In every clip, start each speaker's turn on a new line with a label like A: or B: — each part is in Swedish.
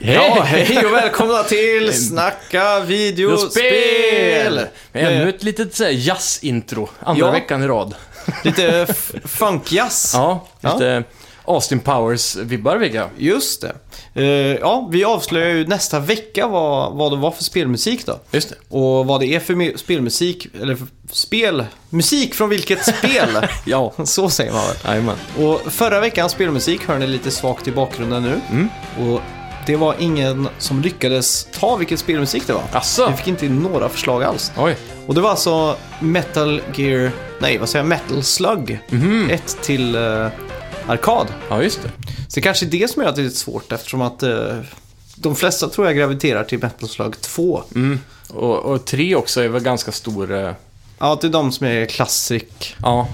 A: Hej! Ja, hej och välkomna till Snacka videospel!
B: Ännu ett litet så här jazzintro, andra
A: Eh. Ja.
B: veckan i rad.
A: Lite f- funkjazz.
B: Ja,
A: Ja.
B: lite Austin Powers-vibbar fick jag.
A: Just det. Eh, ja, vi avslöjar ju nästa vecka vad, vad det var för spelmusik då.
B: Just det.
A: Och vad det är för mu- spelmusik, eller för spel, musik från vilket spel.
B: Ja,
A: Så säger man väl.
B: jajamän.
A: Och förra veckans spelmusik hör ni lite svagt i bakgrunden nu. Och det var ingen som lyckades ta vilken spelmusik det var.
B: Asså?
A: Vi fick inte in några förslag alls.
B: Oj.
A: Och det var alltså Metal Gear, nej vad säger jag, Metal Slug
B: Mhm.
A: 1 till eh, arkad.
B: Ja, just det.
A: Så det kanske är det som gör att det är lite svårt eftersom att eh, de flesta tror jag graviterar till Metal Slug 2.
B: Mm. Och, och tre också är väl ganska stor... eh,
A: Ja, det är de som är klassik,
B: Ja,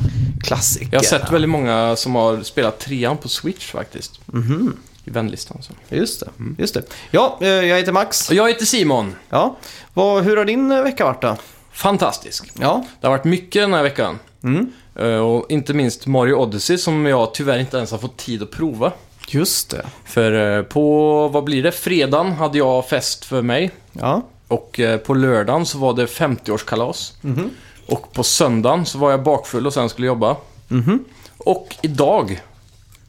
A: klassiker.
B: jag har sett väldigt många som har spelat trean på Switch faktiskt.
A: Mhm.
B: I vänlistan. Så.
A: Just det,
B: Mm.
A: just det. Ja, eh, jag heter Max.
B: Och jag heter Simon.
A: Ja, vad, hur har din eh, vecka varit då?
B: Fantastisk.
A: Ja,
B: Det har varit mycket den här veckan.
A: Mm.
B: Eh, Och inte minst Mario Odyssey som jag tyvärr inte ens har fått tid att prova.
A: just det.
B: För eh, på, vad blir det, fredagen hade jag fest för mig.
A: Ja,
B: Och eh, på lördagen så var det 50-årskalas.
A: Mhm.
B: Och på söndagen så var jag bakfull och sen skulle jobba.
A: Mhm.
B: Och idag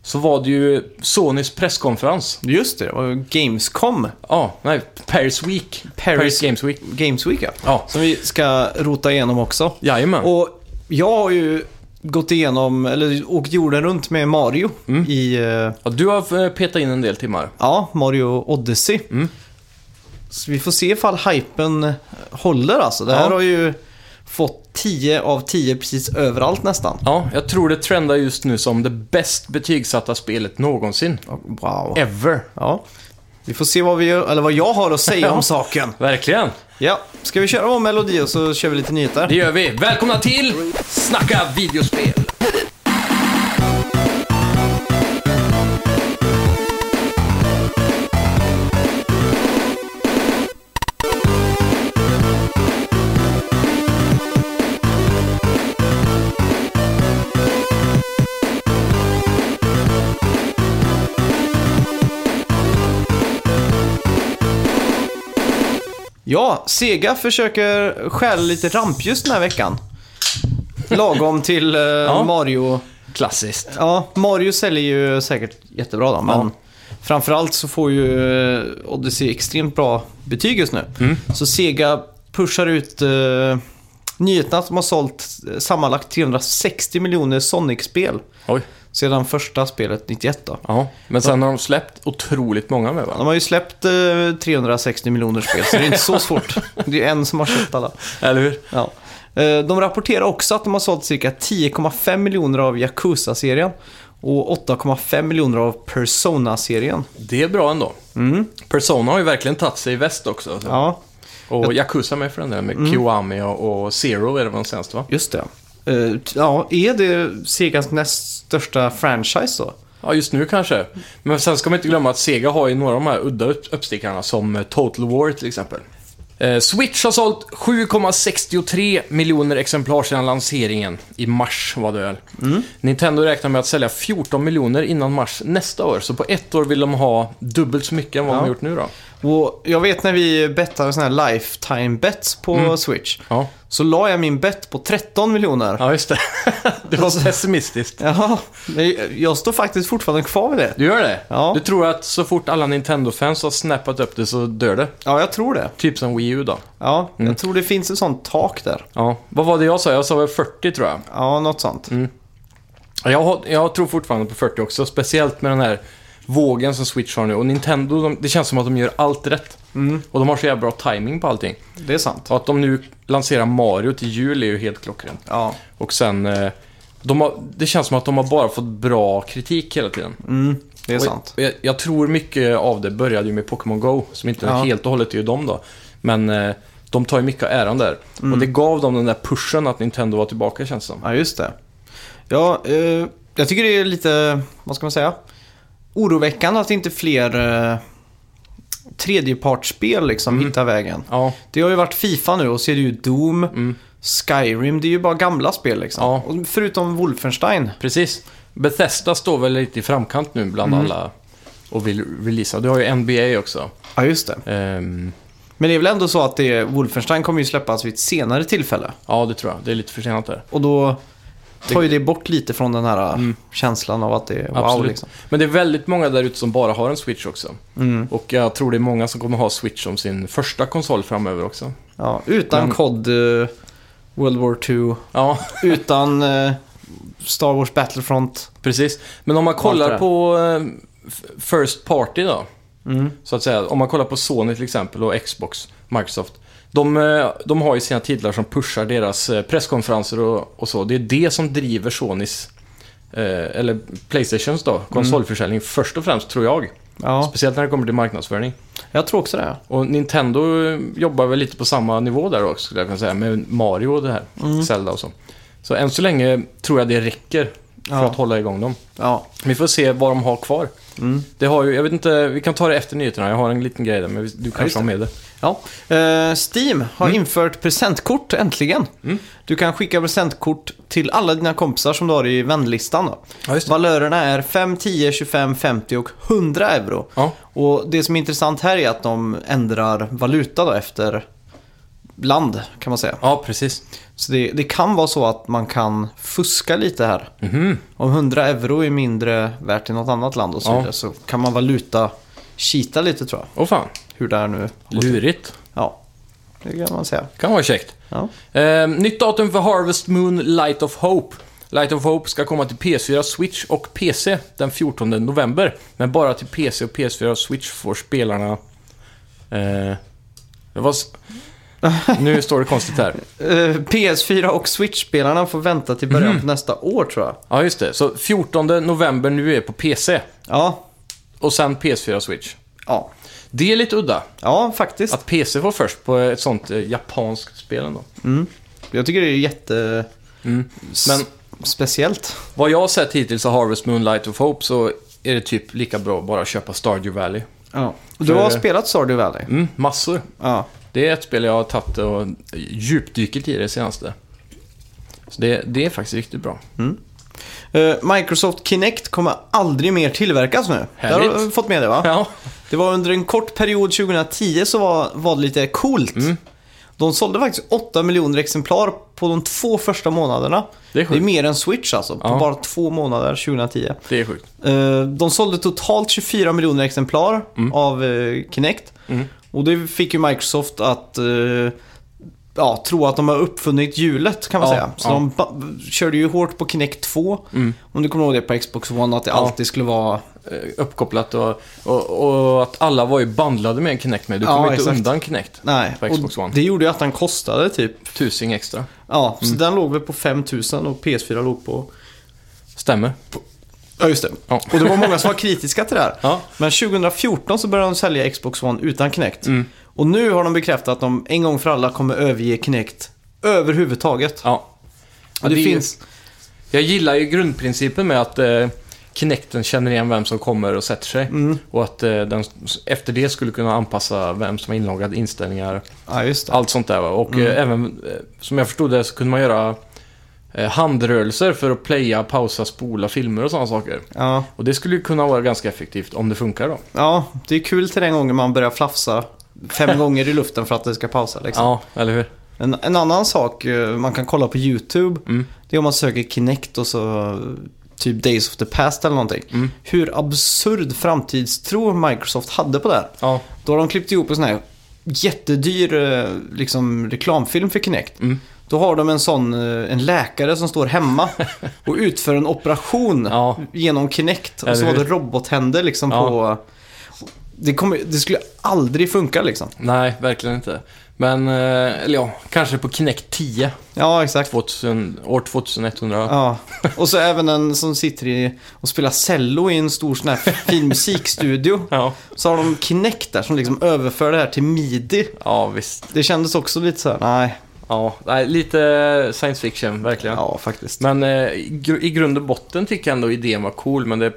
B: så var det ju Sonys presskonferens.
A: just det. Och Gamescom
B: Ja, nej, Paris Week.
A: Paris-
B: Games Week.
A: Games Week, ja.
B: Ja,
A: Som vi ska rota igenom också.
B: jajamän.
A: Och jag har ju gått igenom, eller åkt jorden runt med Mario
B: Mm.
A: i, eh,
B: Ja, du har eh, petat in en del timmar.
A: ja, Mario Odyssey.
B: Mm.
A: Så vi får se ifall hypen håller alltså. Det här
B: Ja.
A: har ju fått 10 av 10 precis överallt nästan.
B: Ja, jag tror det trendar just nu som det bäst betygsatta spelet någonsin.
A: Wow.
B: Ever.
A: Ja. Vi får se vad, vi, eller vad jag har att säga om
B: Ja.
A: saken.
B: Verkligen.
A: Ja, ska vi köra vår melodi och så kör vi lite nyheter?
B: Det gör vi. Välkomna till Snacka videospel!
A: Ja, Sega försöker stjäla lite rampljus den här veckan. Lagom till eh, Mario.
B: Klassiskt.
A: Ja, Mario säljer ju säkert jättebra då, men framförallt så får ju eh, Odyssey extremt bra betyg just nu. Så Sega pushar ut eh, nyheten att de har sålt eh, sammanlagt 360 miljoner Sonic-spel
B: Oj.
A: sedan första spelet 91 då.
B: Ja, men sen har de släppt otroligt många med va?
A: De har ju släppt eh, 360 miljoner spel, så det är inte så svårt. Det är en som har köpt alla.
B: Eller hur?
A: Ja. Eh, De rapporterar också att de har sålt cirka 10,5 miljoner av Yakuza-serien och 8,5 miljoner av Persona-serien.
B: Det är bra ändå. Persona har ju verkligen tagit sig i väst också. Så.
A: Ja,
B: Och Yakuza med för den där med Kiwami och, och Zero är det väl senaste va?
A: just det. Eh, t- Ja, är det Segas näst största franchise då?
B: Ja, just nu kanske. Men sen ska man inte glömma att Sega har ju några av de här udda upp- uppstickarna som eh, Total War till exempel. Eh, Switch har sålt 7,63 miljoner exemplar sedan lanseringen. I mars var det väl. Nintendo räknar med att sälja 14 miljoner innan mars nästa år. Så på ett år vill de ha dubbelt så mycket än vad de
A: Ja.
B: har gjort nu då.
A: Och jag vet när vi bettade sådana här lifetime bets på Switch.
B: Mm. Ja,
A: Så la jag min bett på 13 miljoner.
B: ja just det. det var pessimistiskt.
A: Ja, men jag står faktiskt fortfarande kvar vid det.
B: Du gör det?
A: Ja.
B: Du tror att så fort alla Nintendo-fans har snappat upp det så dör det?
A: Ja, jag tror det.
B: Typ som Wii U då?
A: Ja,
B: Mm.
A: jag tror det finns ett sånt tak där.
B: Ja. Vad var det jag sa? Jag sa väl 40 tror jag.
A: Ja, något sånt.
B: Mm. Ja, Jag, har- jag tror fortfarande på 40 också, speciellt med den här vågen som Switch har nu. Och Nintendo, de, det känns som att de gör allt rätt.
A: Mm.
B: Och de har så jävla bra timing på allting.
A: Det är sant.
B: Och att de nu lanserar Mario till jul är ju helt klockrent.
A: Ja.
B: Och sen, eh, de har, det känns som att de har bara fått bra kritik hela tiden.
A: Mm. Det är
B: Och
A: sant.
B: Jag, jag tror mycket av det började ju med Pokémon Go, som inte
A: Ja.
B: helt och hållet är ju dem då. Men eh, de tar ju mycket av äran där.
A: Mm.
B: Och det gav dem den där pushen att Nintendo var tillbaka känns det som.
A: Ja, just det. Ja, eh, jag tycker det är lite, vad ska man säga, oroväckande att inte fler eh, tredjepartsspel liksom hittar vägen.
B: Ja,
A: Det har ju varit Fifa nu och så är det ju Doom, Skyrim, det är ju bara gamla spel liksom.
B: Ja.
A: Och förutom Wolfenstein. Mm.
B: precis. Bethesda står väl lite i framkant nu bland alla och vill releasa. Du har ju NBA också.
A: Ja, just det.
B: Ehm,
A: Men det är väl ändå så att det, Wolfenstein kommer ju släppas vid ett senare tillfälle.
B: ja, det tror jag. Det är lite försenat där.
A: Och då tar ju det Mm. bort lite från den här känslan av att det är wow
B: Absolut.
A: liksom.
B: Men det är väldigt många där ute som bara har en Switch också.
A: Mm.
B: Och jag tror det är många som kommer ha Switch som sin första konsol framöver också.
A: Ja, utan
B: Men-
A: COD, eh, World War 2,
B: Ja,
A: utan eh, Star Wars Battlefront.
B: precis. Men om man
A: Allt
B: kollar
A: det.
B: på eh, f- First Party då,
A: Mm.
B: så att säga. Om man kollar på Sony till exempel och Xbox, Microsoft. De, eh, de har ju sina titlar som pushar deras eh, presskonferenser och, och så. Det är det som driver Sonys, eh, eller Playstations då, konsolförsäljning först och främst tror jag.
A: Mm. Ja,
B: Speciellt när det kommer till marknadsföring.
A: jag tror också det.
B: Och Nintendo eh, jobbar väl lite på samma nivå där också, skulle jag kunna säga, med Mario och det här.
A: Mm.
B: Zelda och så. Så än så länge tror jag det räcker för
A: Ja.
B: att hålla igång dem.
A: Ja,
B: Vi får se vad de har kvar.
A: Mm.
B: Det har ju, jag vet inte, vi kan ta det efter nyheterna. Jag har en liten grej där, men vi- du
A: just
B: kanske har med det.
A: ja. Eh, Steam har infört presentkort äntligen. Du kan skicka presentkort till alla dina kompisar som du har i vänlistan. Då.
B: Ja, just
A: Valörerna är 5, 10, 25, 50 och 100 euro.
B: Ja,
A: Och det som är intressant här är att de ändrar valuta då efter land kan man säga.
B: ja precis.
A: Så det, det kan vara så att man kan fuska lite här. Om 100 euro är mindre värt i något annat land och så
B: Mhm. Ja.
A: vidare så kan man valuta kita lite tror jag.
B: Åh fan,
A: Hur det är nu.
B: lurigt.
A: Ja, det kan man säga.
B: Kan vara käckt.
A: Ja.
B: Eh, nytt datum för Harvest Moon Light of Hope. Light of Hope ska komma till PS4, Switch och PC den 14 november. Men bara till PC och PS4 och Switch får spelarna... Eh, det var... s- nu står det konstigt här.
A: Eh, PS4 och Switch-spelarna får vänta till början
B: Mhm.
A: på nästa år tror jag.
B: Ja, just det. Så 14 november nu är på PC.
A: Ja,
B: Och sen PS4 och Switch.
A: ja.
B: Det är lite udda.
A: ja faktiskt.
B: Att PC var först på ett sånt eh, japanskt spel ändå.
A: Jag tycker det är jätte...
B: Mm.
A: s-
B: Men-
A: Speciellt.
B: Vad jag har sett hittills av Harvest Moon Light of Hope så är det typ lika bra att bara köpa Stardew Valley.
A: Ja. Du har
B: För-
A: spelat Stardew Valley?
B: Mm, massor.
A: Ja.
B: Det är ett spel jag har tagit och djupdyket i det senaste. Så det, det är faktiskt riktigt bra.
A: Mm. Eh, Microsoft Kinect kommer aldrig mer tillverkas nu. Där
B: Härligt.
A: har du fått med det va?
B: Ja,
A: Det var under en kort period 2010 så var, var det lite coolt.
B: Mm.
A: De sålde faktiskt 8 miljoner exemplar på de två första månaderna.
B: Det är sjukt.
A: mer än Switch alltså, på
B: Ja.
A: bara två månader 2010.
B: det är sjukt.
A: Eh, De sålde totalt 24 miljoner exemplar
B: Mm.
A: av eh, Kinect. Och det fick ju Microsoft att eh, ja, tro att de har uppfunnit hjulet kan man
B: Ja,
A: säga. Så
B: ja. Mm.
A: de ba- körde ju hårt på Kinect 2. Om du kommer ihåg det på Xbox One, att det alltid skulle vara...
B: Eh, Uppkopplat och, och, och att alla var ju bandlade med en Kinect med. Du
A: Ja,
B: kom ju inte
A: exakt.
B: undan Kinect.
A: Nej,
B: På
A: och
B: Xbox One.
A: det gjorde ju att den kostade typ.
B: Tusing extra.
A: Ja,
B: Mm.
A: så den låg väl på 5000 och PS4 låg på...
B: Stämmer.
A: Ja, just det.
B: Ja.
A: Och det var många som var kritiska till det här.
B: Ja.
A: Men 2014 så började de sälja Xbox One utan Kinect. Och nu har de bekräftat att de en gång för alla kommer överge Kinect överhuvudtaget.
B: Ja.
A: och det,
B: det är ju-
A: finns...
B: Jag gillar ju grundprincipen med att eh, Kinecten känner igen vem som kommer och sätter sig. Och att eh, den s- efter det skulle kunna anpassa vem som har inloggad inställningar.
A: Ja, just det.
B: Allt sånt där va. Och eh, även, eh, som jag förstod det, så kunde man göra eh, handrörelser för att playa, pausa, spola filmer och sådana saker.
A: Ja.
B: Och det skulle ju kunna vara ganska effektivt om det funkar då.
A: ja, det är kul till den gången man börjar flafsa fem gånger i luften för att det ska pausa. Liksom.
B: Ja, eller hur?
A: En, en annan sak eh, man kan kolla på YouTube, det är om man söker Kinect och så eh, typ Days of the Past eller någonting. Hur absurd framtidstro Microsoft hade på det här.
B: Ja,
A: Då har de klippt ihop en sån här jättedyr eh, liksom, reklamfilm för Kinect.
B: Mm.
A: Då har de en sån, eh, en läkare som står hemma och utför en operation
B: Ja.
A: genom Kinect. Och
B: Eller
A: så var
B: hur?
A: det robothänder liksom
B: Ja.
A: på... Det, kommer, det skulle aldrig funka liksom.
B: nej, verkligen inte. Men, eh, eller ja, kanske på Kinect 10,
A: Ja, exakt.
B: 2000, år 2100.
A: Ja. Och så även en som sitter i och spelar cello i en stor sån här fin musikstudio.
B: ja.
A: Så har de Kinect där som liksom överför det här till midi.
B: ja visst.
A: Det kändes också lite så här, nej.
B: Ja, nej, lite science fiction, verkligen.
A: Ja, faktiskt.
B: Men eh, i gr- i grund och botten tycker jag ändå idén var cool, men det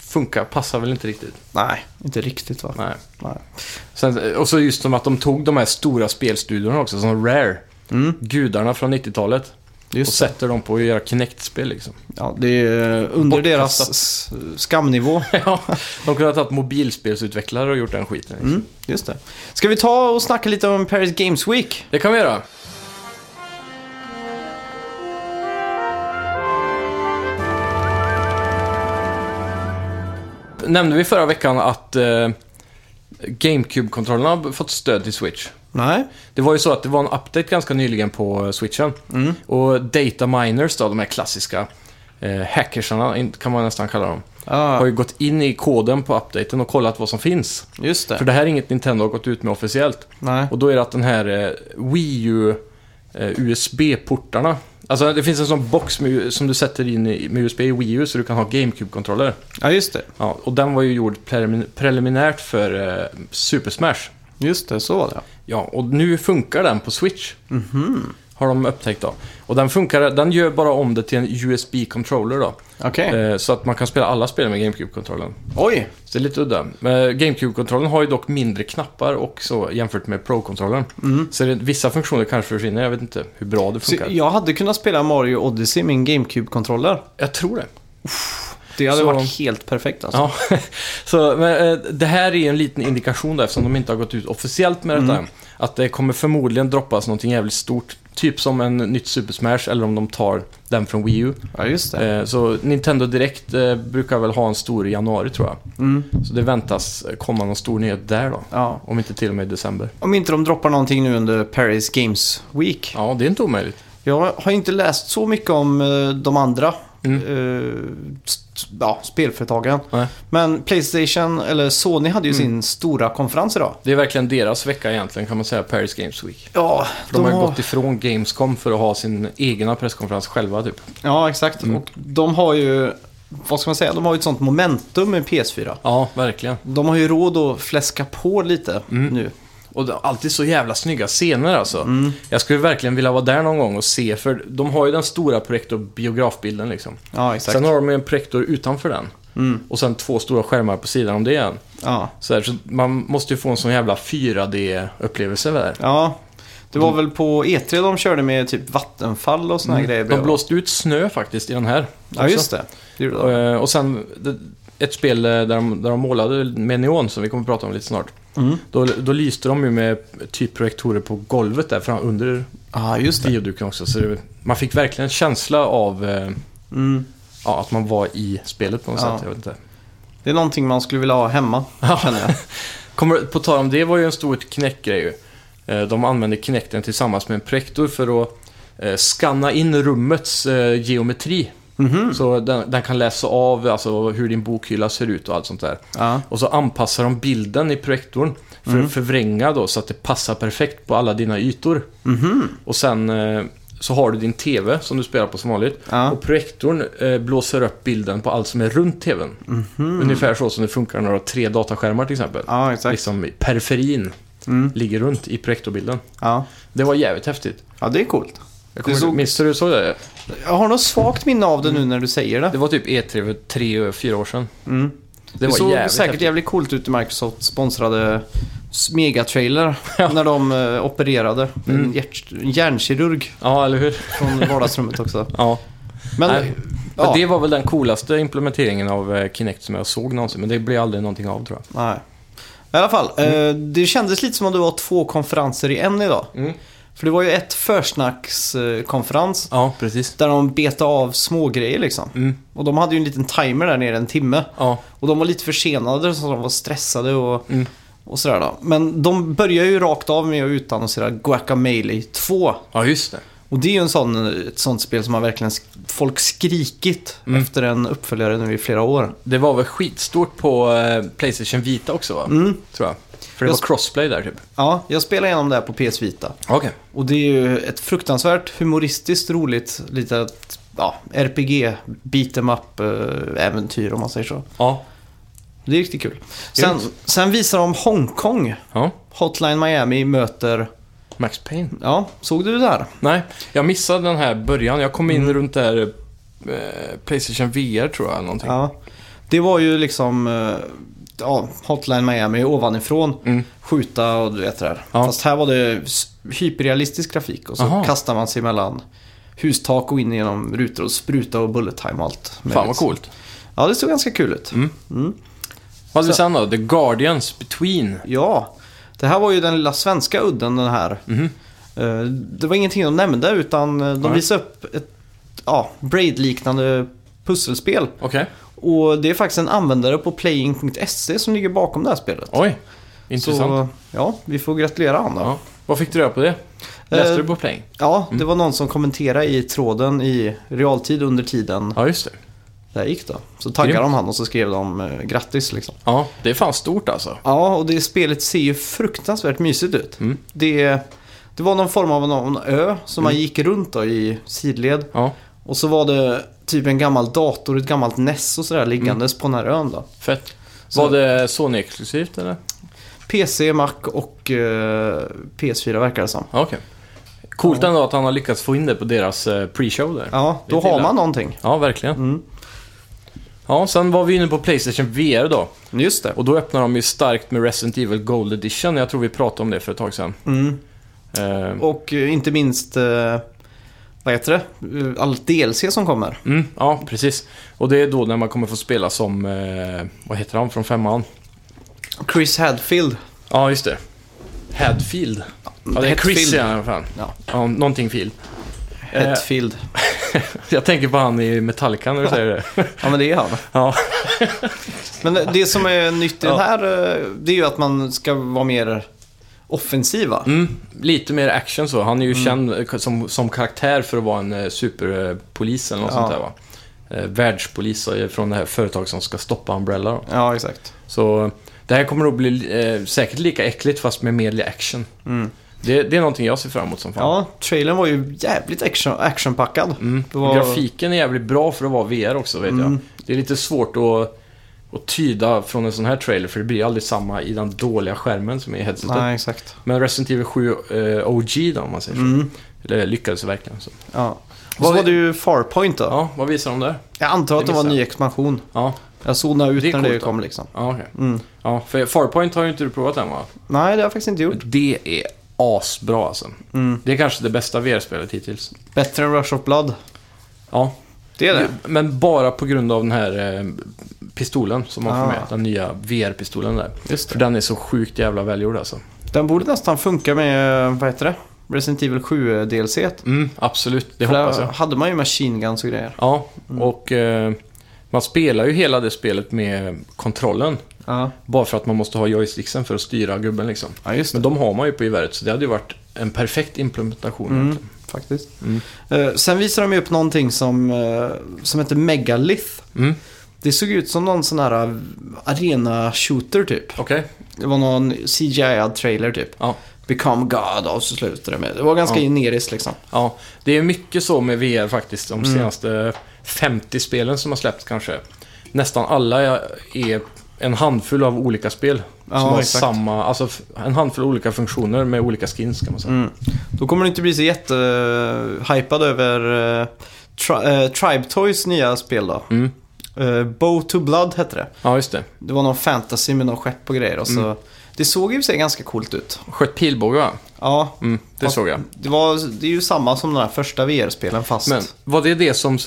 B: funkar, passar väl inte riktigt.
A: Nej, inte riktigt va?
B: Nej.
A: Nej.
B: Sen, eh, och så just som att de tog de här stora spelstudiorna också, som Rare. Gudarna från 90-talet. och
A: Just det.
B: sätter dem på att göra Kinect-spel liksom.
A: Ja, det är under deras s- skamnivå.
B: ja, de kunde ha tagit mobilspelsutvecklare och gjort den skiten. Liksom.
A: Mm, just det. Ska vi ta och snacka lite om Paris Games Week?
B: Det kan vi göra. Nämnde vi förra veckan att eh, GameCube-kontrollerna har fått stöd till Switch?
A: Nej.
B: Det var ju så att det var en update ganska nyligen på eh, switchen. Och data miners då, de här klassiska eh, hackersarna, in- kan man nästan kalla dem. Har
A: Ah,
B: ju gått in i koden på updaten och kollat vad som finns.
A: just
B: För
A: det.
B: det här är inget Nintendo har gått ut med officiellt.
A: Nej.
B: Och då är det att den här eh, Wii U eh, USB-portarna. Alltså det finns en sån box med, som du sätter in i, med USB i Wii U så du kan ha GameCube-kontroller.
A: Ja, just det.
B: Ja, och den var ju gjord prelimin- preliminärt för eh, Super Smash.
A: Just det, så var det.
B: Ja, och nu funkar den på Switch. Har de upptäckt då. Och den funkar, den gör bara om det till en USB-controller då.
A: Okej.
B: Eh, så att man kan spela alla spel med GameCube-kontrollen.
A: Oj!
B: Så det är lite udda. Men GameCube-kontrollen har ju dock mindre knappar och så jämfört med Pro-kontrollen. Så det, vissa funktioner kanske försvinner, jag vet inte hur bra det
A: Så
B: funkar. jag...
A: jag hade kunnat spela Mario Odyssey med en GameCube-kontroller.
B: tror det.
A: Det hade
B: Så-
A: varit helt perfekt alltså.
B: Ja. så, men, eh, det här är ju en liten indikation där, eftersom de inte har gått ut officiellt med detta. Att det kommer förmodligen droppas någonting jävligt stort. Typ som en nytt Super Smash, eller om de tar den från Wii U.
A: Ja, just det.
B: Eh, Så Nintendo Direkt eh, brukar väl ha en stor i januari tror jag.
A: Mm.
B: Så det väntas komma någon stor nyhet där då.
A: Ja.
B: Om inte till och med i december.
A: Om inte de droppar någonting nu under Paris Games Week.
B: Ja, det är inte omöjligt.
A: Jag har inte läst så mycket om eh, de andra eh, st- ja, spelföretagen.
B: Mm. Nej. Mm.
A: Men Playstation, eller Sony, hade ju sin stora konferens idag.
B: Det är verkligen deras vecka egentligen kan man säga, Paris Games Week.
A: Ja,
B: För de, har ju gått ifrån Gamescom för att ha sin egna presskonferens själva typ.
A: Ja, exakt. Och de har ju, vad ska man säga, de har ju ett sånt momentum med PS4.
B: Ja, verkligen.
A: De har ju råd att fläska på lite
B: Mm.
A: nu.
B: Och det är alltid så jävla snygga scener alltså. Jag skulle verkligen vilja vara där någon gång och se, för de har ju den stora projektorbiografbilden liksom.
A: Ja, exakt.
B: Sen har de ju en projektor utanför den. Och sen två stora skärmar på sidan om det igen.
A: Ja.
B: Så, här, så man måste ju få en sån jävla 4D-upplevelse där.
A: ja, det var väl på E3 de körde med typ vattenfall och såna här grejer.
B: Mm. De blåste ut snö faktiskt i den här.
A: Ja, just det. det gjorde de.
B: Eh, Och sen det- ett spel eh, där de, där de målade med neon som vi kommer att prata om lite snart.
A: Mm.
B: Då, då lyste de ju med typ projektorer på golvet där fram under
A: Ja, just det.
B: bioduken också. Så det, man fick verkligen en känsla av eh,
A: Mm.
B: ja, att man var i spelet på något
A: Ja.
B: sätt. Jag vet inte.
A: Det är någonting man skulle vilja ha hemma, känner jag.
B: Kommer, på tal om det var ju en stor knäckgrej ju. Eh, De använde knäckten tillsammans med en projektor för att eh, skanna in rummets eh, geometri.
A: Mhm.
B: Så den, den kan läsa av alltså, hur din bokhylla ser ut och allt sånt där.
A: Ja.
B: Och så anpassar de bilden i projektorn för
A: Mm.
B: att förvränga då så att det passar perfekt på alla dina ytor.
A: Mhm.
B: Och sen eh, så har du din TV som du spelar på som vanligt.
A: Ja.
B: Och projektorn eh, blåser upp bilden på allt som är runt TVn. Ungefär så som det funkar när du har tre dataskärmar till exempel.
A: Mhm. ja, exakt. Mm.
B: Liksom i periferin ligger runt i projektorbilden.
A: Ja.
B: Det var jävligt häftigt.
A: ja, det är coolt.
B: Jag
A: Det
B: kommer,
A: såg-
B: Minns du hur du såg det?
A: Jag har något svagt minne av det nu när du säger det.
B: Det var typ E3 för tre, fyra år sedan. Det,
A: Mm. Det,
B: var
A: såg
B: jävligt
A: säkert
B: häftigt.
A: jävligt coolt ut i Microsoft sponsrade s- megatrailer när de eh, opererade.
B: Mm.
A: En hjärt- en hjärnkirurg
B: Ja, eller hur?
A: från vardagsrummet också.
B: Ja.
A: Men,
B: Nej,
A: ja,
B: Men det var väl den coolaste implementeringen av eh, Kinect som jag såg någonsin. Men det blev aldrig någonting av tror jag.
A: nej. I alla fall, eh, det kändes lite som att det var två konferenser i en idag.
B: Mm.
A: För det var ju ett försnackskonferens
B: Ja, precis.
A: där de betade av smågrejer liksom.
B: Mm.
A: Och de hade ju en liten timer där nere, en timme.
B: Ja,
A: Och de var lite försenade så de var stressade och,
B: Mm.
A: och sådär då. Men de börjar ju rakt av med att utannonsera Guacamelee 2.
B: ja just det.
A: Och det är ju en sån, ett sånt spel som har verkligen sk- folk skrikit
B: Mm.
A: efter en uppföljare nu i flera år.
B: Det var väl skitstort på eh, Playstation Vita också va?
A: Mm.
B: Tror jag. För det
A: Jag
B: var crossplay där typ.
A: Ja, jag spelade igenom det här på PS Vita.
B: Okej.
A: Och det är ju ett fruktansvärt humoristiskt roligt litet ja, RPG, beat em up eh, äventyr om man säger så.
B: Ja.
A: Det är riktigt kul. Sen,
B: Grymt.
A: sen visar de Hongkong.
B: ja.
A: Hotline Miami möter...
B: Max Payne.
A: Ja, såg du det där?
B: Nej, jag missade den här början. Jag kom in runt där eh, Playstation VR tror jag. Någonting.
A: Ja. Det var ju liksom eh, ja, Hotline Miami ovanifrån.
B: Mm.
A: Skjuta och du vet det där.
B: Ja.
A: Fast här var det s- hyperrealistisk grafik och så
B: Aha.
A: kastar man sig mellan hustak och in genom rutor och spruta och bullet time och allt.
B: Fan vad coolt. Mm.
A: Ja, det såg ganska kul ut.
B: Vad hade vi sen då? The Guardians Between.
A: Ja, det här var ju den lilla svenska udden den här. Eh, Det var ingenting de nämnde utan eh, de
B: Mm-hmm. Nej.
A: visade upp ett ja, Braid-liknande pusselspel.
B: Okej.
A: Och det är faktiskt en användare på playing.se som ligger bakom det här spelet.
B: Oj. Intressant.
A: Så ja, vi får gratulera honom då. Ja.
B: Ja. Mm. Vad fick du reda på det? Läste du på Play?
A: det var någon som kommenterade i tråden i realtid under tiden
B: Ja, just det.
A: det här gick då. Så taggade
B: Grymt.
A: de han och så skrev de eh, grattis liksom.
B: Ja, det är fan stort alltså.
A: Ja, och det spelet ser ju fruktansvärt mysigt ut.
B: Mm.
A: Det, det var någon form av någon ö som
B: Mm.
A: man gick runt då i sidled.
B: Ja,
A: Och så var det typ en gammal dator, ett gammalt NES och sådär liggandes
B: Mm.
A: på den här ön då.
B: fett.
A: Så-
B: Var det Sony-exklusivt eller?
A: PC, Mac och eh, PS4 verkar det som.
B: Ja, okej. Coolt ändå att han har lyckats få in det på deras eh, pre-show där.
A: Ja, då
B: Det
A: har
B: gillar.
A: man någonting.
B: Ja, verkligen. Ja, sen var vi inne på Playstation VR då.
A: Just det.
B: Och då öppnar de ju starkt med Resident Evil Gold Edition. Jag tror vi pratade om det för ett tag sedan. Eh,
A: Och eh, inte minst, eh, vad heter det? Eh, Allt DLC som kommer.
B: mm, ja, precis. Och det är då när man kommer få spela som, eh, vad heter han från femman?
A: Chris Hadfield.
B: Ja, just det. Hadfield. Ja, det är
A: Hetfield.
B: Chris i alla fall.
A: Ja,
B: Ja, någonting Field. Eh,
A: Hetfield.
B: jag tänker på han i Metallica när du säger det.
A: Ja, men det är han.
B: Ja,
A: Men eh, det som är nytt i
B: Ja.
A: den här, eh, det är ju att man ska vara mer offensiva.
B: mm, lite mer action så. Han är
A: Mm.
B: ju känd eh, som, som karaktär för att vara en eh, superpolis eller något
A: Ja.
B: sånt där va. Eh, Världspolis eh, från det här företaget som ska stoppa Umbrella då.
A: Ja, exakt.
B: Så det här kommer att bli eh, säkert lika äckligt fast med mer action. Det, det är någonting jag ser fram emot som fan.
A: Mm. Ja, trailern var ju jävligt action, actionpackad.
B: Mm.
A: Det var-
B: Grafiken är jävligt bra för att vara VR också, vet jag.
A: Mm.
B: Det är lite svårt att, att tyda från en sån här trailer, för det blir aldrig samma i den dåliga skärmen som är i headsetet.
A: Nej, exakt.
B: Men Resident Evil 7 eh, OG då, om man säger så.
A: Mm.
B: Det lyckades verkligen. Så.
A: Ja. Och så
B: Vad-
A: var det ju Farpoint då.
B: Ja, vad visar de där?
A: Jag antar att
B: det
A: det var en
B: missade
A: ny expansion.
B: Ja,
A: Jag zonade ut
B: Det är
A: när det
B: coolt då.
A: kom liksom.
B: ja okej.
A: Mm.
B: Ja, för Farpoint har ju inte du provat än va?
A: Nej, det har jag faktiskt inte gjort.
B: Det är asbra alltså.
A: Mm.
B: Det är kanske det bästa VR-spelet hittills.
A: Bättre än Rush of Blood.
B: Ja,
A: Det är det.
B: Men bara på grund av den här eh, pistolen som man får med.
A: Ah.
B: Den nya VR-pistolen där.
A: Just
B: För den är så sjukt jävla välgjord alltså.
A: Den borde nästan funka med, vad heter det? Resident Evil 7 DLC. Det
B: Mm, absolut. Det
A: För
B: hoppas
A: där
B: jag.
A: hade man ju machine guns och grejer.
B: Ja,
A: Mm.
B: och eh, man spelar ju hela det spelet med kontrollen.
A: Ja,
B: Bara för att man måste ha joysticksen för att styra gubben liksom.
A: ja just det.
B: Men de har man ju på geväret, så det hade ju varit en perfekt implementation.
A: Mm,
B: egentligen.
A: faktiskt.
B: Mm.
A: Eh, sen visade de ju upp någonting som, eh, som heter Megalith.
B: Mm.
A: Det såg ut som någon sån här arena-shooter typ.
B: Okej.
A: Det var någon CGI-ad trailer typ.
B: Ja.
A: Become God och så slutade det med. Det var ganska
B: Ja.
A: generiskt liksom.
B: Ja, det är mycket så med VR faktiskt. De
A: Mm.
B: senaste 50 spelen som har släppts kanske. Nästan alla är en handfull av olika spel.
A: Ja,
B: som har
A: exakt.
B: samma, alltså f- en handfull olika funktioner med olika skins kan man
A: Mm.
B: säga.
A: Då kommer du inte bli så jättehypad över eh, tri- eh, Tribe Toys nya spel då.
B: Mm.
A: Eh, Bow to Blood hette det.
B: Ja, just det.
A: Det var någon fantasy med någon skepp och grejer. Och så.
B: Mm.
A: Det såg ju sig ganska coolt ut.
B: Sköt pilbåge va?
A: Ja,
B: Mm, det
A: Ja.
B: såg jag.
A: Det, var, det är ju samma som den här första VR-spelen fast...
B: Men var det det som eh,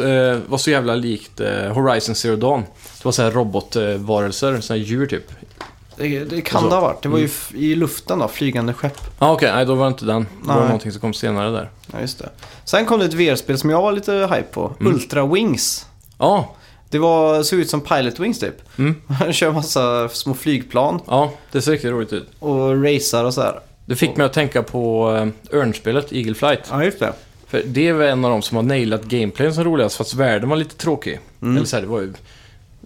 B: var så jävla likt eh, Horizon Zero Dawn? Det var så här robotvarelser, såna här djur typ.
A: det, det kan
B: Och så.
A: det ha varit. Det var ju
B: Mm.
A: f- i luften då, flygande skepp.
B: Ja, ah, okej. Nej, då var det inte den. Det var
A: Nej.
B: någonting som kom senare där.
A: Ja, just det. Sen kom det ett VR-spel som jag var lite hype på.
B: Mm.
A: Ultra Wings.
B: Ja,
A: Det var, såg ut som Pilot Wings typ.
B: Mm.
A: Man kör massa små flygplan
B: ja. det ser riktigt roligt ut.
A: och racear och så här.
B: Det fick mig att tänka på eh, Örnspelet, Eagle Flight.
A: Ja, just det.
B: För det är väl en av de som har nailat gameplayen som roligast, fast världen var lite tråkig. Eller så här, det var ju...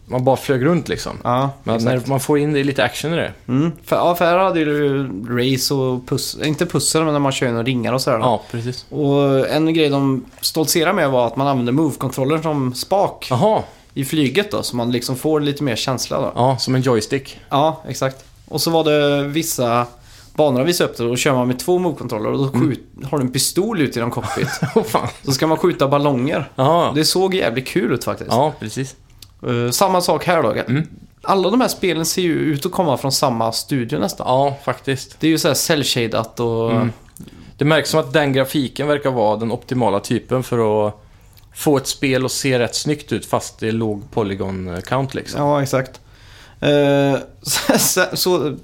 B: Man bara flög runt liksom.
A: Mm. Ja,
B: Men
A: exakt.
B: när man får in det, lite action i det.
A: Mm. För, ja, för här hade du race och pussel, inte pussel men när man kör in och ringar och sådär.
B: Ja, precis.
A: Och en grej de stoltserade med var att man använde move-kontroller som spak
B: Jaha,
A: i flyget då, så man liksom får lite mer känsla då.
B: ja, som en joystick.
A: Ja, exakt. Och så var det vissa banor vi upp det och då kör man med två move-kontroller och då
B: Mm.
A: skjut, har du en pistol ut genom cockpit.
B: Åh fan.
A: så ska man skjuta ballonger.
B: Jaha.
A: Det såg jävligt kul ut faktiskt.
B: Ja, precis.
A: Eh, samma sak här då. Mm. Alla de här spelen ser ju ut att komma från samma studio nästan.
B: Ja, faktiskt.
A: Det är ju såhär cell-shadat och...
B: Mm. Det märks som att den grafiken verkar vara den optimala typen för att få ett spel att se rätt snyggt ut fast det är låg polygon count liksom.
A: Ja, exakt. Eh, så, så- så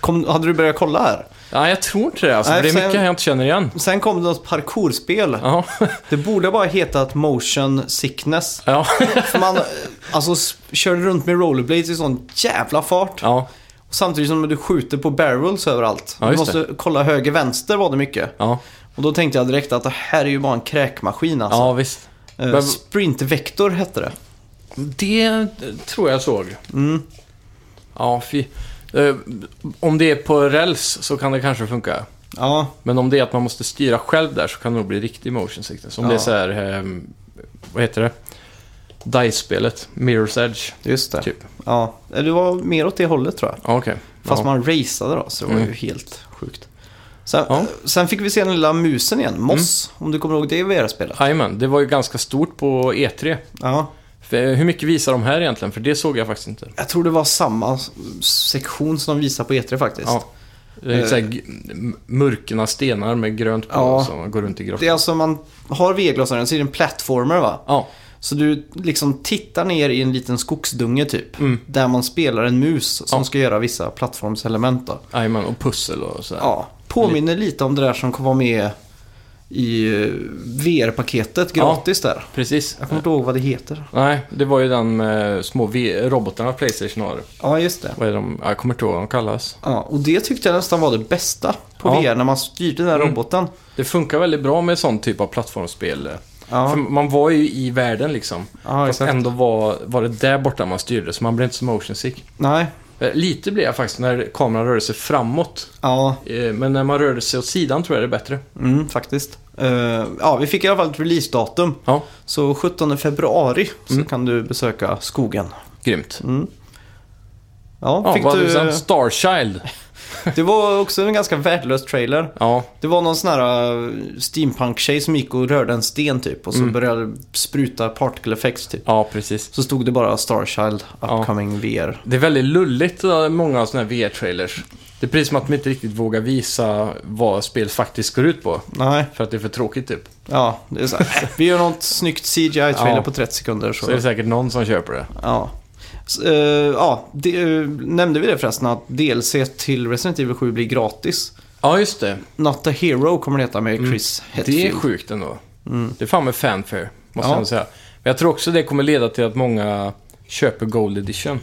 A: kom, hade du börjat kolla här?
B: Nej, jag tror inte det alltså.
A: Nej,
B: för det är
A: sen-
B: mycket jag inte känner igen.
A: Sen kom det något parkourspel.
B: Ja,
A: Det borde bara hetat Motion Sickness.
B: ja,
A: För man eh, alltså, s- körde runt med rollerblades i sån jävla fart.
B: ja,
A: Samtidigt som du skjuter på barrels överallt.
B: Ja,
A: du
B: just
A: måste kolla höger vänster var det mycket.
B: ja,
A: Och då tänkte jag direkt att det här är ju bara en kräkmaskin alltså.
B: ja visst.
A: Eh,
B: men-
A: Sprintvektor hette det.
B: Det eh, tror jag såg. Mm. Ja, fy. Eh, Om det är på räls så kan det kanske funka.
A: Ja,
B: Men om det är att man måste styra själv där så kan det nog bli riktig motion sickness. Om
A: Ja.
B: det är så här, ehm, vad heter det? DICE-spelet, Mirror's Edge,
A: just det.
B: typ.
A: Ja. Eh, Det var mer åt det hållet tror jag.
B: Ja, okej.
A: Fast
B: ja.
A: man raceade då, så det var ju
B: Mm.
A: helt sjukt. Sen, eh,
B: Ja. Mm.
A: sen fick vi se den lilla musen igen, Moss, om du kommer ihåg det VR-spelet.
B: Jajamän, det var ju ganska stort på E3.
A: Ja.
B: För, eh, hur mycket visar de här egentligen? För det såg jag faktiskt inte.
A: Jag tror det var samma s- sektion som de visade på E3 faktiskt.
B: Ja. Det är
A: Eh.
B: så här, g- m- mörkna stenar med grönt på
A: Ja.
B: som går runt i grottan.
A: Det är alltså man har VR-glasögonen så är det en plattformer va?
B: Ja,
A: Så du liksom tittar ner i en liten skogsdunge typ.
B: Mm.
A: Där man spelar en mus som
B: Ja.
A: ska göra vissa plattformselement då.
B: jajamän, och pussel och sådär.
A: Ja, påminner lite om det där som kom vara med i eh, VR-paketet gratis där.
B: Precis.
A: Jag kommer inte ihåg vad det heter.
B: Nej, det var ju den med små v- robotarna Playstation har.
A: Ja, just det.
B: Vad är de? Jag kommer inte ihåg vad de kallas.
A: Ja, och det tyckte jag nästan var det bästa på
B: Ja.
A: VR när man styrde den här
B: Mm.
A: roboten.
B: Det funkar väldigt bra med sån typ av plattformsspel.
A: Ja,
B: För man var ju i världen liksom.
A: ja
B: Fast
A: exakt.
B: ändå var, var det där borta man styrde, så man blev inte så motion sick.
A: Nej,
B: Eh, Lite blev jag faktiskt när kameran rörde sig framåt.
A: ja,
B: Eh, Men när man rörde sig åt sidan tror jag det är bättre.
A: mm, faktiskt. Eh, ja, vi fick i alla fall ett releasedatum.
B: Ja,
A: Så 17 februari så
B: Mm.
A: kan du besöka skogen.
B: grymt.
A: Mm. Ja,
B: Ja,
A: fick
B: vad hade du sen?
A: du...
B: Starchild.
A: Det var också en ganska värdelös trailer.
B: Ja,
A: Det var någon sån här eh, steampunk-tjej som gick och rörde en sten typ och så
B: Mm.
A: började spruta particle effects typ.
B: ja, precis.
A: Så stod det bara Starchild
B: Ja.
A: Upcoming VR.
B: Det är väldigt lulligt, eh, många av såna här VR-trailers. Det är precis som att de inte riktigt vågar visa vad spel faktiskt går ut på.
A: Nej,
B: För att det är för tråkigt typ.
A: ja, det är så här. Vi gör något snyggt CGI-trailer
B: Ja.
A: på 30 sekunder. Så.
B: Så är det säkert någon som köper det.
A: Ja. S- eh, ja, det, eh, nämnde vi det förresten att DLC till Resident Evil 7 blir gratis.
B: Ja, just det.
A: Not a Hero kommer det heta med
B: Mm.
A: Chris Hetfield.
B: Det är sjukt ändå.
A: Mm.
B: Det är fan med fanfare, måste
A: Ja.
B: jag ändå säga. Men jag tror också det kommer leda till att många köper Gold Edition,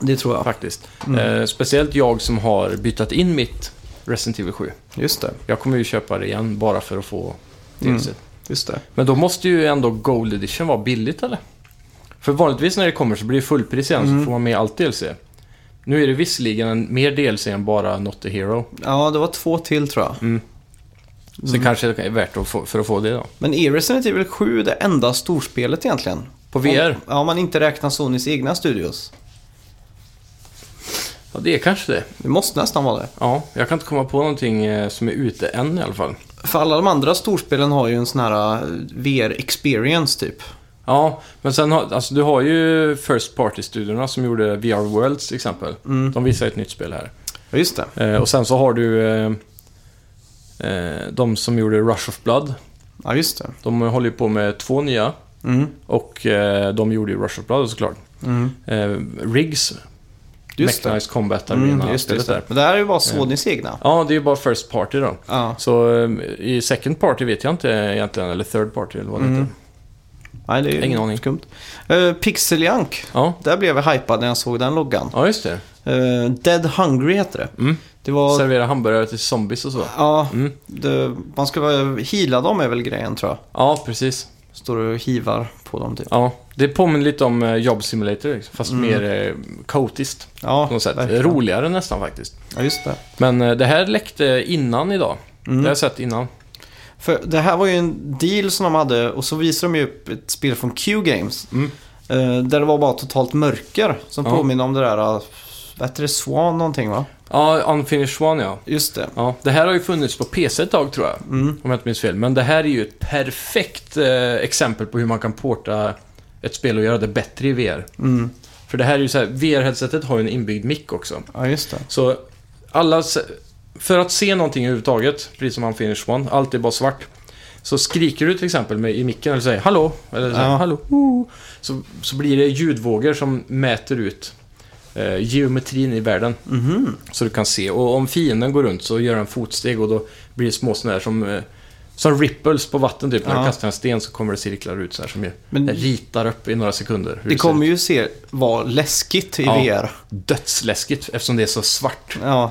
A: Det tror jag.
B: faktiskt. Eh, speciellt jag som har bytt in mitt Resident Evil 7.
A: Just det.
B: Jag kommer ju köpa det igen bara för att få tipset.
A: Just det.
B: Men då måste ju ändå Gold Edition vara billigt, eller? För vanligtvis när det kommer så blir det fullpris igen, så får man med allt DLC. Nu är det visserligen en, mer DLC än bara Not the Hero.
A: Ja, det var två till tror jag.
B: Mm. Så det kanske är värt att få, för att få det då.
A: Men är Resident Evil 7 det enda storspelet egentligen?
B: På VR?
A: Om, ja, om man inte räknar Sonys egna studios.
B: Ja, det är kanske det.
A: Det måste nästan vara det.
B: Ja, jag kan inte komma på någonting eh, som är ute än i alla fall.
A: För alla de andra storspelen har ju en sån här eh, VR-experience typ.
B: Ja, men sen har, alltså, du har ju First Party-studiorna som gjorde VR Worlds till exempel.
A: Mm.
B: De visar ett nytt spel här.
A: Ja, just det.
B: Eh, och sen så har du eh, eh, de som gjorde Rush of Blood.
A: Ja, just det.
B: De håller ju på med två nya
A: Mm.
B: och eh, de gjorde ju Rush of Blood såklart.
A: Mm.
B: Eh, Riggs,
A: Just det.
B: Mechanized Combat
A: Mm,
B: Arena,
A: just det,
B: spelet
A: just det.
B: där.
A: Men det här är ju bara Sonys egna.
B: Ja, det är ju bara First Party då.
A: Ja.
B: Så eh, i Second Party vet jag inte egentligen, eller Third Party eller vad
A: Mm.
B: det heter.
A: Nej, det är ju
B: Ingen aning.
A: skumt. Eh, Pixel Junk.
B: Ja,
A: Där blev jag hypad när jag såg den loggan.
B: Ja, just det.
A: Eh, Dead Hungry heter det.
B: Mm.
A: Det var...
B: Servera hamburgare till zombies och så.
A: Ja,
B: Mm.
A: det, man ska vara... Heala dem är väl grejen tror jag.
B: Ja, precis.
A: Står och hivar på dem typ.
B: Ja, det påminner lite om eh, Job Simulator, liksom, fast mer eh, kaotiskt
A: Mm. Ja,
B: på något sätt.
A: verkligen.
B: Roligare nästan faktiskt.
A: Ja, just det.
B: Men eh, det här läckte innan idag.
A: Mm.
B: Det har jag sett innan.
A: För det här var ju en deal som de hade och så visade de ju upp ett spel från Q-Games.
B: Mm.
A: eh, Där det var bara totalt mörker som
B: Ja.
A: påminner om det där, eh, vad heter det, Swan någonting va?
B: Ja, Unfinished One ja.
A: Just det.
B: Ja, det här har ju funnits på PC ett tag tror jag,
A: Mm.
B: om jag inte minns fel. Men det här är ju ett perfekt eh, exempel på hur man kan porta ett spel och göra det bättre i VR.
A: Mm.
B: För det här är ju så här, VR-headsetet har ju en inbyggd mick också.
A: Ja, just det.
B: Så alla, se- för att se någonting överhuvudtaget, precis som Unfinished One, allt är bara svart. Så skriker du till exempel med, i micken eller säger hallå, eller så, här,
A: Ja.
B: hallå, oh", så, så blir det ljudvågor som mäter ut eh, geometrin i världen.
A: Mhm.
B: Så du kan se. Och om fienden går runt så gör den fotsteg och då blir det små sådana här som, eh, som ripples på vatten typ. När du
A: Ja.
B: kastar en sten så kommer det cirklar ut så här som ju
A: Men-
B: ritar upp i några sekunder. hur
A: Det
B: ser
A: kommer ju se vara läskigt i
B: Ja.
A: VR.
B: dödsläskigt eftersom det är så svart.
A: Ja,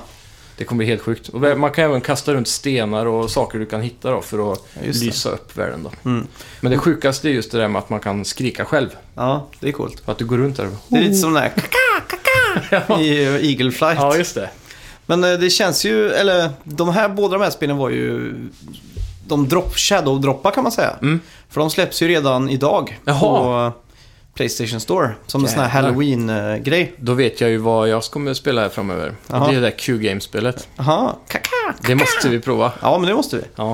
B: Det kommer bli helt sjukt. Och man kan även kasta runt stenar och saker du kan hitta då för att
A: just det.
B: lysa upp världen. Då.
A: Mm.
B: Men det sjukaste är just det där med att man kan skrika själv.
A: ja det är coolt.
B: För att du går runt där och...
A: Det är lite som den här kaka, kaka i eh, Eagle Flight.
B: Oh. Ja, just det.
A: Men eh, det känns ju, eller de här båda de här spelen var ju de drop, shadow-droppar kan man säga.
B: Mm.
A: För de släpps ju redan idag
B: Jaha.
A: på eh, Playstation Store. Som en sån här
B: Jävlar.
A: Halloween-grej.
B: Då vet jag ju vad jag kommer spela här framöver. Och
A: Jaha.
B: Det är det där Q-game-spelet.
A: Jaha, kaka.
B: Det måste vi prova.
A: Ja, men det måste vi.
B: Ja.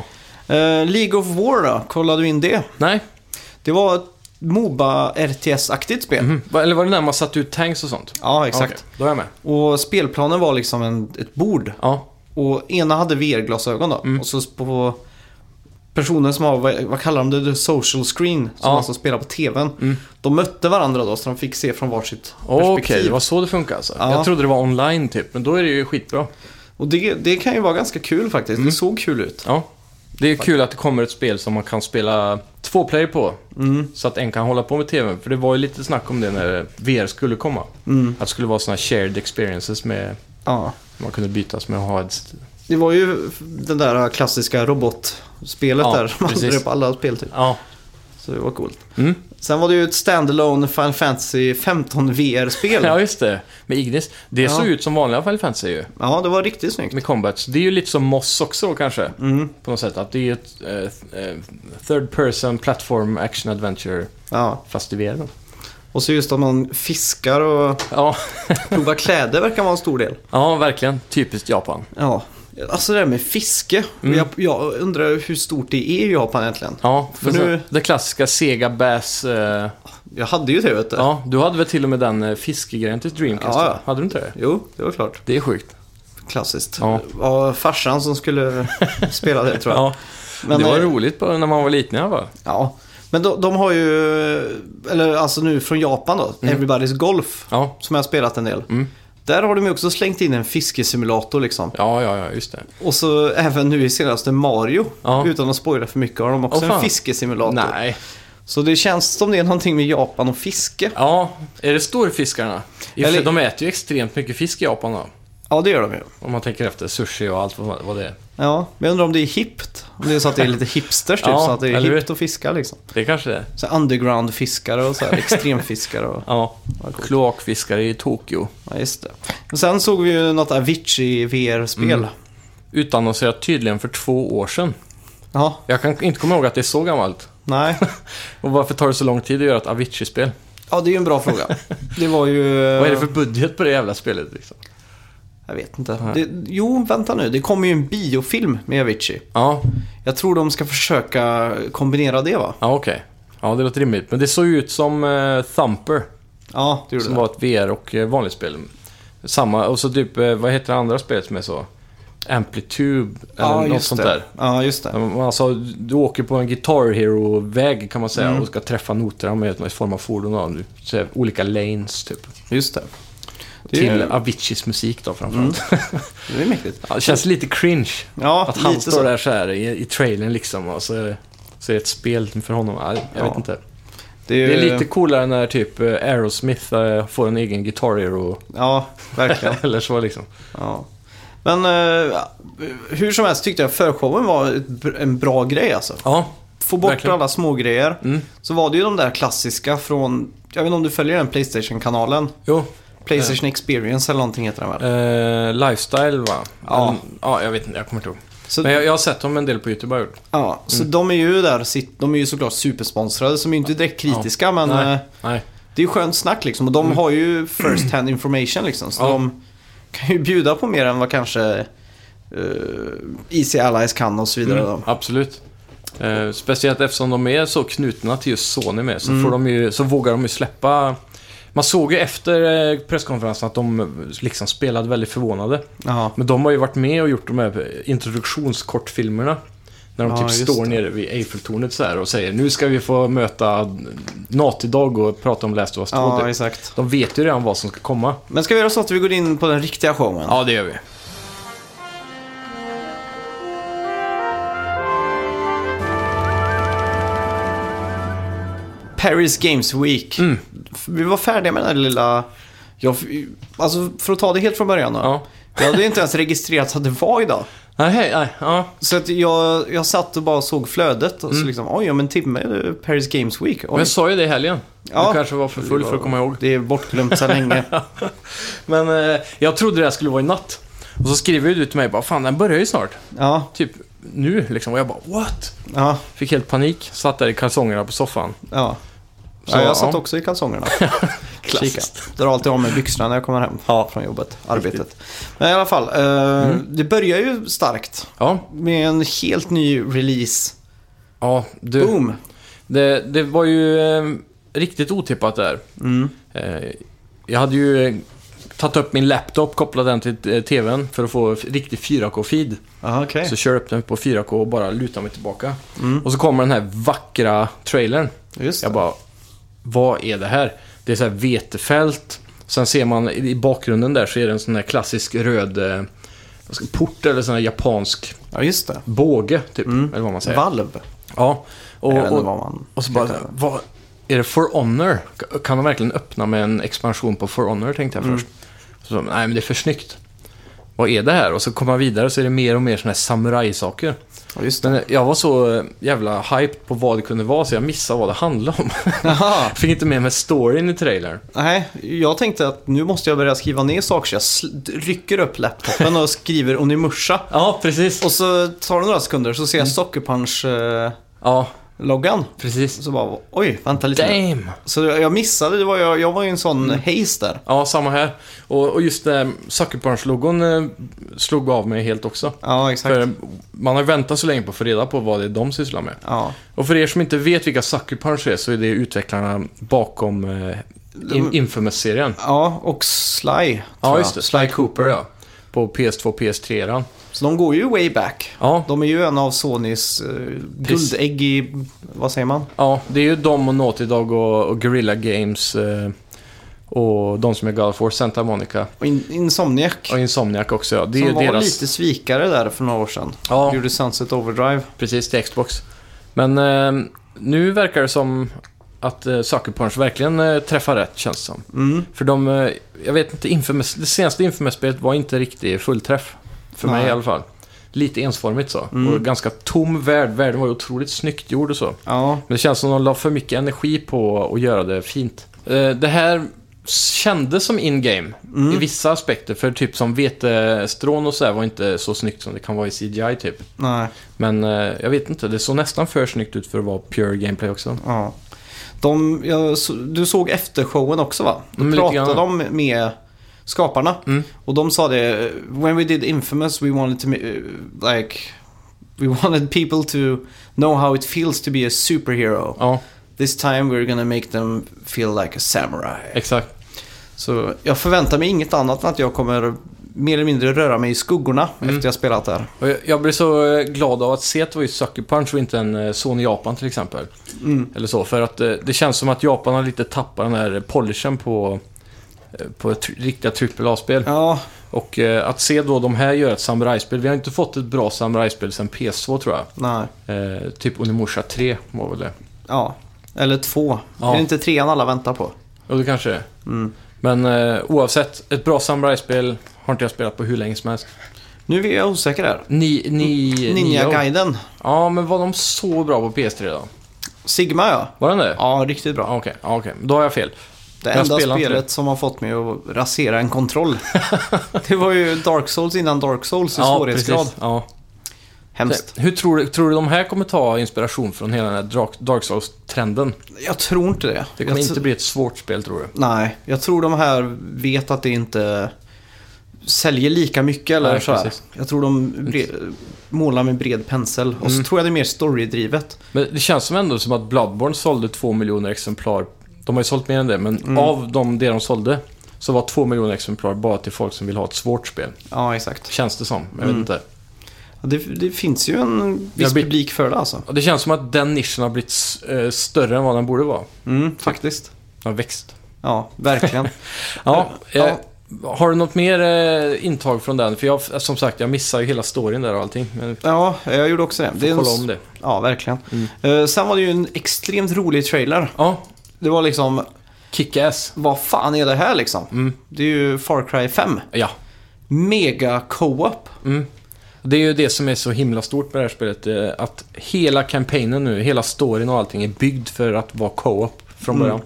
A: Eh, League of War då, kollade du in det?
B: Nej,
A: Det var ett Moba-RTS-aktigt spel.
B: Mm. Va- Eller var det när man satte ut tanks och sånt?
A: Ja, exakt.
B: Okej, Då är jag med.
A: Och spelplanen var liksom en, ett bord.
B: Ja.
A: Och ena hade VR-glasögon då.
B: Mm.
A: Och så på personen som har, vad- vad kallar de det, The social screen. Som
B: Ja. Mm.
A: alltså spelar på TVn. De mötte varandra då så de fick se från varsitt
B: Okej,
A: perspektiv.
B: det var så det funkar alltså.
A: Ja.
B: Jag trodde det var online typ, men då är det ju skitbra.
A: Och det, det kan ju vara ganska kul faktiskt.
B: Mm.
A: Det såg kul ut.
B: Ja. Det är kul att det kommer ett spel som man kan spela två player på. Så att en kan hålla på med tvn. För det var ju lite snack om det när VR skulle komma. Att det skulle vara sådana shared experiences med...
A: Ja.
B: Man kunde bytas med att ha ett...
A: Det var ju den där klassiska robotspelet
B: Ja,
A: där. som Man hade
B: precis.
A: det på alla spel typ.
B: Ja.
A: Så det var coolt.
B: Mm.
A: Sen var det ju ett standalone Final Fantasy 15 VR-spel.
B: ja,
A: ja.
B: just det. Med Ignis. Det
A: Ja.
B: såg ut som vanliga Final Fantasy ju.
A: det var riktigt snyggt.
B: Med Combats. Det är ju lite som Moss också då kanske. På något sätt. Att det är ett eh, eh, third person platform action adventure.
A: Ja.
B: Fast i VR då.
A: Och så just att man fiskar och
B: Ja.
A: provar kläder verkar vara en stor del.
B: ja, verkligen. Typiskt Japan.
A: Ja, alltså det där med fiske.
B: Mm.
A: Jag, jag undrar hur stort det är i Japan egentligen.
B: Ja,
A: För
B: för
A: nu-
B: nu... det klassiska Sega Bass... Eh,
A: Jag hade ju det vet du.
B: ja, du hade väl till och med den eh, fiskegrejen till Dreamcast? Ja,
A: Ja, ja.
B: Hade du inte det?
A: Jo, det var klart.
B: Det är sjukt.
A: Klassiskt.
B: Ja.
A: Det var farsan som skulle spela det tror jag.
B: Ja,
A: Men,
B: det var
A: eh,
B: roligt på, när man var liten i alla fall.
A: ja. Men de, de har ju, eller alltså nu från Japan då, Everybody's Golf.
B: Mm. Ja. Mm.
A: Som jag har spelat en del. Där har de ju också slängt in en fiskesimulator liksom.
B: ja, ja, ja, just det.
A: Och så även nu i senaste Mario,
B: Ja.
A: utan att spoila för mycket, har de också
B: Åh,
A: en
B: fan.
A: fiskesimulator.
B: Nej.
A: Så det känns som det är någonting med Japan och fiske.
B: Ja, är det storfiskarna? I och för
A: Eller-
B: sig, De äter ju extremt mycket fisk i Japan då.
A: Ja, det gör de ju.
B: Om man tänker efter, sushi och allt vad vad det är.
A: Ja, men jag undrar om det är hippt. Om det är så att det är lite hipsters typ,
B: Ja,
A: så att det är
B: eller hur?
A: hippt att fiska liksom.
B: Det kanske det är.
A: Så underground-fiskare och så här, extremfiskare och...
B: Ja,
A: Vad coolt.
B: kloakfiskare i Tokyo.
A: Ja, just det. Och sen såg vi ju något Avicii VR-spel.
B: Mm. Utannonserat tydligen för två år sedan.
A: Ja,
B: Jag kan inte komma ihåg att det är så gammalt.
A: nej.
B: Och varför tar det så lång tid att göra ett Avicii-spel?
A: Ja, det är ju en bra fråga. Det var ju...
B: Vad är det för budget på det jävla spelet liksom?
A: Jag vet inte. Det... Jo, vänta nu. Det kommer ju en biofilm med Avicii.
B: Ja,
A: Jag tror de ska försöka kombinera det va?
B: ja okej. Ja, det låter rimligt. Men det såg ju ut som eh, Thumper,
A: Ja, det gjorde
B: som
A: det.
B: var ett VR och eh, vanligt spel. Samma, och så typ, eh, vad heter det andra spelet som är så? Amplitude, eller
A: ja,
B: något
A: just
B: sånt
A: det.
B: där.
A: Ja, just det.
B: Alltså, du åker på en Guitar Hero-väg kan man säga och ska träffa noterna med någon form av fordon. och Du ser olika lanes typ.
A: Just det. Det är-
B: Till Aviciis musik då framförallt.
A: Det är mäktigt.
B: Ja, det känns lite cringe.
A: Ja,
B: Att han
A: lite
B: står
A: så.
B: där så här i, i trailern liksom och så, så är det ett spel för honom. Ja, jag
A: Ja.
B: vet inte.
A: ju-
B: Det är lite coolare när typ eh, Aerosmith eh, får en egen Guitar Hero.
A: Ja, verkligen.
B: Eller så liksom.
A: Ja. Men eh, hur som helst tyckte jag förshowen var ett br- en bra grej alltså.
B: Ja,
A: Få bort
B: Verkligen.
A: alla små grejer.
B: Mm.
A: Så var det ju de där klassiska från, jag vet inte om du följer den Playstation-kanalen?
B: jo.
A: Playstation Experience eller någonting heter den väl?
B: Eh, lifestyle va?
A: Ja.
B: Men, ja, jag vet inte. Jag kommer inte ihåg.
A: Så,
B: Men jag, jag har sett dem en del på YouTube. har jag gjort.
A: ja, så
B: Mm.
A: de är ju där, sitt- de är ju såklart supersponsrade, som är ju inte direkt kritiska men
B: Nej.
A: eh,
B: Nej.
A: det är ju skönt snack liksom. Och de har ju first hand information liksom. Så
B: Ja.
A: de kan ju bjuda på mer än vad kanske uh, Easy Allies kan och så vidare. Då.
B: Mm. Absolut. Eh, speciellt eftersom de är så knutna till just Sony med så, får de ju, så vågar de ju släppa... Man såg ju efter eh, presskonferensen att de eh, liksom spelade väldigt förvånade.
A: Ja.
B: Men de har ju varit med och gjort de här eh, introduktionskortfilmerna. När de
A: Ja,
B: typ
A: just
B: står
A: det.
B: nere vid Eiffeltornet så här och säger nu ska vi få möta Natidag och prata om Last of Us 2.
A: Ja,
B: Det-
A: exakt.
B: de vet ju redan vad som ska komma.
A: Men ska vi göra så att vi går in på den riktiga showen?
B: Ja, det gör vi.
A: Paris Games Week.
B: Mm.
A: Vi var färdiga med den här lilla... Jag, alltså, för att ta det helt från början då.
B: Ja.
A: Jag hade inte ens registrerat att det var idag.
B: Nej, hej, nej, ja.
A: Så att jag, jag satt och bara såg flödet och så liksom, oj om en timme är det Paris Games Week.
B: Men
A: Oj,
B: Mm. jag sa ju det i helgen.
A: Ja.
B: Du kanske var för full för att komma ihåg.
A: det är bortglömt sedan länge.
B: Men eh, jag trodde det här skulle vara i natt. Och så skriver ju du till mig bara, fan den börjar ju snart.
A: Ja,
B: Typ nu liksom. Och jag bara, what?
A: ja,
B: Fick helt panik. Satt där i kalsongerna på soffan.
A: ja.
B: Så,
A: ja jag satt
B: ja.
A: också i kalsongerna.
B: Klassiskt.
A: Kika. Drar alltid av mig byxorna när jag kommer hem från jobbet, arbetet. Men i alla fall, eh,
B: Mm.
A: det börjar ju starkt
B: Ja,
A: med en helt ny release.
B: ja du.
A: Boom!
B: Det, det var ju eh, riktigt otippat där.
A: Mm.
B: Eh, jag hade ju eh, tagit upp min laptop, kopplat den till eh, tvn för att få f- riktig 4K-feed.
A: Ja, okej.
B: Så kör jag upp den på 4K och bara lutar mig tillbaka.
A: Mm.
B: Och så kommer den här vackra trailern.
A: Just
B: Jag
A: det.
B: bara, vad är det här? Det är så här vetefält. Sen ser man i i bakgrunden där så är det en sån här klassisk röd eh, vad ska- port eller sån här japansk
A: Ja, just det.
B: båge typ. Eller vad man säger.
A: Valv.
B: Ja. Och,
A: Mm. Jag vet inte
B: och,
A: vad man...
B: och så bara, vad är det For Honor? Ka- Kan de verkligen öppna med en expansion på For Honor, tänkte jag
A: Mm.
B: först. Så, nej, men det är för snyggt. Vad är det här? Och så kommer man vidare så är det mer och mer såna här samurajsaker.
A: Ja, just det.
B: Men jag var så eh, jävla hyped på vad det kunde vara så jag missade vad det handlade om.
A: Jaha.
B: Fick inte med mig storyn i trailern.
A: Nej, jag tänkte att nu måste jag börja skriva ner saker så jag sl- rycker upp laptopen och skriver Onimusha.
B: Ja, precis.
A: Och så tar det några sekunder så ser
B: Mm.
A: jag Sockerpunch-loggan.
B: Ja, precis.
A: Så bara, oj, vänta lite nu.
B: Damn!
A: Så jag missade, det var, jag, jag var ju en sån
B: Mm.
A: haze där.
B: Ja, samma här. Och, och just eh, Sucker Punch-logon eh, slog av mig helt också.
A: Ja, exakt.
B: För eh, man har väntat så länge på att få reda på vad det är de sysslar med.
A: Ja.
B: Och för er som inte vet vilka Sucker Punch är så är det utvecklarna bakom eh, in, Infamous-serien.
A: ja, och Sly. tror
B: Ja,
A: jag.
B: just det. Sly Cooper, ja. På PS2 PS3-eran.
A: Så de går ju way back.
B: Ja,
A: De är ju en av Sonys eh,
B: Precis.
A: guldägg i, vad säger man?
B: ja, det är ju de och Naughty Dog och, och Guerrilla Games eh, och de som är God of War, Santa Monica
A: Och in, Insomniac.
B: och Insomniac också. Ja. Det är
A: som
B: ju
A: var
B: deras...
A: lite svikare där för några år sedan.
B: Ja.
A: Gjorde Sunset Overdrive.
B: Precis, till Xbox. Men eh, nu verkar det som att eh, Sucker Punch verkligen eh, träffar rätt, känns det som.
A: Mm.
B: För de, eh, jag vet inte, Infamous, det senaste Infamous-spelet var inte riktigt fullträff. För mig
A: Nej. Mm.
B: i alla fall. Lite ensformigt så. Och ganska tom värld. Världen var ju otroligt snyggt gjord och så.
A: Ja,
B: Men det känns som de la för mycket energi på att göra det fint. Eh, Det här kändes som in-game i vissa aspekter. För typ som vetestrån och sådär var inte så snyggt som det kan vara i CGI typ.
A: nej.
B: Men eh, jag vet inte, det såg nästan för snyggt ut för att vara pure gameplay också.
A: Ja. De, jag, så- du såg eftershowen också va? Då
B: Mm, lite
A: pratade de
B: grann. Mm.
A: med skaparna. Och de sa det, when we did Infamous we wanted to, ma- eh, like, we wanted people to know how it feels to be a superhero.
B: Ja,
A: This time we're gonna make them feel like a samurai.
B: exakt.
A: Så jag förväntar mig inget annat än att jag kommer mer eller mindre röra mig i skuggorna
B: Mm.
A: efter jag spelat där.
B: Och jag, jag blev så eh, glad av att se att det var ju Sucker Punch och inte en eh, Sony Japan till exempel. Eller så, för att eh, det känns som att Japan har lite tappat den här polishen på, eh, på ett tr- riktiga AAA-spel.
A: Ja,
B: Och eh, att se då de här göra ett samurajspel. Vi har inte fått ett bra samurajspel sedan PS2 tror jag.
A: nej.
B: Eh, typ Onimusha 3 var väl det.
A: Ja, eller två.
B: Ja.
A: Är det inte trean alla väntar på?
B: Ja, det kanske det är.
A: Mm.
B: Men eh, oavsett, ett bra samurajspel har inte jag spelat på hur länge som helst.
A: Nu är jag osäker här.
B: Ni, ni,
A: Mm.
B: Nio.
A: Ninja-guiden.
B: Ja, men var de så bra på PS3 då?
A: Sigma ja.
B: Var den det?
A: Ja, riktigt bra.
B: Ja, Okej, ja, okej. Då har jag fel.
A: Det
B: Jag
A: enda
B: spelar inte
A: spelet som har fått mig att rasera en kontroll. det var ju Dark Souls innan Dark Souls i svårighetsgrad.
B: precis. Ja.
A: Hemskt.
B: Hur tror du, tror du de här kommer ta inspiration från hela den här Dark- Dark Souls-trenden?
A: Jag tror inte det.
B: Det kommer
A: jag
B: inte
A: tr-
B: bli ett svårt spel, tror du?
A: Nej, jag tror de här vet att det inte säljer lika mycket eller
B: Nej,
A: så här.
B: precis.
A: Jag tror de bre- målar med bred pensel. Och
B: Mm.
A: så tror jag det är mer storydrivet.
B: Men det känns som ändå som att Bloodborne sålde två miljoner exemplar De har ju sålt mer än det, men av de, det de sålde så var två miljoner exemplar bara till folk som vill ha ett svårt spel.
A: Ja, exakt.
B: Känns det som. Jag vet inte.
A: Ja, Det, det finns ju en viss
B: Jag blir-
A: publik för det alltså.
B: Och det känns som att den nischen har blivit s- eh, större än vad den borde vara.
A: Mm, faktiskt.
B: Den har växt.
A: Ja, verkligen.
B: Ja,
A: Ja.
B: eh, Har du något mer eh, intag från den? För jag, som sagt, jag missar ju hela storyn där och allting. Men
A: ja, jag gjorde också det. det är en-
B: kolla om det. Mm.
A: Ja, verkligen. Eh, sen var det ju en extremt rolig trailer.
B: Ja,
A: Det var liksom,
B: Kick-Ass.
A: vad fan är det här liksom?
B: Mm.
A: Det är ju Far Cry 5.
B: Ja.
A: Mega co-op.
B: Mm. Det är ju det som är så himla stort med det här spelet. eh, Att hela kampanjen nu, hela storyn och allting är byggd för att vara co-op från
A: Mm.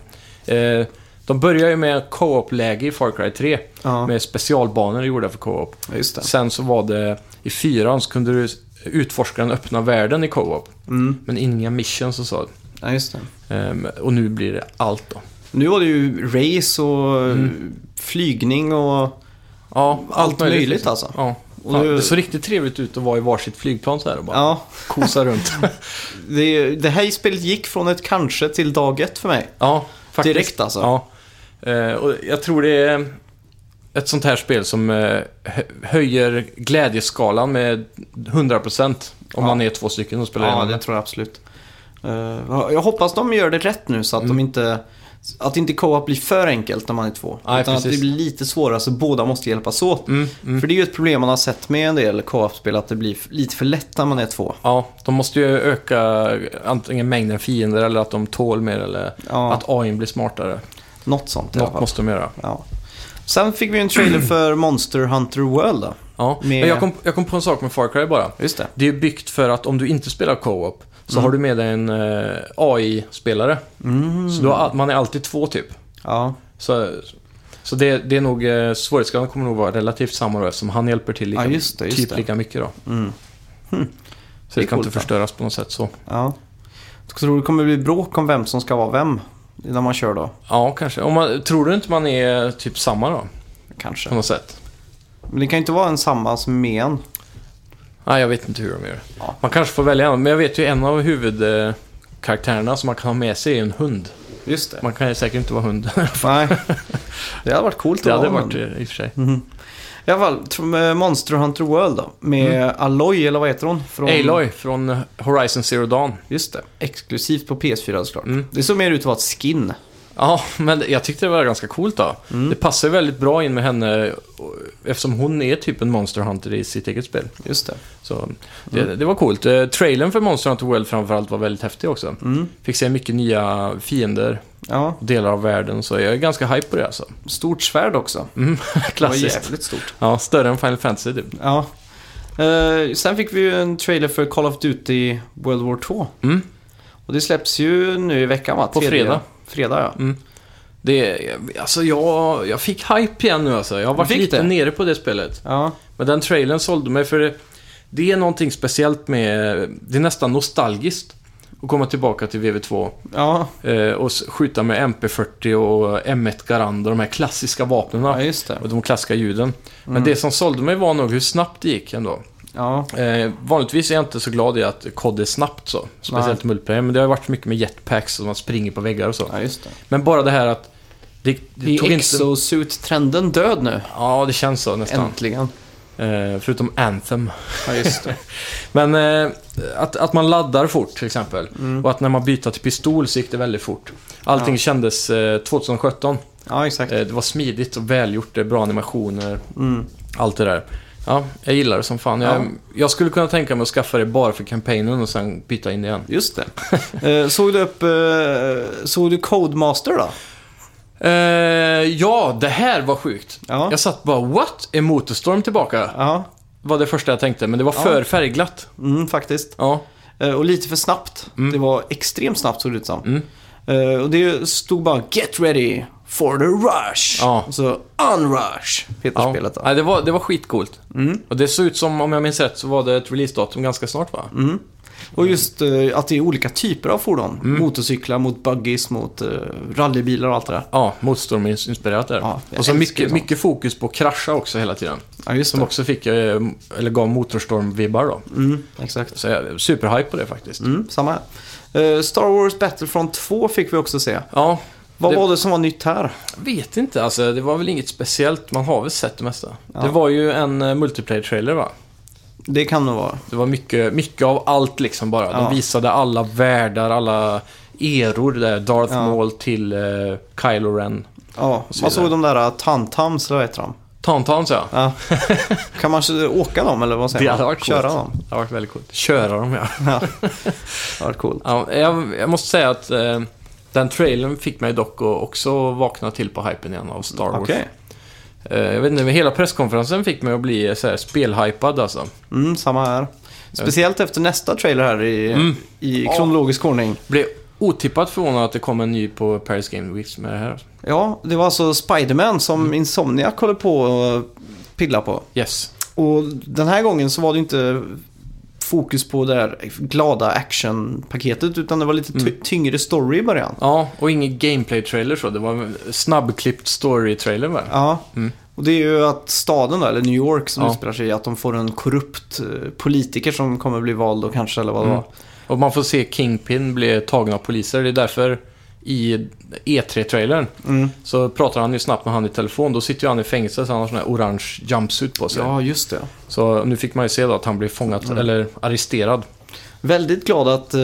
B: början. Eh, De börjar ju med co-op-läge i Far Cry 3.
A: Ja.
B: Med specialbanor gjorda för co-op.
A: Ja, just det.
B: Sen så var det i fyran så kunde du utforska den öppna världen i co-op.
A: Mm.
B: Men inga missions och så.
A: Ja, just det.
B: Ehm, Och nu blir det allt då.
A: Nu var det ju race och
B: Mm.
A: flygning och...
B: Ja, allt,
A: Allt möjligt, alltså.
B: Ja.
A: Och
B: Fan,
A: nu-
B: Det såg riktigt trevligt ut att vara i varsitt flygplan så här och bara
A: Ja,
B: kosa runt.
A: det, det här spelet gick från ett kanske till dag ett för mig.
B: Ja, faktiskt.
A: Direkt alltså.
B: Ja. Eh, och jag tror det är ett sånt här spel som eh, hö- höjer glädjeskalan med 100% om
A: Ja.
B: man är två stycken och spelar
A: Ja,
B: igenom
A: det tror jag absolut. Eh, jag hoppas de gör det rätt nu så att
B: Mm.
A: de inte... Att inte co-op blir för enkelt när man är två.
B: Nej,
A: utan att
B: precis. Mm,
A: det blir lite svårare så båda måste hjälpas åt. För det är ju ett problem man har sett med en del co-op-spel att det blir f- lite för lätt när man är två.
B: Ja, de måste ju öka antingen mängden fiender eller att de tål mer eller
A: Ja.
B: att AI blir smartare.
A: Något sånt i alla
B: Något
A: fall.
B: måste de göra.
A: Ja. Sen fick vi en trailer för Monster Hunter World då.
B: Ja.
A: Med-
B: Men jag, kom, jag kom på en sak med Far Cry bara.
A: Just det.
B: Det är byggt för att om du inte spelar co-op så
A: Mm.
B: har du med dig en eh, AI-spelare.
A: Mm.
B: Så du har, all- man är alltid två typ.
A: Ja,
B: Så, så det, det är nog, eh, svårighetsgraden kommer nog vara relativt samma då eftersom han hjälper till lika,
A: Ja, just det, just
B: typ
A: det. Mm. Hm.
B: lika mycket då. Så
A: Det
B: det,
A: är
B: kan
A: coolt,
B: inte
A: då.
B: förstöras på något sätt så.
A: ja. Jag tror det kommer bli bråk om vem som ska vara vem när man kör då.
B: Ja, kanske. Om man, tror du inte man är typ samma då? På
A: Kanske.
B: något sätt?
A: Men det kan ju inte vara en samma som med en.
B: Nej, jag vet inte hur de gör.
A: Ja.
B: Man kanske får välja en, men jag vet ju en av huvudkaraktärerna som man kan ha med sig är en hund.
A: Just det.
B: Man kan ju säkert inte vara hund.
A: Nej. Det hade varit coolt att
B: det hade
A: vara
B: varit
A: en.
B: eh, i och för sig.
A: Mm. I alla fall, tr- med Monster Hunter World då. Med Aloy, eller vad heter hon? Från...
B: Mm. Aloy från eh, Horizon Zero Dawn.
A: Just det. Exklusivt på PS4 såklart.
B: Mm.
A: Det såg mer ut att vara ett skin.
B: Ja, men jag tyckte det var ganska coolt då.
A: Mm.
B: Det passar ju väldigt bra in med henne och- eftersom hon är typ en Monster Hunter i sitt eget spel.
A: Just det.
B: Så det,
A: Mm.
B: det var coolt. Eh, trailern för Monster Hunter World framförallt var väldigt häftig också.
A: Mm.
B: Fick se mycket nya fiender
A: Ja,
B: och delar av världen, så jag är ganska hype på det alltså.
A: stort svärd också.
B: Mm,
A: Det var
B: klassiskt.
A: jävligt stort.
B: Ja, större än Final Fantasy typ.
A: Ja. Eh, sen fick vi ju en trailer för Call of Duty World War 2.
B: Mm.
A: Och det släpps ju nu i veckan va?
B: På
A: Tredje-
B: fredag. Mm.
A: Fredag ja.
B: Det, alltså jag, jag fick hype igen nu alltså. Jag har varit
A: fick
B: lite
A: det?
B: nere på det spelet.
A: Ja,
B: Men den trailern sålde mig för det, det är någonting speciellt med... Det är nästan nostalgiskt att komma tillbaka till VV2
A: ja.
B: eh, och s- skjuta med MP40 och M1 Garand och de här klassiska
A: ja
B: vapnen
A: just det. Mm.
B: och de klassiska ljuden. Men det som sålde mig var nog hur snabbt det gick ändå.
A: Ja,
B: Eh, vanligtvis är jag inte så glad i att kod är snabbt så. Speciellt i multiplayer, men det har ju varit mycket med jetpacks och man springer på väggar och så.
A: ja just det.
B: Men bara det här att... Det, det
A: Är
B: tog inte...
A: exosuit-trenden död nu?
B: Ja, det känns så nästan.
A: Äntligen.
B: Eh, förutom Anthem.
A: Ja, just det.
B: Men eh, att, att man laddar fort till exempel. Och att när man byter till pistol så gick det väldigt fort. Allting
A: Mm. Ja.
B: kändes eh, 2017.
A: Ja, exakt.
B: Eh, det var smidigt och välgjort, det är bra animationer,
A: Mm.
B: allt det där. Ja, jag gillar det som fan. Jag,
A: Ja.
B: jag skulle kunna tänka mig att skaffa det bara för kampanjen och sen byta in det igen.
A: Just det. Eh, såg du upp... Eh, såg du Codemaster då?
B: Eh, ja, det här var sjukt.
A: Ja.
B: Jag satt bara “What? Är Motorstorm tillbaka?”
A: Ja,
B: var det första jag tänkte, men det var
A: Ja.
B: för färgglatt.
A: mm, faktiskt.
B: Ja,
A: Eh, och lite för snabbt.
B: Mm.
A: Det var extremt snabbt såg det ut som. Eh, och det stod bara “Get ready for the rush”.
B: Ja.
A: Och så “Unrush” heter
B: ja.
A: spelet då. Mm.
B: Nej, det var, det var skitcoolt. Och det såg ut som, om jag minns rätt, så var det ett releasedatum ganska snart va?
A: Mm. Och just eh, att det är olika typer av fordon.
B: Mm.
A: Motorcyklar mot buggies, mot eh, rallybilar och allt det där.
B: Ja, motorstorminspirerat där.
A: Ja, jag
B: och så
A: älskar ju
B: mycket,
A: sånt.
B: mycket fokus på att krascha också hela tiden.
A: Ja, just
B: Som
A: det.
B: också fick, eh, eller gav motorstorm-vibbar då.
A: Mm, exakt.
B: Så jag är superhype på det faktiskt.
A: Mm, samma här. Eh, Star Wars Battlefront 2 fick vi också se.
B: Ja,
A: Vad
B: Det-
A: var det som var nytt här?
B: Vet inte, alltså det var väl inget speciellt. Man har väl sett det mesta. Det var ju en eh, multiplayer-trailer va?
A: Det kan det vara.
B: Det var mycket, mycket av allt liksom bara.
A: Ja.
B: De visade alla världar, alla eror där. Darth
A: Ja.
B: Maul till eh, Kylo Ren.
A: Ja,
B: så
A: man
B: vidare.
A: såg de där eh, Tantams, eller vad heter de?
B: Tantans ja.
A: Ja. kan man så- åka dem eller vad säger
B: Det
A: man?
B: hade varit coolt.
A: Köra dem?
B: Det har varit väldigt coolt. Köra dem ja.
A: Ja, det hade varit coolt.
B: ja jag, jag måste säga att eh, den trailern fick mig dock att också vakna till på hypen igen av Star Wars.
A: Okej.
B: Eh, jag vet inte, men hela presskonferensen fick mig att bli eh, så här spelhypad alltså.
A: Mm, samma här. Speciellt efter nästa trailer här i, i kronologisk ordning.
B: Blev otippat förvånad att det kom en ny på Paris Game Week med det här. alltså.
A: Ja, det var alltså Spiderman som Insomniac håller på att pilla på.
B: Yes.
A: Och den här gången så var det inte fokus på det där glada actionpaketet utan det var lite ty- tyngre story i början.
B: Ja, och ingen gameplay-trailer så. Det var en snabbklippt story-trailer va?
A: Ja. Och det är ju att staden då, eller New York som
B: Ja.
A: utspelar sig i, att de får en korrupt eh, politiker som kommer bli vald och kanske eller vad det
B: Mm.
A: var.
B: Och man får se Kingpin bli tagen av poliser. Det är därför i E3-trailern
A: Mm.
B: så pratar han ju snabbt med han i telefon. Då sitter ju han i fängelse så han har sån här orange jumpsuit på sig.
A: Ja, Mm. just det.
B: Så nu fick man ju se då att han blir fångad, eller arresterad.
A: Väldigt glad att eh,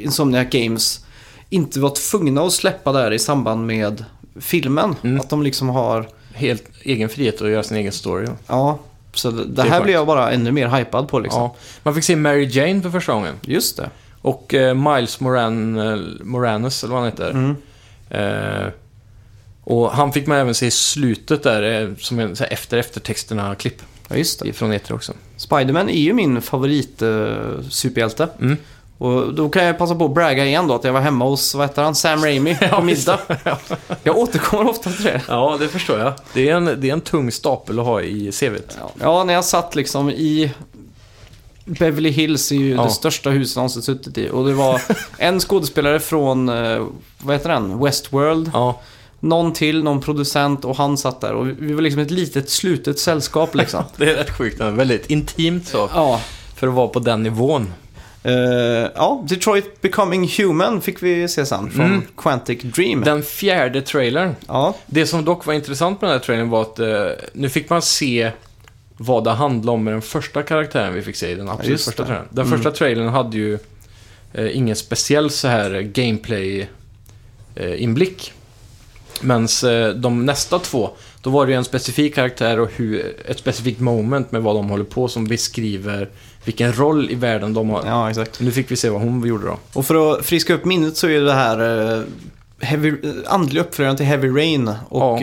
A: Insomniac Games inte var tvungna att släppa det här i samband med filmen.
B: Mm.
A: Att de liksom har,
B: Helt egen frihet att göra sin egen story. liksom. ja.
A: ja, så det, det
B: är
A: här
B: skönt.
A: blev jag bara ännu mer hypad på liksom.
B: Ja. Man fick se Mary Jane för första gången.
A: Just det.
B: Och eh, Miles Moran, eh, Moranes, eller vad han heter.
A: Mm.
B: Eh, och han fick man även se i slutet där, eh, som en, så här, efter eftertexterna-klipp
A: Ja, just det.
B: från E3 också.
A: Spiderman är ju min favorit eh, superhjälte.
B: Mm.
A: Och då kan jag passa på att bragga igen då att jag var hemma hos, vad heter han, Sam Raimi på middag. jag återkommer ofta till det.
B: Ja, det förstår jag. Det är en, det är en tung stapel att ha i CVt.
A: Ja, när jag satt liksom i Beverly Hills är ju
B: Ja.
A: det största huset jag någonsin suttit i. Och det var en skådespelare från, eh, vad heter den, Westworld.
B: Ja,
A: Någon till, någon producent och han satt där. Och vi- vi var liksom ett litet slutet sällskap liksom.
B: det är rätt sjukt. Det är väldigt intimt så,
A: ja.
B: för att vara på den nivån.
A: Eh, ja, Detroit Becoming Human fick vi se sen från
B: Mm.
A: Quantic Dream.
B: Den fjärde trailern.
A: Ja,
B: Det som dock var intressant med den här trailern var att eh, nu fick man se vad det handlade om med den första karaktären vi fick se i den absolut
A: just
B: första
A: det. Mm.
B: trailern. Den första trailern hade ju eh, ingen speciell så här gameplay-inblick. Medan eh, de nästa två, då var det ju en specifik karaktär och hur, ett specifikt moment med vad de håller på som beskriver vilken roll i världen de har.
A: ja exakt.
B: Nu fick vi se vad hon gjorde då.
A: Och för att friska upp minnet så är det här eh, heavy, eh, andlig uppföljaren till Heavy Rain och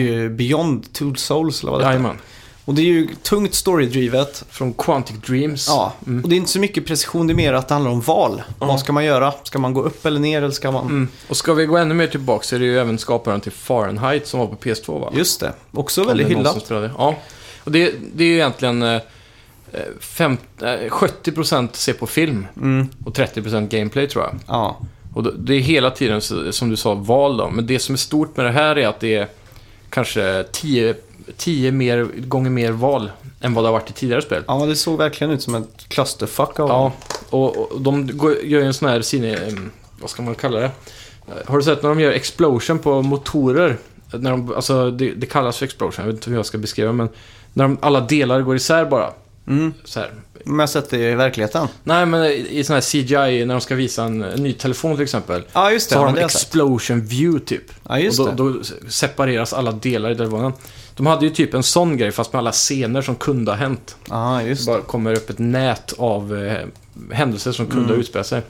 B: Ja.
A: eh, Beyond Two Souls eller vad det heter.
B: Jajamän.
A: Och det är ju tungt storydrivet.
B: Från Quantic Dreams.
A: Ja,
B: Mm.
A: och det är inte så mycket precision, det är mer att det handlar om val. Vad ska man göra? Ska man gå upp eller ner eller ska man...
B: Mm. Och ska vi gå ännu mer tillbaka så är det ju även skaparen till Fahrenheit som var på PS2 va?
A: Just det, också
B: Om det är
A: väldigt
B: någon som
A: hyllat.
B: spelade. Ja. Och det, det är ju egentligen eh, fem, eh, 70% se på film
A: Mm,
B: och 30% gameplay tror jag.
A: ja.
B: Och det- det är hela tiden så- som du sa val då. Men det som är stort med det här är att det är kanske 10, 10 mer, gånger mer val än vad det har varit i tidigare spel.
A: ja, det såg verkligen ut som ett clusterfuck av
B: Ja, och, och de går- gör ju en sån här sine... em, Vad ska man kalla det? Eh, Har du sett när de gör explosion på motorer? När de, alltså, det, det kallas för explosion, jag vet inte hur jag ska beskriva men När de, alla delar går isär bara.
A: Mm.
B: Så här.
A: Men jag har sett det i verkligheten.
B: Nej, men i, i sån här CGI, när de ska visa en, en ny telefon till exempel.
A: Ja, just det.
B: Så har
A: men
B: de
A: det har jag sett.
B: explosion view typ.
A: Ja, just
B: och
A: det.
B: då, då separeras alla delar i telefonen. De hade ju typ en sån grej fast med alla scener som kunde ha hänt.
A: Ja, just
B: Så bara kommer upp ett nät av eh, händelser som kunde
A: Mm.
B: ha utspelat sig.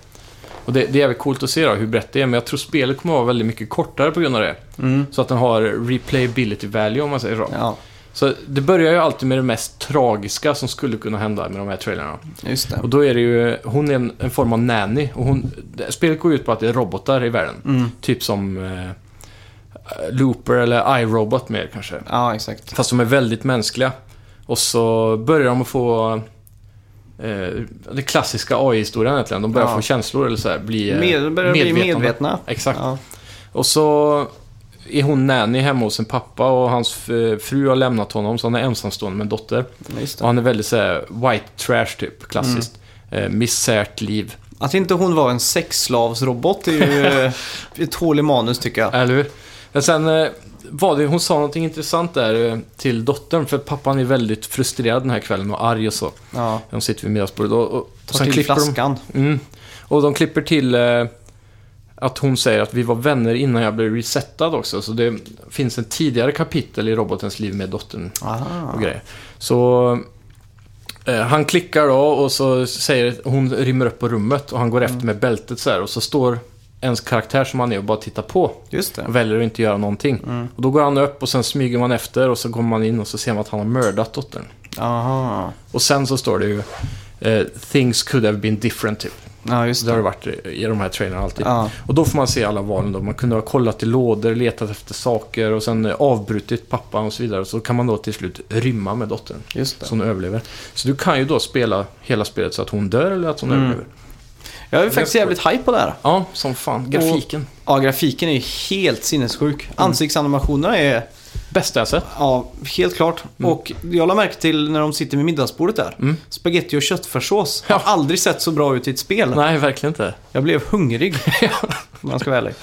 B: Och det, det är jävligt coolt att se då, hur brett det är, men jag tror spelet kommer att vara väldigt mycket kortare på grund av det.
A: Mm.
B: Så att den har replayability value om man säger så.
A: Ja,
B: Så det börjar ju alltid med det mest tragiska som skulle kunna hända med de här trailerna.
A: just det.
B: Och då är det ju, hon är en, en form av nanny. Och hon, det- spelet går ut på att det är robotar i världen.
A: Mm.
B: Typ som eh, Looper eller iRobot mer kanske.
A: Ja, exakt.
B: Fast de är väldigt mänskliga. Och så börjar de att få... Eh, det klassiska AI-historien egentligen. De börjar
A: Ja.
B: få känslor eller så här, bli eh,
A: Med, börjar bli medvetna.
B: Exakt.
A: Ja.
B: Och så är hon nanny hemma hos sin pappa och hans eh, fru har lämnat honom så han är ensamstående med en dotter.
A: Just
B: Och
A: det.
B: han är väldigt så här, white trash typ, klassiskt.
A: Mm.
B: Eh, misärt liv.
A: Att inte hon var en sexslavsrobot är ju eh, ett hål i manus tycker jag.
B: Eller hur? Men sen eh, var det, hon sa någonting intressant där eh, till dottern, för pappan är väldigt frustrerad den här kvällen och arg och så.
A: Ja.
B: De sitter vid middagsbordet och, och
A: Ta till
B: klipper
A: flaskan.
B: De, mm, och de klipper till eh, att hon säger att vi var vänner innan jag blev resettad också. Så det finns en tidigare kapitel i robotens liv med dottern
A: Aha.
B: och grejer. Så eh, han klickar då och så säger hon rymmer upp på rummet och han går efter med bältet så här och så står ens karaktär som han är och bara tittar på.
A: Just det.
B: Och väljer att inte göra någonting. Och då går han upp och sen smyger man efter och så kommer man in och så ser man att han har mördat dottern.
A: Aha.
B: Och sen så står det ju eh, “Things could have been different” typ.
A: Ja, just
B: Så det har det
A: det.
B: varit i- i de här trailerna alltid.
A: Ja.
B: Och då får man se alla valen då. Man kunde ha kollat i lådor, letat efter saker och sen eh, avbrutit pappan och så vidare. Så kan man då till slut rymma med dottern.
A: Just det.
B: Så hon överlever. Så du kan ju då spela hela spelet så att hon dör eller att hon
A: Mm.
B: överlever.
A: Jag är faktiskt jävligt hype på det här.
B: Ja, som fan. Grafiken.
A: Ja, grafiken är ju helt sinnessjuk.
B: Mm.
A: Ansiktsanimationerna är
B: Bästa jag sett.
A: Ja, helt klart. Och jag la märke till när de sitter vid middagsbordet där.
B: Mm.
A: Spaghetti och köttfärssås.
B: Ja.
A: Har aldrig sett så bra ut i ett spel.
B: Nej, verkligen inte.
A: Jag blev hungrig. Om man ska vara ärlig.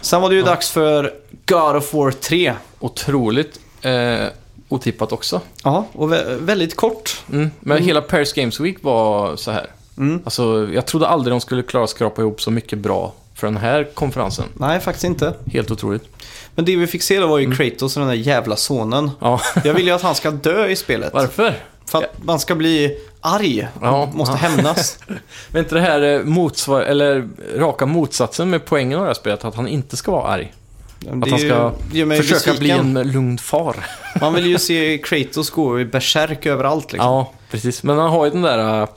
A: Sen var det ju dags för God of War 3.
B: Otroligt eh, otippat också.
A: Ja, och vä- väldigt kort.
B: Mm. Men hela Paris Games Week var så här.
A: Mm.
B: Alltså, jag trodde aldrig de skulle klara att skrapa ihop så mycket bra för den här konferensen.
A: Nej, faktiskt inte.
B: Helt otroligt.
A: Men det vi fick se då var ju
B: Mm.
A: Kratos och den där jävla sonen.
B: Ja.
A: Jag vill ju att han ska dö i spelet.
B: Varför?
A: För att man ska bli arg och
B: Ja.
A: måste
B: Ja.
A: hämnas.
B: Men inte det här eh, motsvar, eller raka motsatsen med poängen av det här spelet, att han inte ska vara arg.
A: Det
B: Att han
A: är ju-
B: ska
A: gör mig
B: Försöka bli
A: besviken.
B: en lugn far.
A: Man vill ju se Kratos gå i berserk överallt liksom.
B: Ja, precis. Men han har ju den där eh,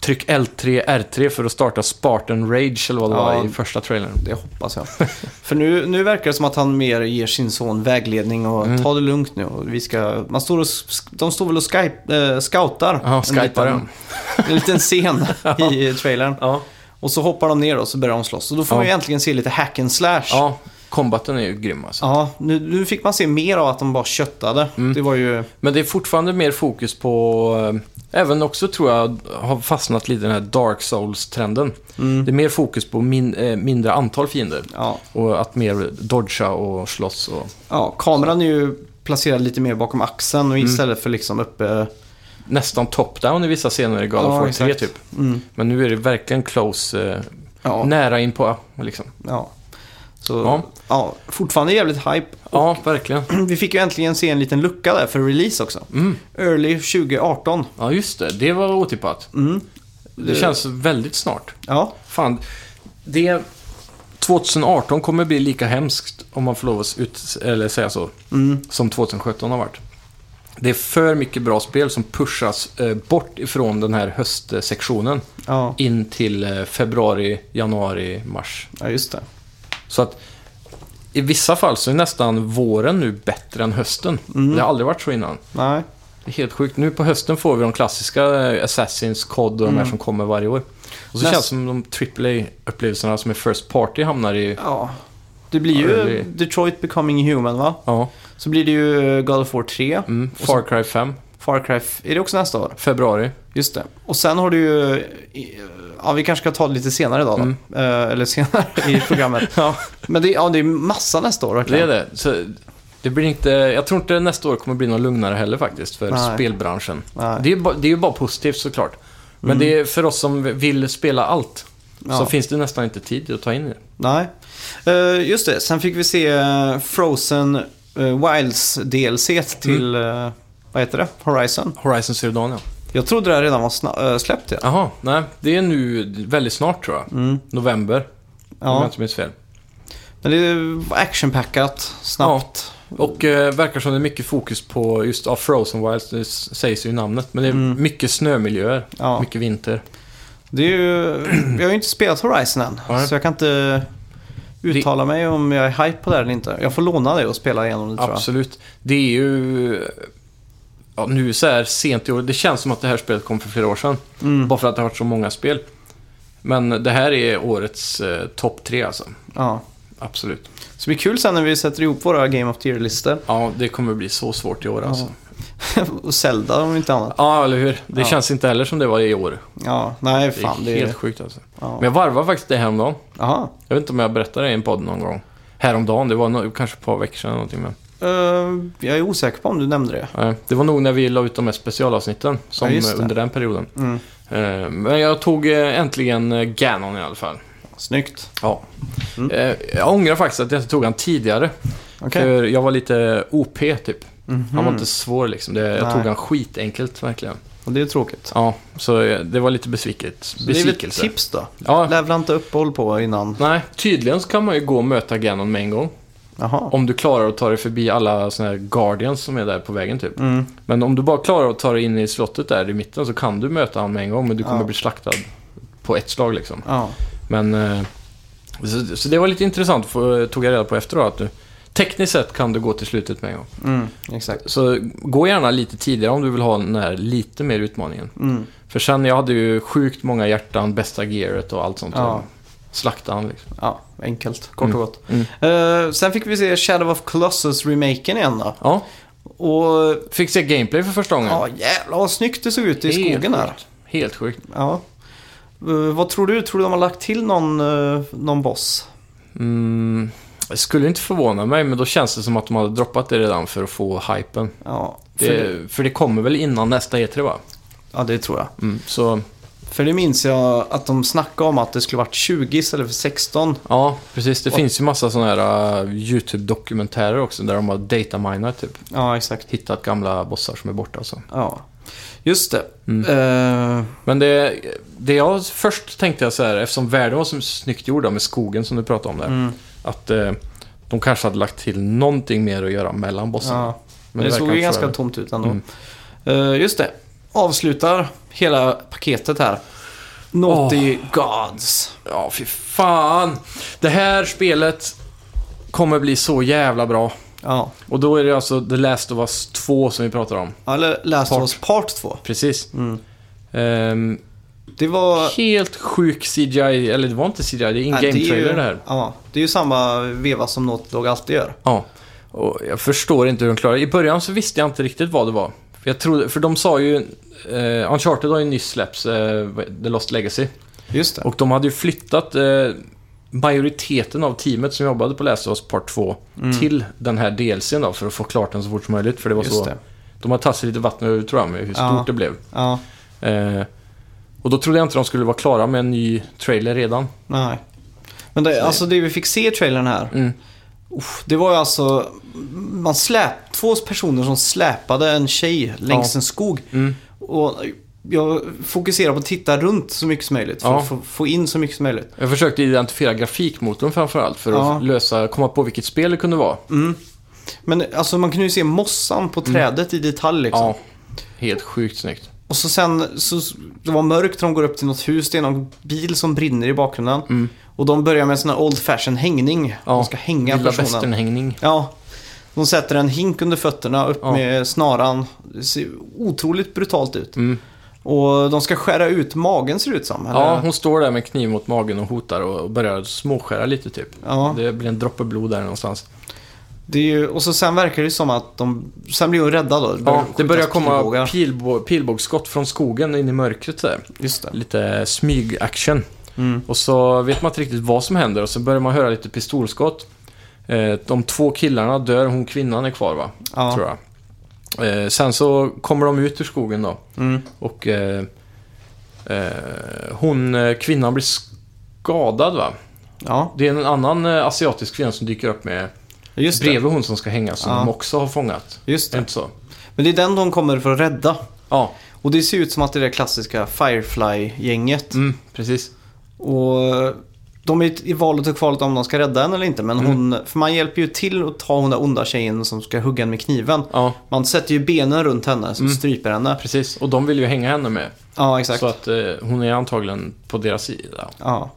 B: tryck L3, R3 för att starta Spartan Rage eller vad det
A: Ja.
B: var i första trailern.
A: Det hoppas jag. För nu, nu verkar det som att han mer ger sin son vägledning och
B: Mm.
A: ta det lugnt nu. Och vi ska, man står och, sk- de står väl och skype, eh, scoutar.
B: Ja, skypar
A: en,
B: den.
A: liten, en liten scen i trailern.
B: Ja.
A: Och så hoppar de ner och så börjar de slåss. Och då får
B: Ja.
A: man ju äntligen se lite hack and slash.
B: Ja, combaten är ju grym alltså.
A: Ja, nu, nu fick man se mer av att de bara köttade.
B: Mm.
A: Det var ju...
B: Men det är fortfarande mer fokus på, eh, även också tror jag har fastnat lite i den här Dark Souls-trenden. Det är mer fokus på min, eh, mindre antal fiender.
A: Mm. Ja,
B: Och att mer dodga och slåss och...
A: Ja, kameran är ju placerad lite mer bakom axeln
B: Mm.
A: och istället för liksom uppe...
B: Nästan top-down i vissa scener i God
A: Ja,
B: of War 3
A: exakt. Mm.
B: typ. Men nu är det verkligen close, eh,
A: Ja.
B: nära in på liksom.
A: Ja. Så,
B: Ja.
A: ja. fortfarande jävligt hype.
B: Ja, verkligen.
A: Vi fick ju äntligen se en liten lucka där för release också.
B: Mm.
A: Early 2018.
B: Ja, just det. Det var otippat.
A: Mm.
B: Det känns väldigt snart.
A: Ja,
B: Fan, det... 2018 kommer bli lika hemskt, om man får lov att ut, eller säga så, som 2017 har varit. Det är för mycket bra spel som pushas eh, bort ifrån den här höstsektionen
A: ja.
B: in till eh, februari, januari, mars.
A: ja just det.
B: Så att i vissa fall så är nästan våren nu bättre än hösten. Det har aldrig varit så innan.
A: Nej.
B: Det är helt sjukt. Nu på hösten får vi de klassiska eh, Assassins, COD och de här som kommer varje år. Och så
A: Näst-
B: känns det som de AAA-upplevelserna som är First Party hamnar i...
A: Ja. Det blir
B: Ja,
A: ju
B: det blir-
A: Detroit Becoming Human va?
B: Ja.
A: Så blir det ju God of War 3.
B: Mm. Far Cry 5,
A: Far Cry, f- är det också nästa år?
B: februari.
A: Just det. Och sen har du ju... Ja, vi kanske ska ta det lite senare idag då.
B: Mm.
A: Eh, eller senare i programmet.
B: Ja.
A: Men det, ja, det är massa nästa år
B: Det är
A: verkligen.
B: det. Så det blir inte... Jag tror inte nästa år kommer bli något lugnare heller faktiskt för
A: Nej.
B: spelbranschen.
A: Nej.
B: Det är, ba- det är ju bara positivt såklart. Men det är för oss som vill spela allt så
A: Ja.
B: finns det nästan inte tid att ta in det.
A: Nej. Eh, just det, sen fick vi se eh, Frozen eh, Wilds DLC till,
B: Mm.
A: eh, vad heter det, Horizon.
B: Horizon Zero Dawn, ja.
A: Jag trodde det här redan var sna- eh, släppt. Ja.
B: Jaha, nej. Det är nu väldigt snart tror jag. November, om jag
A: Ja.
B: inte minns fel.
A: Men det var actionpackat, snabbt.
B: Och eh, verkar som det är mycket fokus på just ja, Frozen Wilds, det s- sägs ju i namnet. Men det är mycket snömiljöer,
A: Mm. Ja.
B: mycket vinter.
A: Det är ju, jag har ju inte spelat Horizon än,
B: Nej.
A: så jag kan inte uttala mig om jag är hype på det här eller inte. Jag får låna det och spela igenom det tror jag.
B: Absolut. Det är ju... eh, Ja, nu så här sent i år, det känns som att det här spelet kom för flera år sedan.
A: Mm.
B: Bara för att det har varit så många spel. Men det här är årets eh, topp tre alltså.
A: Ja.
B: Absolut.
A: Så det blir kul sen när vi sätter ihop våra Game of the Year-listor.
B: Ja, det kommer bli så svårt i år alltså.
A: och Zelda om inte annat.
B: Ja, eller hur? Det
A: Ja.
B: känns inte heller som det var i år.
A: Ja, nej
B: Det är
A: fan. Det
B: helt
A: är...
B: sjukt alltså.
A: Ja.
B: Men jag varvade faktiskt det häromdagen.
A: Jaha.
B: Jag vet inte om jag berättade det i en podd någon gång. Häromdagen, det var no- kanske ett par veckor sedan eller någonting. Men,
A: Eh, jag är osäker på om du nämnde det.
B: eh, det var nog när vi la ut de här specialavsnitten som,
A: Ja, just det.
B: under den perioden.
A: Mm.
B: Eh, men jag tog eh, äntligen eh, Ganon i alla fall.
A: Snyggt.
B: Ja. Eh, jag ångrar faktiskt att jag inte tog han tidigare.
A: Mm. Okej.
B: För jag var lite OP typ. Han var
A: Mhm.
B: inte svår liksom. Det, jag
A: Nej.
B: tog han skitenkelt verkligen.
A: Och det är tråkigt.
B: Ja, så eh, det var lite besviket,
A: Så Det är väl ett
B: besvikelse.
A: tips då.
B: Ja,
A: Levla inte upp och håll på innan.
B: nej, tydligen så kan man ju gå och möta Ganon med en gång.
A: Jaha.
B: Om du klarar att ta dig förbi alla såna här Guardians som är där på vägen typ.
A: Mm.
B: Men om du bara klarar att ta dig in i slottet där i mitten så kan du möta honom med en gång men du kommer
A: Ja.
B: bli slaktad på ett slag liksom.
A: Ja.
B: Men, eh, så, så det var lite intressant, för, tog jag reda på efteråt att du tekniskt sett kan du gå till slutet med en gång.
A: Mm. Exakt.
B: Så gå gärna lite tidigare om du vill ha den här lite mer utmaningen.
A: Mm.
B: För sen, jag hade ju sjukt många hjärtan, bästa gearet och allt sånt.
A: Ja.
B: Slakta han liksom.
A: Ja, enkelt. Kort och gott.
B: Mm.
A: Eh, sen fick vi se Shadow of Colossus-remaken igen då.
B: Ja,
A: Och
B: fick se gameplay för första gången.
A: ja, jävlar vad snyggt det såg ut i skogen där.
B: sjukt. Helt sjukt.
A: Ja. Eh, vad tror du? Tror du de har lagt till någon, eh, någon boss?
B: Mm, det skulle inte förvåna mig, men då känns det som att de hade droppat det redan för att få hypen.
A: Ja, för
B: Det,
A: det,
B: För det kommer väl innan nästa E3 va?
A: ja, det tror jag.
B: Mm, så,
A: För det minns jag att de snackade om att det skulle varit 20 istället för 16.
B: ja precis. Det
A: Och-
B: finns ju massa sådana här uh, YouTube-dokumentärer också där de har dataminat typ.
A: Ja, exakt.
B: Hittat gamla bossar som är borta och så.
A: Ja, just det.
B: Mm.
A: Eh,
B: Men det, det jag först tänkte jag så här, eftersom världen var så snyggt gjord där med skogen som du pratade om där.
A: mm,
B: Att eh, de kanske hade lagt till någonting mer att göra mellan bossarna.
A: ja. Men det,
B: verkar
A: såg
B: inte
A: ju
B: så
A: ganska
B: här.
A: tomt ut ändå.
B: Mm.
A: Eh, just det. Avslutar hela paketet här. Naughty Gods.
B: Ja, fy fan. Det här spelet kommer bli så jävla bra.
A: Ja.
B: Och då är det alltså The Last of Us 2 som vi pratar om.
A: Eller Last of
B: Part.
A: Us Part 2.
B: Precis.
A: Mm.
B: Ehm,
A: Det var...
B: helt sjuk CGI, eller det var inte CGI, det är
A: Ja,
B: in-game
A: är ju-
B: trailer det här.
A: Ja, det är ju samma veva som Naughty Dog alltid gör.
B: Ja. Och jag förstår inte hur de klarar det. I början så visste jag inte riktigt vad det var. För, jag trodde, för de sa ju... Eh, Uncharted har ju nyss släppts, eh, The Lost Legacy.
A: Just det.
B: Och de hade ju flyttat eh, majoriteten av teamet som jobbade på Last of Us Part 2 till den här DLCn då, för att få klart den så fort som möjligt. För det var
A: Mm. Just
B: så...
A: det.
B: De har tagit sig lite vatten över tror jag, med hur stort
A: Ja.
B: det blev.
A: Ja,
B: Eh, och då trodde jag inte de skulle vara klara med en ny trailer redan.
A: nej. Men det, alltså det vi fick se i trailern här.
B: Mm.
A: Uff, det var ju alltså... Man släp, två personer som släpade en tjej längs
B: Ja. Mm.
A: en skog. Och jag fokuserar på att titta runt så mycket som möjligt. För
B: Ja.
A: att få, få in så mycket som möjligt.
B: Jag försökte identifiera grafikmotorn framförallt för att
A: Ja. Mm.
B: lösa, komma på vilket spel det kunde vara.
A: Men alltså man kunde ju se mossan på trädet i detalj liksom.
B: Mm. Ja, helt sjukt snyggt.
A: Och så sen, så, det var mörkt, de går upp till något hus, det är någon bil som brinner i bakgrunden. Och de börjar med en sån här old fashion hängning.
B: Mm. Ja,
A: De ska hänga
B: Lilla
A: personen.
B: västernhängning.
A: Ja. De sätter en hink under fötterna upp
B: Ja.
A: med snaran. Det ser otroligt brutalt ut.
B: Mm.
A: Och de ska skära ut magen ser det ut som. eller?
B: Ja, hon står där med kniv mot magen och hotar och och börjar småskära lite typ.
A: ja.
B: Det blir en droppe blod där någonstans.
A: Det är ju, och så sen verkar det ju som att de... Sen blir hon rädda då.
B: Ja, det börjar
A: skjutas
B: komma
A: pilbågar.
B: pilbå, pilbågsskott från skogen in i mörkret där.
A: Just det.
B: Lite smyg-action.
A: Mm.
B: Och så vet man inte riktigt vad som händer och så börjar man höra lite pistolskott. Eh, De två killarna dör, hon kvinnan är kvar va?
A: Ja.
B: Tror jag. Eh, Sen så kommer de ut ur skogen då
A: Mm.
B: och eh, eh, hon, eh, kvinnan blir skadad va?
A: Ja,
B: Det är en annan eh, asiatisk kvinna som dyker upp med
A: just det.
B: bredvid hon som ska hängas som
A: Ja.
B: de också har fångat.
A: Just
B: Är det
A: det.
B: inte så?
A: Men det är den de kommer för att rädda.
B: Ja,
A: Och det ser ut som att det är det klassiska Firefly-gänget.
B: mm, precis.
A: Och de är i valet och kvalet om de ska rädda henne eller inte. Men
B: Mm.
A: hon, för man hjälper ju till att ta hon där onda tjejen som ska hugga henne med kniven.
B: Ja,
A: Man sätter ju benen runt henne som stryper henne.
B: precis. Och de vill ju hänga henne med.
A: Ja, exakt.
B: Mm. Så att eh, hon är antagligen på deras sida.
A: Ja.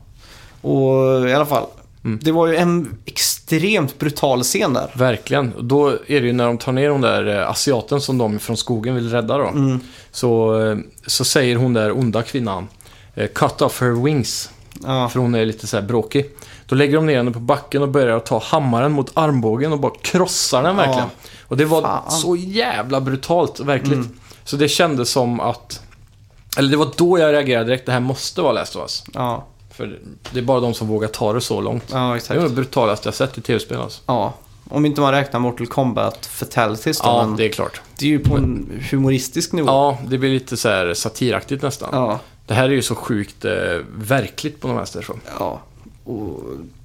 A: Och i alla fall.
B: Mm.
A: Det var ju en extremt brutal scen där.
B: Verkligen. Och Då är det ju när de tar ner hon där eh, asiaten som de från skogen vill rädda då.
A: Mm.
B: Så, eh, så säger hon där onda kvinnan eh, Cut off her wings.
A: Ja.
B: För hon är lite så här bråkig. Då lägger de ner henne på backen och börjar ta hammaren mot armbågen och bara krossar den
A: Ja.
B: verkligen. Och det var
A: Fan. Mm.
B: så jävla brutalt, verkligt. Så det kändes som att... Eller det var då jag reagerade direkt, det här måste vara Last of Us.
A: Ja,
B: För det är bara de som vågar ta det så långt.
A: ja
B: Det var
A: exakt.
B: det brutalaste jag sett i tv-spel alltså.
A: Ja. Om inte man räknar Mortal Kombat Fatalities då,
B: Ja,
A: men det...
B: det är klart.
A: är ju på en humoristisk nivå.
B: Ja, det blir lite så här satiraktigt nästan.
A: Ja.
B: Det här är ju så sjukt eh, verkligt på något vänster. Så.
A: ja. Och,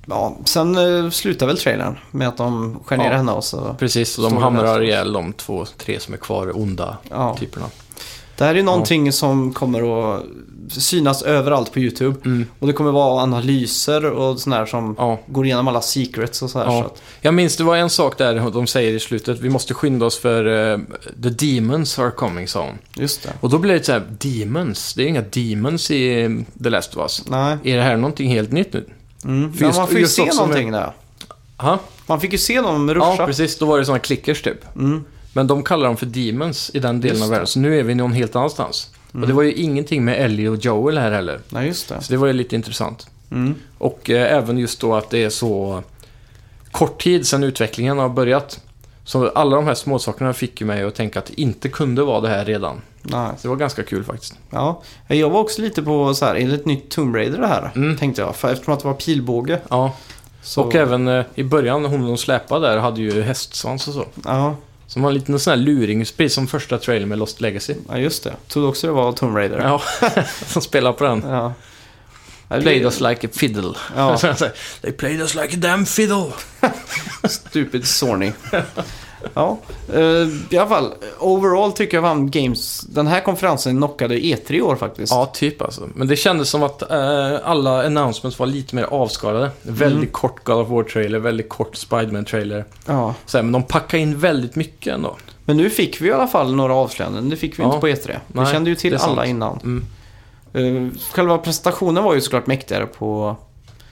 A: ja. Sen eh, slutar väl trailern med att de skär ner
B: Ja.
A: henne och så.
B: Precis, så de
A: Stora
B: hamrar
A: Last of Us.
B: ihjäl de två, tre som är kvar, onda
A: Ja.
B: typerna.
A: Det här är någonting som kommer att synas överallt på YouTube. Och det kommer vara analyser och sådär som
B: Mm. Ja.
A: går igenom alla secrets och sådär.
B: Ja.
A: Så att,
B: Jag minns det var en sak där de säger i slutet, vi måste skynda oss för eh, the demons are coming, sa hon.
A: just det.
B: Och då blev det så här, demons? Det är inga demons i eh, The Last of Us.
A: Nej.
B: Är det här någonting helt nytt nu?
A: Mm.
B: För
A: Men
B: just-
A: man får ju
B: Mm. just
A: se
B: också med-
A: någonting där.
B: Ha?
A: Man fick ju se dem
B: Ja,
A: ruscha.
B: precis. Då var det såna klickers typ. Men de kallar dem för demons i den delen
A: Just
B: av världen, så nu är vi någon helt annanstans. Och det var ju ingenting med Ellie och Joel här heller.
A: Nej, just det.
B: Så det var ju lite intressant.
A: Mm.
B: Och eh, även just då att det är så kort tid sedan utvecklingen har börjat. Så alla de här småsakerna fick ju mig att tänka att det inte kunde vara det här redan.
A: Nej.
B: Så det var ganska kul faktiskt.
A: Ja. Jag var också lite på så här, är det ett nytt Tomb Raider det här?
B: Mm.
A: Tänkte jag. För eftersom att det var pilbåge.
B: Ja,
A: Så...
B: och även eh, i början hon de släpade där hade ju hästsvans och så.
A: Ja,
B: Så man var en liten sån här luring, precis som första trailern med Lost Legacy.
A: ja, just det. Trodde också det var Tomb Raider.
B: Ja, som spelar på den.
A: Ja.
B: Played us like a fiddle.
A: Ja.
B: They played us like a damn fiddle.
A: Stupid Sony. ja, eh, i alla fall. Overall tycker jag vann Games. Den här konferensen knockade E3 i år faktiskt.
B: Ja, typ alltså. Men det kändes som att eh, alla announcements var lite mer avskalade. Väldigt kort God of War-trailer, väldigt kort Spiderman-trailer.
A: Ja.
B: Så här, Men de packade in väldigt mycket ändå.
A: Men nu fick vi i alla fall några avslöjanden. Det fick vi
B: Ja.
A: inte på E3. Vi
B: Nej,
A: kände ju
B: det
A: till
B: är sant.
A: alla innan.
B: Mm.
A: Eh, själva presentationen var ju såklart mäktigare på...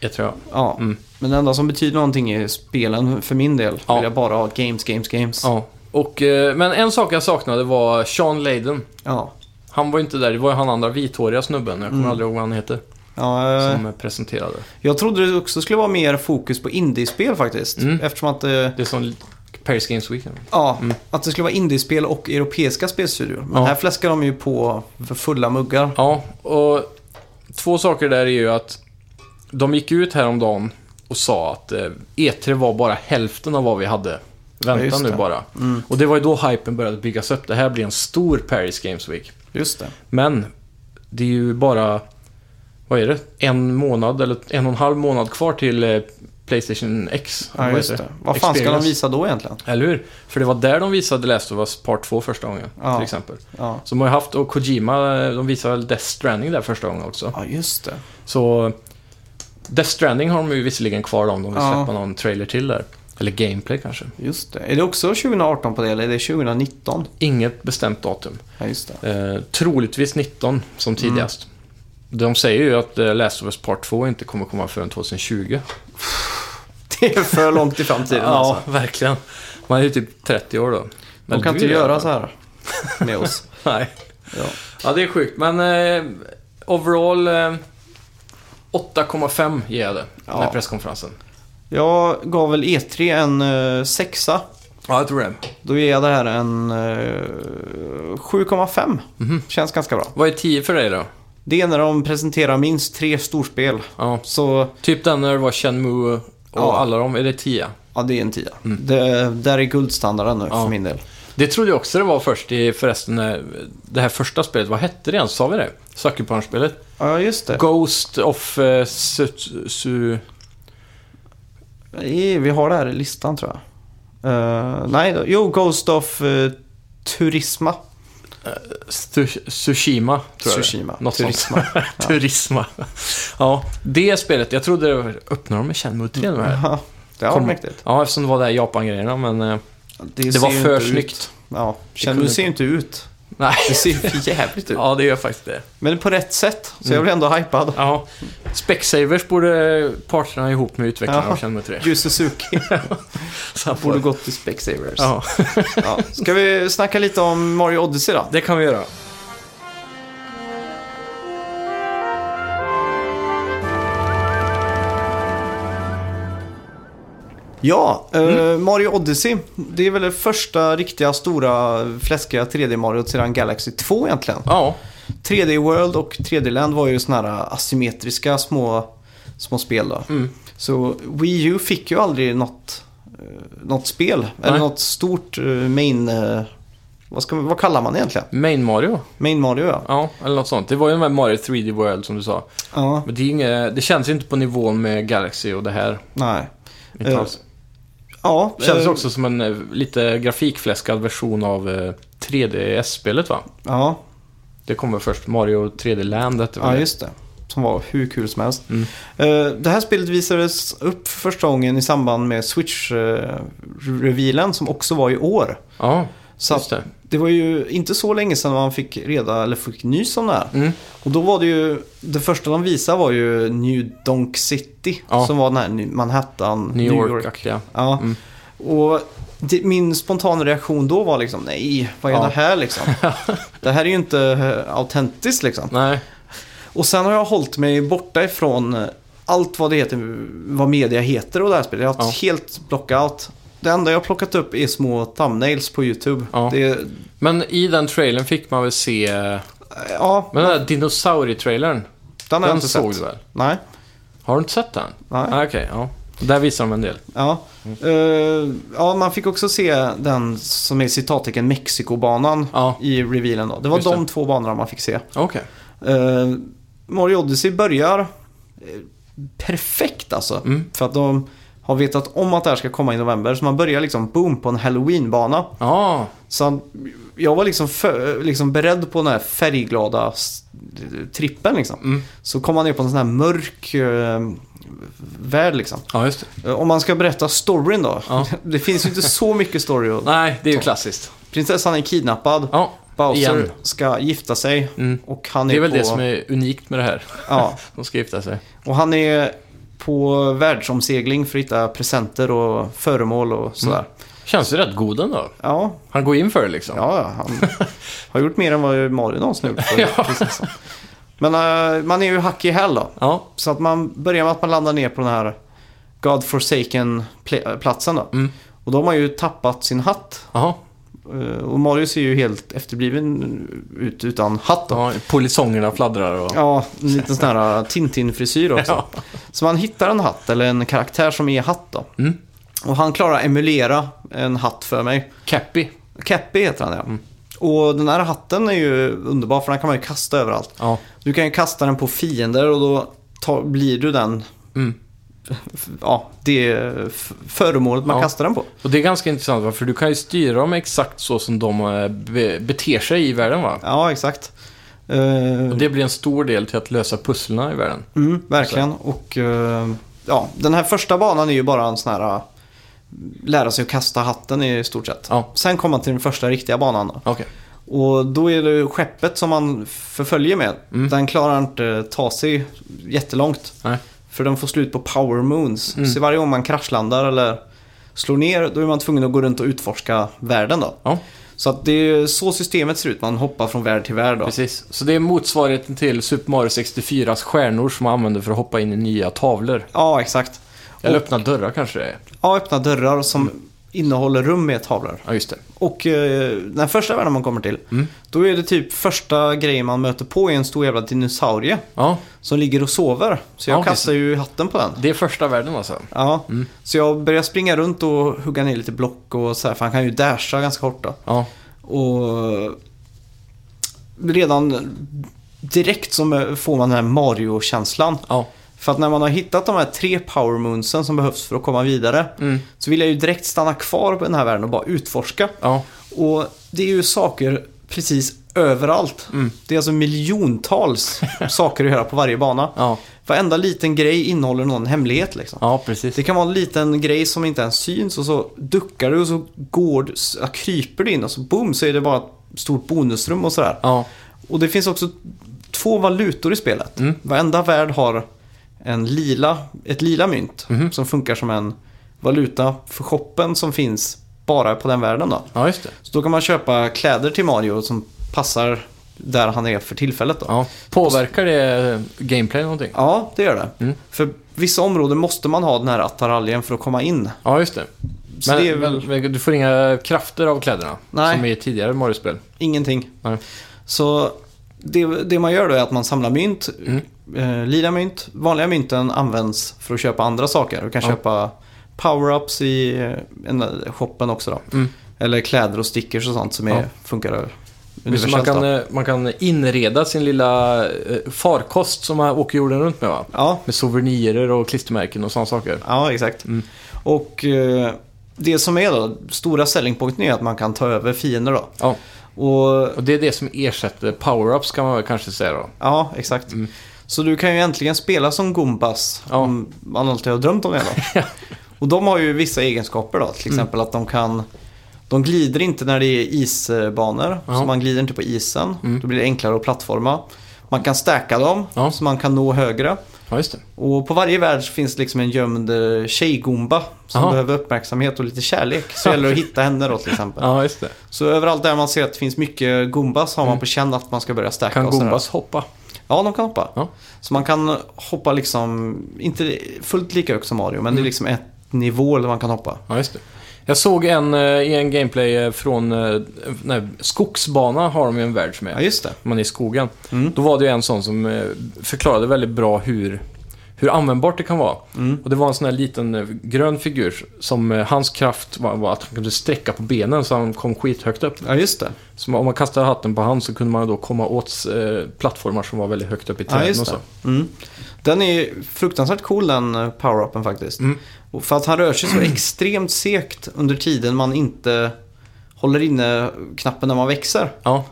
B: Jag tror jag.
A: Ja.
B: Mm.
A: Men det enda som betyder någonting är spelen för min del.
B: Ja.
A: Vill jag bara ha games, games, games.
B: Ja. Och, eh, men en sak jag saknade var Sean Layden.
A: Ja.
B: Han var ju inte där. Det var ju han andra vithåriga snubben. Jag kommer
A: Mm.
B: aldrig ihåg vad han heter.
A: Ja, eh,
B: Som eh, presenterade.
A: Jag trodde det också skulle vara mer fokus på indiespel faktiskt.
B: Mm.
A: Eftersom att eh, det...
B: Det är som Paris Games Weekend.
A: Ja, att det skulle vara indiespel och europeiska spelstudior. Men
B: Ja.
A: här fläskar de ju på för fulla muggar.
B: Ja, och två saker där är ju att de gick ut häromdagen och sa att eh, E3 var bara hälften av vad vi hade
A: Ja,
B: väntat
A: just
B: nu
A: det. Mm.
B: bara. Och det var ju då hypen började byggas upp. Det här blir en stor Paris Games Week.
A: Just det.
B: Men det är ju bara, vad är det, en månad eller en och en halv månad kvar till eh, Playstation X.
A: Ja, just
B: heter
A: det. Vad fan ska de
B: Experience.
A: visa då egentligen?
B: Eller hur? För det var där de visade Last of Us Part 2 första gången,
A: Ja.
B: till exempel.
A: Ja,
B: Så de har ju haft, och Kojima, eh, de visade väl Death Stranding där första gången också.
A: ja just det.
B: Så Death Stranding har de ju visserligen kvar då, om de vill
A: Ja.
B: släppa någon trailer till där. Eller gameplay kanske.
A: Just det. Är det också 2018 på det eller är det 2019?
B: Inget bestämt datum.
A: Ja, just det.
B: Eh, troligtvis 19
A: Mm.
B: som tidigast. De säger ju att eh, Last of Us Part 2 inte kommer komma förrän 2020.
A: Det är för långt i framtiden alltså.
B: verkligen. Man är ju typ 30 år då.
A: De kan
B: du
A: inte
B: är det i alla
A: göra
B: fall.
A: så här med oss.
B: Nej.
A: Ja.
B: Ja, det är sjukt. Men eh, overall eh, 8,5 ger jag det. Den här
A: Ja.
B: presskonferensen.
A: Jag gav väl E3 en eh, sexa.
B: Ja, jag tror det.
A: Då ger jag det här en eh, 7,5. Känns ganska bra.
B: Vad är 10 för dig då?
A: Det är när de presenterar minst tre storspel.
B: Ja.
A: Så
B: Typ den när det var Shenmue och
A: Ja.
B: alla de, är det 10?
A: Ja, det är en tia. Det, där är guldstandarden nu
B: Ja.
A: för min del. eh,
B: Det trodde jag också det var först i förresten när det här första spelet, vad hette det ens? Sa vi det? Sucker Punch-spelet?
A: Ja, just det.
B: Ghost of... Eh, su, su,
A: Eh, Vi har det här i listan tror jag. Eh, nej, då. jo, Ghost of eh, Turisma.
B: su, Tsushima, tror jag
A: Tsushima.
B: det. Något
A: Turisma.
B: Sånt. Turisma. ja, det spelet. Jag trodde det var... Öppnar de med Shenmue 3 nu här?
A: Ja, det har
B: Kom.
A: varit mäktigt.
B: Ja, eftersom det var det här Japan-grejerna, men eh, det
A: ser
B: var
A: ju
B: för
A: inte ut.
B: snyggt.
A: Ja, känner
B: kunde
A: du ser ju inte ut.
B: Nej.
A: Det ser ju för jävligt ut.
B: Ja, det gör faktiskt det.
A: Men på rätt sätt, så jag blir ändå hypad.
B: Ja, Specsavers borde parterna ihop med utvecklarna
A: Ja.
B: av Shenmue 3.
A: Yu Suzuki
B: Så han får-
A: borde gått till Specsavers.
B: Ja,
A: Ja. Ska vi snacka lite om Mario Odyssey då?
B: det kan vi göra.
A: Ja,
B: Mm.
A: eh, Mario Odyssey. Det är väl det första riktiga stora fläskiga 3D-Mario sedan Galaxy 2 egentligen.
B: Ja.
A: 3D World och 3D Land var ju sådana här eh, asymmetriska små, små spel då.
B: Mm.
A: Så Wii U fick ju aldrig något, eh, något spel. Eller
B: Nej.
A: något stort eh, main... eh, Vad, ska, man- vad kallar man det egentligen?
B: Main Mario?
A: Main Mario ja.
B: Ja, eller något sånt. Det var ju den här Mario 3D World som du sa.
A: Ja,
B: Men det, är inget, det känns ju inte på nivån med Galaxy och det här.
A: nej.
B: Inte
A: Eh,
B: alls.
A: Ja,
B: Känns
A: eh,
B: också som en eh, lite grafikfläskad version av eh, 3DS-spelet va?
A: Ja,
B: Det kommer först, Mario 3D Land hette väl
A: Ja,
B: det?
A: just det. Som var hur kul som helst.
B: Mm.
A: Eh, det här spelet visades upp för första gången i samband med Switch-revealen som också var i år.
B: Ja,
A: Så
B: just
A: att
B: det.
A: det var ju inte så länge sedan man fick reda, eller fick nys om det här.
B: Mm.
A: Och då var det ju, det första de visade var ju New Donk City.
B: Ja.
A: Som var den här Ny- Manhattan,
B: New York-aktiga.
A: Ja.
B: Mm.
A: Och det, min spontana reaktion då var liksom, nej, vad är
B: Ja.
A: det här liksom? det här är ju inte eh, autentiskt liksom.
B: Nej,
A: Och sen har jag hållit mig borta ifrån eh, allt vad det heter, vad media heter och det här spelet. Jag har
B: Ja.
A: helt blockout. Det enda jag har plockat upp är små thumbnails på YouTube.
B: Ja.
A: Det är,
B: men i den trailern fick man väl se... eh,
A: ja,
B: Men den där dinosaurie-trailern,
A: den har jag
B: den
A: inte
B: såg
A: sett.
B: du väl?
A: Nej.
B: Har du inte sett den?
A: Nej.
B: Ah, Okej, ja. Där visar de en del.
A: Ja.
B: Mm.
A: Eh, ja, man fick också se den som är citattecken Mexikobanan
B: Ja.
A: i revealen då. Det var
B: Just
A: de
B: det.
A: två banorna man fick se.
B: Okej.
A: Eh, Mario Odyssey börjar eh, perfekt alltså.
B: Mm.
A: För att de har vetat om att det här ska komma i november. Så man börjar liksom boom på en halloween-bana.
B: Ja,
A: Så han, jag var liksom, för, liksom beredd på den här färgglada s- trippen liksom.
B: Mm.
A: Så kom man ner på en sån här mörk eh, värld liksom.
B: ja just det.
A: Eh, Om man ska berätta storyn då.
B: Ja.
A: Det finns ju inte så mycket story. Och
B: Nej, det är ju klassiskt.
A: prinsessan är kidnappad.
B: Ja,
A: Bowser
B: igen. Mm.
A: ska gifta sig. Och han är,
B: Det är väl
A: på...
B: det som är unikt med det här.
A: Ja,
B: De ska gifta sig.
A: Och han är på världsomsegling för att hitta presenter och föremål
B: Mm.
A: och sådär.
B: Känns ju rätt god ändå.
A: Ja,
B: Han går in för det liksom.
A: ja, ja, han har gjort mer än vad Mario någonsin har gjort. för prinsessan. Men eh, man är ju hack i häl då.
B: Ja,
A: Så att man börjar med att man landar ner på den här God forsaken pl- äh, platsen då.
B: Mm.
A: Och då har man ju tappat sin hatt.
B: jaha.
A: Eh, Och Mario ser ju helt efterbliven ut utan hatt då.
B: Ja, polisongerna fladdrar och...
A: Ja, en liten sån här Tintin-frisyr också.
B: Ja.
A: Så man hittar en hatt, eller en karaktär som är hatt då.
B: Mm.
A: Och han klarar att emulera en hatt för mig.
B: Cappy.
A: Cappy heter han ja.
B: Mm.
A: Och den här hatten är ju underbar för den kan man ju kasta överallt.
B: Ja.
A: Du kan ju kasta den på fiender och då ta, blir du den,
B: Mm.
A: ja, det f- föremålet man
B: Ja.
A: kastar den på.
B: Och det är ganska intressant va? För du kan ju styra dem exakt så som de eh, be- beter sig i världen va?
A: Ja, exakt. Eh,
B: Och det blir en stor del till att lösa pusslerna i världen.
A: Mm, verkligen. Och eh, ja, den här första banan är ju bara en sån här eh, lära sig att kasta hatten i stort sett.
B: Ja.
A: Sen kommer man till den första riktiga banan. Då.
B: Okej.
A: Och då är det skeppet som man förföljer med.
B: Mm.
A: Den klarar inte ta sig jättelångt.
B: Nej.
A: För den får slut på power moons.
B: Mm.
A: Så varje gång man kraschlandar eller slår ner då är man tvungen att gå runt och utforska världen då.
B: Ja,
A: Så att det är så systemet ser ut. Man hoppar från värld till värld då.
B: precis. Så det är motsvarigheten till Super Mario 64s stjärnor som man använder för att hoppa in i nya tavlor.
A: Ja, exakt.
B: Eller öppna dörrar kanske det är.
A: Ja, öppna dörrar som
B: Mm.
A: innehåller rum med tavlor.
B: Ja, just det.
A: Och eh, den första världen man kommer till,
B: Mm.
A: då är det typ första grejen man möter på är en stor jävla dinosaurie
B: Ja,
A: som ligger och sover. Så jag
B: Ja, okej,
A: kastar ju hatten på den.
B: det är första världen alltså.
A: Ja, så jag börjar springa runt och hugga ner lite block och så här, för han kan ju dasha ganska kort då.
B: Ja,
A: Och redan direkt så får man den här Mario-känslan.
B: ja.
A: För att när man har hittat de här tre power moonsen som behövs för att komma vidare
B: Mm.
A: så vill jag ju direkt stanna kvar på den här världen och bara utforska.
B: ja.
A: Och det är ju saker precis överallt.
B: Mm.
A: Det är alltså miljontals saker att göra på varje bana.
B: Ja.
A: Varenda liten grej innehåller någon hemlighet liksom.
B: Ja, precis.
A: Det kan vara en liten grej som inte ens syns och så duckar du och så går du, så kryper du in och så boom så är det bara ett stort bonusrum och sådär.
B: Ja,
A: Och det finns också två valutor i spelet.
B: Mm.
A: Varenda värld har en lila, ett lila mynt
B: Mhm.
A: som funkar som en valuta för shoppen som finns bara på den världen. Då.
B: ja just det.
A: Så då kan man köpa kläder till Mario som passar där han är för tillfället. Då.
B: Ja. Påverkar det gameplay någonting?
A: Ja, det gör det.
B: Mm.
A: För vissa områden måste man ha den här attaraljen för att komma in.
B: Ja, just det.
A: Så
B: Men
A: det är väl
B: men du får inga krafter av kläderna?
A: Nej.
B: Som i tidigare Mario-spel?
A: ingenting.
B: Nej.
A: Så det, det man gör då är att man samlar mynt,
B: Mm.
A: eh, lila mynt. Vanliga mynten används för att köpa andra saker. Du kan
B: Ja.
A: köpa power-ups i eh, en, shoppen också då.
B: Mm.
A: Eller kläder och stickers och sånt som är,
B: Ja.
A: funkar
B: Visst, man,
A: universellt.
B: kan,
A: då.
B: eh, man kan inreda sin lilla eh, farkost som man åker jorden runt med va?
A: Ja,
B: Med souvenirer och klistermärken och sådana saker.
A: Ja, exakt.
B: Mm.
A: Och eh, det som är då, stora selling point är att man kan ta över fiender då.
B: Ja.
A: Och
B: Och det är det som ersätter power-ups kan man väl kanske säga då.
A: ja, exakt. Så du kan ju äntligen spela som Gumbas,
B: Mm. Ja.
A: om man alltid har drömt om det då. Och de har ju vissa egenskaper då,
B: Mm.
A: till exempel att de kan de glider inte när det är isbanor,
B: Ja. Mm.
A: så man glider inte på isen. Då blir det enklare att plattforma. Man kan stacka dem,
B: Ja.
A: så man kan nå högre.
B: Ja, just det.
A: Och på varje värld så finns det liksom en gömd eh, tjejgumba som
B: Aha.
A: behöver uppmärksamhet och lite kärlek. Så gäller det att hitta henne då till exempel.
B: Ja, just det.
A: Så överallt där man ser att det finns mycket gumbas har man på känn att man ska börja stärka
B: Mm. Kan
A: och sådär.
B: Gumbas hoppa?
A: Ja, de kan hoppa.
B: Ja.
A: Så man kan hoppa liksom, inte fullt lika högt som Mario, men det är liksom ett nivå där man kan hoppa.
B: Mm. Ja, just det. Jag såg en eh, i en gameplay eh, från eh, nej, skogsbana har de ju en värld som
A: Ja,
B: är.
A: just det.
B: Man är i skogen. Då var det ju en sån som eh, förklarade väldigt bra hur, hur användbart det kan vara. Och det var en sån här liten eh, grön figur som eh, hans kraft var, var att han kunde sträcka på benen så han kom skithögt upp.
A: Ja, just det.
B: Så om man kastade hatten på han så kunde man då komma åt eh, plattformar som var väldigt högt upp i
A: Ja,
B: träden och
A: just
B: så.
A: det. Mm. Den är fruktansvärt cool den eh, power-upen faktiskt.
B: Mm.
A: Och För att han rör sig så extremt segt under tiden man inte håller inne knappen när man växer.
B: Ja,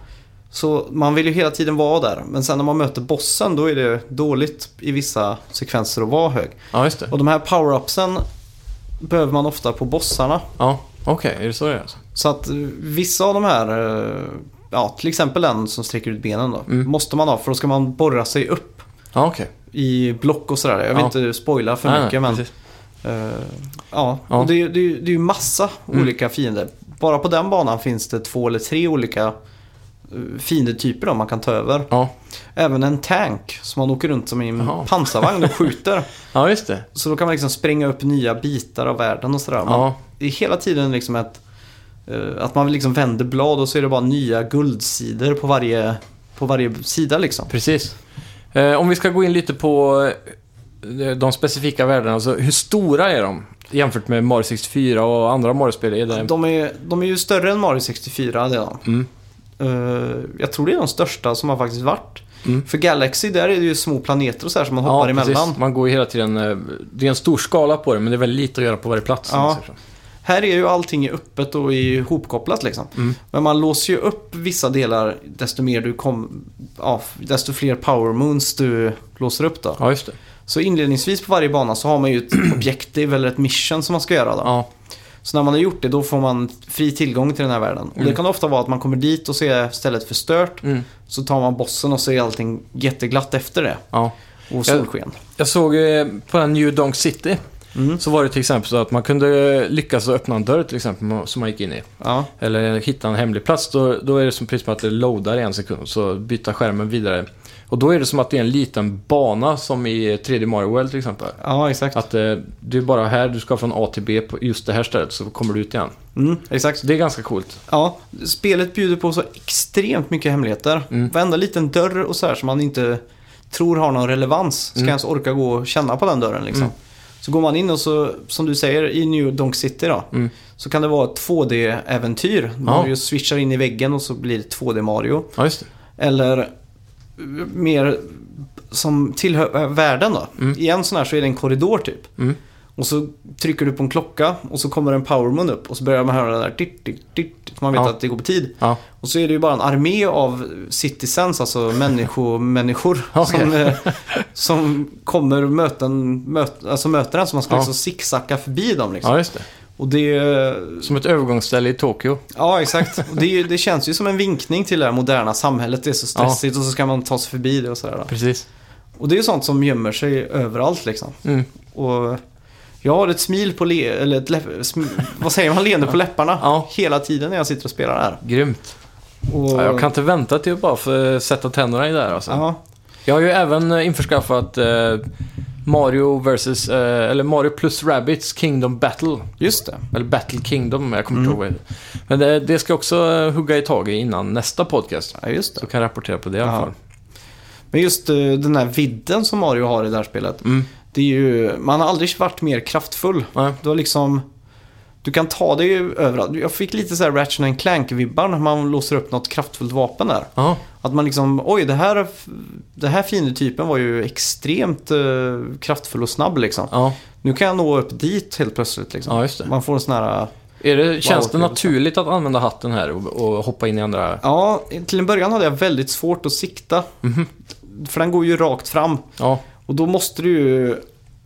A: Så man vill ju hela tiden vara där. Men sen när man möter bossen då är det dåligt i vissa sekvenser att vara hög.
B: ja just det.
A: Och de här power-upsen behöver man ofta på bossarna.
B: Ja, okej, är det så det är alltså?
A: Så att eh, vissa av de här, eh, ja till exempel den som sträcker ut benen då,
B: Mm.
A: måste man ha för då ska man borra sig upp
B: Ja, okej.
A: i block och sådär. Jag vill
B: Ja.
A: inte spoila för
B: Nej,
A: mycket men
B: precis.
A: eh, ja,
B: Ja. Mm.
A: Och det, är ju- det, är ju- det är ju massa olika fiender. Bara på den banan finns det två eller tre olika eh, fiendetyper då man kan ta över.
B: Ja.
A: Även en tank som man åker runt som i en
B: Jaha.
A: pansarvagn och skjuter.
B: ja, just det.
A: Så då kan man liksom spränga upp nya bitar av världen och sådär. Man,
B: Ja.
A: Det är hela tiden liksom ett, eh, att man liksom vänder blad och så är det bara nya guldsidor på varje, på varje sida liksom.
B: Precis. Eh, om vi ska gå in lite på eh, de specifika värdena, alltså hur stora är de jämfört med Mario 64 och andra Mario-spel? Är det...
A: De är, de är ju större än Mario 64, det är de.
B: Mm.
A: Eh, jag tror det är de största som har faktiskt varit.
B: Mm.
A: För Galaxy, där är det ju små planeter och så här som man hoppar
B: ja,
A: emellan.
B: precis. Man går ju hela tiden... eh, Det är en stor skala på det, men det är väldigt lite att göra på varje plats. om
A: Ja.
B: man säger så.
A: Här är ju allting öppet och ihopkopplat liksom.
B: Mm.
A: Men man låser ju upp vissa delar desto mer du kom, ja, desto fler power moons du låser upp då.
B: ja just det.
A: Så inledningsvis på varje bana så har man ju ett objektiv eller ett mission som man ska göra då.
B: Ja.
A: Så när man har gjort det då får man fri tillgång till den här världen. Och det kan ofta vara att man kommer dit och ser stället förstört.
B: Mm.
A: Så tar man bossen och så är allting jätteglatt efter det.
B: ja.
A: Och solsken.
B: Jag såg eh, på den New Donk City,
A: Mm.
B: så var det till exempel så att man kunde eh, lyckas att öppna en dörr till exempel som man gick in i.
A: Ja,
B: eller hitta en hemlig plats, då, då är det som precis som att det loadar i en sekund, så byta skärmen vidare. Och då är det som att det är en liten bana som i 3D Mario World till exempel.
A: ja exakt.
B: Att eh, det är bara här du ska från A till B på just det här stället så kommer du ut igen.
A: Mm, exakt.
B: Så det är ganska coolt.
A: Ja, spelet bjuder på så extremt mycket hemligheter. Varenda liten dörr och så här som man inte tror har någon relevans ska ens orka gå och känna på den dörren liksom. Så går man in och så, som du säger, i New Donk City då. Så kan det vara ett 2D-äventyr. Mario switchar in i väggen och så blir det 2D-Mario.
B: Ja, just det.
A: Eller eh, mer som tillhör eh, världen då.
B: Mm.
A: I en sån här så är det en korridor typ. Och så trycker du på en klocka och så kommer en powermoon upp och så börjar man höra det där ditt, ditt, ditt, så man vet
B: Ja.
A: att det går på tid.
B: Ja.
A: Och så är det ju bara en armé av citizens, alltså människomänniskor
B: Okej.
A: som, eh, som kommer och möten, möt, alltså möter en. Så man ska
B: Ja.
A: liksom zigzacka förbi dem. Liksom.
B: ja, just det.
A: Och det, eh,
B: Som ett övergångsställe i Tokyo.
A: Ja, exakt. Och det, är ju, det känns ju som en vinkning till det här moderna samhället. Det är så stressigt och så ska man ta sig förbi det och sådär. då.
B: Precis.
A: Och det är ju sånt som gömmer sig överallt liksom.
B: Mm.
A: Och jag har ett smil på le- eller ett läpp- sm- vad säger man, leende på läpparna
B: Ja.
A: hela tiden när jag sitter och spelar det här.
B: Grymt.
A: Och,
B: Ja, jag kan inte vänta till att bara få sätta tänderna i det här alltså.
A: Ja.
B: Jag har ju även eh, införskaffat eh, Mario versus, eh, eller Mario plus Rabbids Kingdom Battle.
A: Just det.
B: Eller Battle Kingdom, jag kommer inte ihåg
A: Mm.
B: vad det heter. Men det, det ska jag också eh, hugga i tag i innan nästa podcast.
A: Ja, just det.
B: Så kan jag rapportera på det i alla
A: Ja.
B: fall.
A: Men just eh, den här vidden som Mario har i det här spelet.
B: Mm.
A: Det är ju, man har aldrig varit mer kraftfull.
B: Nej.
A: Du har liksom... Du kan ta dig ju överallt. Jag fick lite så här Ratchet and Clank-vibbar när man låser upp något kraftfullt vapen där.
B: Ja,
A: Att man liksom, oj det här, det här fiendetypen var ju extremt eh, kraftfull och snabb liksom.
B: ja,
A: Nu kan jag nå upp dit helt plötsligt liksom.
B: ja, just det.
A: Man får en sån här...
B: Är det känns det
A: Wow,
B: naturligt att använda hatten här och, och hoppa in i andra?
A: Ja, till en början hade jag väldigt svårt att sikta. För den går ju rakt fram.
B: Ja,
A: Och då måste du ju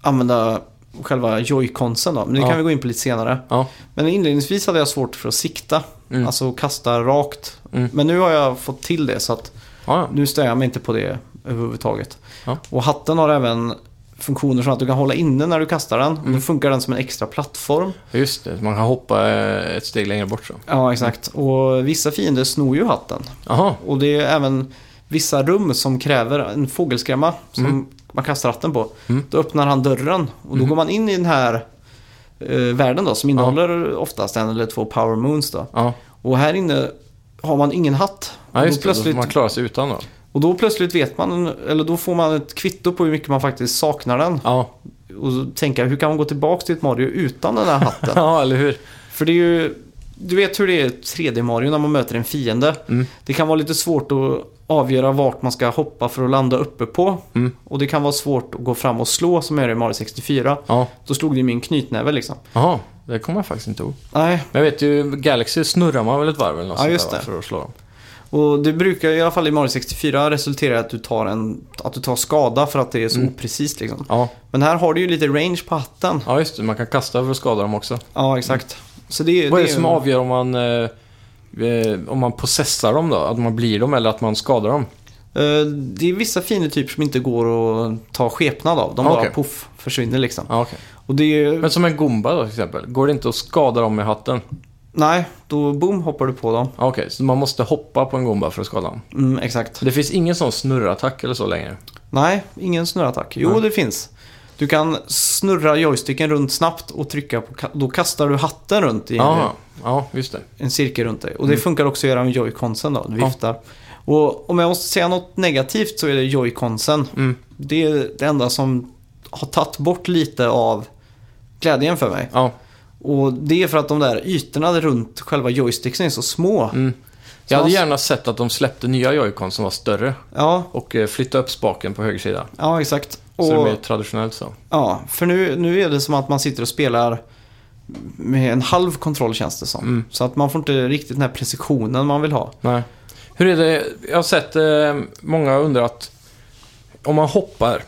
A: använda själva joyconsen då. Men det
B: Ja.
A: kan vi gå in på lite senare.
B: ja,
A: Men inledningsvis hade jag svårt för att sikta.
B: Mm.
A: Alltså kasta rakt.
B: Mm.
A: Men nu har jag fått till det så att
B: ja,
A: nu stör jag mig inte på det överhuvudtaget.
B: Ja.
A: Och hatten har även funktioner som att du kan hålla inne när du kastar den.
B: Mm.
A: Och då funkar den som en extra plattform.
B: ja. Just det, man kan hoppa eh, ett steg längre bort så.
A: Ja, exakt. Och vissa fiender snor ju hatten.
B: Jaha,
A: Och det är även vissa rum som kräver en fågelskrämma som man kastar ratten på.
B: Mm.
A: Då öppnar han dörren och då går man in i den här eh, världen då som innehåller oftast en eller två power moons då.
B: ja.
A: Och här inne har man ingen hatt.
B: Ja,
A: och,
B: just
A: då
B: det. Plötsligt...
A: plötsligt,
B: Man klarar sig utan då.
A: och då plötsligt vet man, eller då får man ett kvitto på hur mycket man faktiskt saknar den.
B: Ja,
A: Och så tänka, hur kan man gå tillbaka till ett Mario utan den här hatten?
B: ja eller hur?
A: För det är ju... Du vet hur det är i 3D-Mario när man möter en fiende.
B: Mm.
A: Det kan vara lite svårt att avgöra vart man ska hoppa för att landa uppe på.
B: Mm.
A: Och det kan vara svårt att gå fram och slå som jag gör i Mario 64.
B: Ja,
A: Då slog det i min knytnäve liksom.
B: Jaha, det kommer jag faktiskt inte ihåg.
A: Nej,
B: Men jag vet ju, Galaxy snurrar man väl ett varv eller något
A: Ja,
B: sånt
A: just
B: där, va,
A: det.
B: för att slå dem.
A: och det brukar i alla fall i Mario 64 resultera i att du tar, en, att du tar skada för att det är så
B: Mm.
A: oprecist liksom.
B: Ja,
A: Men här har du ju lite range på hatten.
B: ja, just det. Man kan kasta för att skada dem också.
A: Ja, exakt. Så det,
B: Vad är
A: det
B: det som avgör om man, eh, eh, om man possessar dem då? Att man blir dem eller att man skadar dem?
A: Eh, Det är vissa fiendetyper som inte går att ta skepnad av. De
B: Ja,
A: bara
B: okej.
A: poff, försvinner liksom.
B: Ja, okej.
A: Och det är ju...
B: Men som en gomba då till exempel. Går det inte att skada dem med hatten?
A: Nej, då boom hoppar du på dem.
B: Ja, Okej, så man måste hoppa på en gomba för att skada dem?
A: Mm, exakt.
B: Så det finns ingen sån snurrattack eller så längre?
A: Nej, ingen snurrattack. Jo,
B: Nej.
A: det finns. Du kan snurra joysticken runt snabbt och trycka på... ka- Då kastar du hatten runt i en,
B: Ja, ja, just det.
A: en cirkel runt dig. Och det funkar också att göra med joyconsen då. Du
B: Mm. Ja.
A: viftar. Och om jag måste säga något negativt så är det joyconsen.
B: Mm.
A: Det är det enda som har tagit bort lite av glädjen för mig.
B: Ja.
A: Och det är för att de där ytorna runt själva joysticken är så små.
B: Mm.
A: Så
B: Jag hade
A: man-
B: gärna sett att de släppte nya joycon som var större
A: Ja,
B: och eh, flyttade upp spaken på höger sida.
A: ja exakt.
B: Så det
A: Och-
B: är mer traditionellt så.
A: Ja, för nu, nu är det som att man sitter och spelar med en halv kontroll känns det som.
B: Mm.
A: Så att man får inte riktigt den här precisionen man vill ha.
B: Nej. Hur är det? Jag har sett eh, många har undrat. Om man hoppar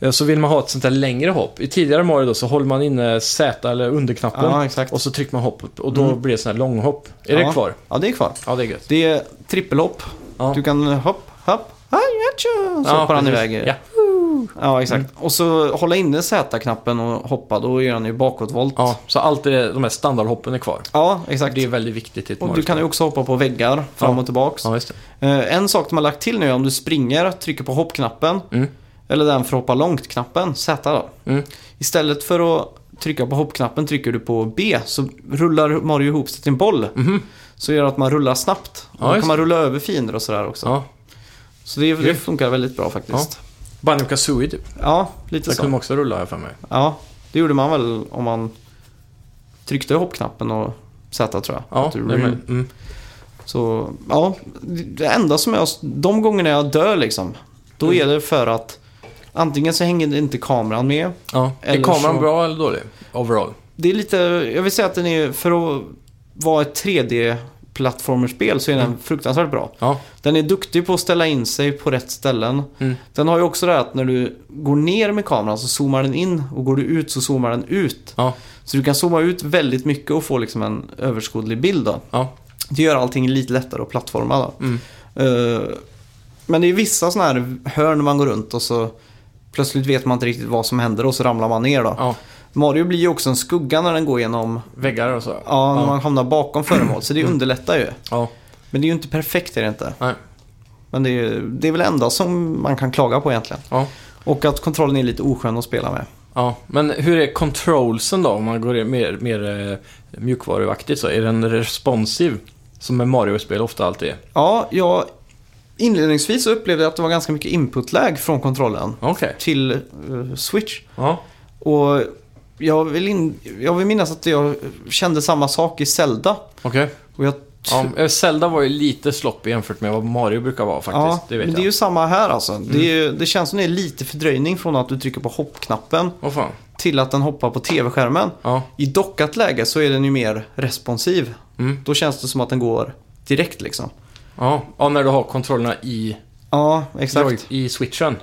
B: eh, så vill man ha ett sånt där längre hopp. I tidigare Mario då så håller man inne Z eller underknappen.
A: Ja, exakt.
B: Och så trycker man hoppet och då
A: Mm.
B: blir det sån här långhopp. Är
A: Ja.
B: det kvar?
A: Ja, det är kvar.
B: Ja, det är gött.
A: Det är trippelhopp.
B: Ja.
A: Du kan hopp, hopp, hej, atcha, så
B: Ja,
A: hoppar han
B: precis.
A: iväg.
B: Ja. Mm.
A: Ja, exakt. Och så hålla inne Z-knappen och hoppa, då gör han ju bakåtvolt.
B: ja, så allt det, de här standardhoppen är kvar.
A: Ja, exakt.
B: Det är väldigt viktigt i ett
A: Och du kan ju
B: Mario-spel.
A: också hoppa på väggar fram
B: Ja.
A: och tillbaks.
B: Ja, just det.
A: Eh, En sak de har lagt till nu är om du springer, trycker på hoppknappen.
B: Mm.
A: Eller den för att hoppa långt-knappen, Z då.
B: Mm.
A: Istället för att trycka på hoppknappen trycker du på B så rullar Mario ihop sig till en boll. Så gör att man rullar snabbt. Och
B: Mhm. Ja,
A: då
B: just
A: kan man rulla över fiender och sådär också.
B: Ja.
A: Så det, det funkar väldigt bra faktiskt.
B: Banjo Kazooie typ.
A: Ja,
B: Där
A: lite
B: kunde
A: så.
B: man också rulla här för mig.
A: Ja, det gjorde man väl om man tryckte hoppknappen och Z tror jag.
B: Ja,
A: Att
B: det
A: du
B: är
A: rull-
B: med. Mm.
A: Så, ja. Det enda som jag... De gångerna jag dör liksom, då är det för att antingen så hänger inte kameran med.
B: Ja. Är
A: Eller
B: kameran
A: så-
B: bra eller dålig? Overall?
A: Det är lite... Jag vill säga att den är... För att vara ett 3D-plattformerspel så är den fruktansvärt bra.
B: Ja.
A: Den är duktig på att ställa in sig på rätt ställen.
B: Mm.
A: Den har ju också det här att när du går ner med kameran så zoomar den in och går du ut så zoomar den ut.
B: Ja.
A: Så du kan zooma ut väldigt mycket och få liksom en överskådlig bild då.
B: Ja.
A: Det gör allting lite lättare att plattforma då.
B: Mm.
A: Eh, Men det är vissa sådana här hörn man går runt och så plötsligt vet man inte riktigt vad som händer och så ramlar man ner då.
B: ja.
A: Mario blir ju också en skugga när den går genom,
B: Väggar och så? Mm.
A: ja, när man hamnar bakom föremål. Så det underlättar ju.
B: Ja.
A: Men det är ju inte perfekt, är det inte.
B: Nej.
A: Men det är, det är väl det enda som man kan klaga på egentligen.
B: Ja.
A: Och att kontrollen är lite oskön att spela med.
B: Ja, men hur är controlsen då? Om man går in mer, mer eh, mjukvaruaktigt så. Är den responsiv? Som med Mario-spel ofta alltid är.
A: Ja, jag inledningsvis så upplevde jag att det var ganska mycket inputläge från kontrollen
B: Okej.
A: till eh, Switch.
B: Ja.
A: Och jag vill, in, jag vill minnas att jag kände samma sak i Zelda.
B: Okej.
A: Och jag
B: Ja, eh, Zelda var ju lite sloppy jämfört med vad Mario brukar vara faktiskt.
A: Ja,
B: det vet
A: men
B: jag. Mm.
A: det är ju samma här alltså. Det, är ju, det känns som det är lite fördröjning från att du trycker på hoppknappen
B: Åh fan.
A: till att den hoppar på tv-skärmen.
B: Ja.
A: I dockat läge så är den ju mer responsiv.
B: Mm.
A: Då känns det som att den går direkt liksom.
B: Ja. ja, när du har kontrollerna i,
A: Ja, exakt.
B: i switchen.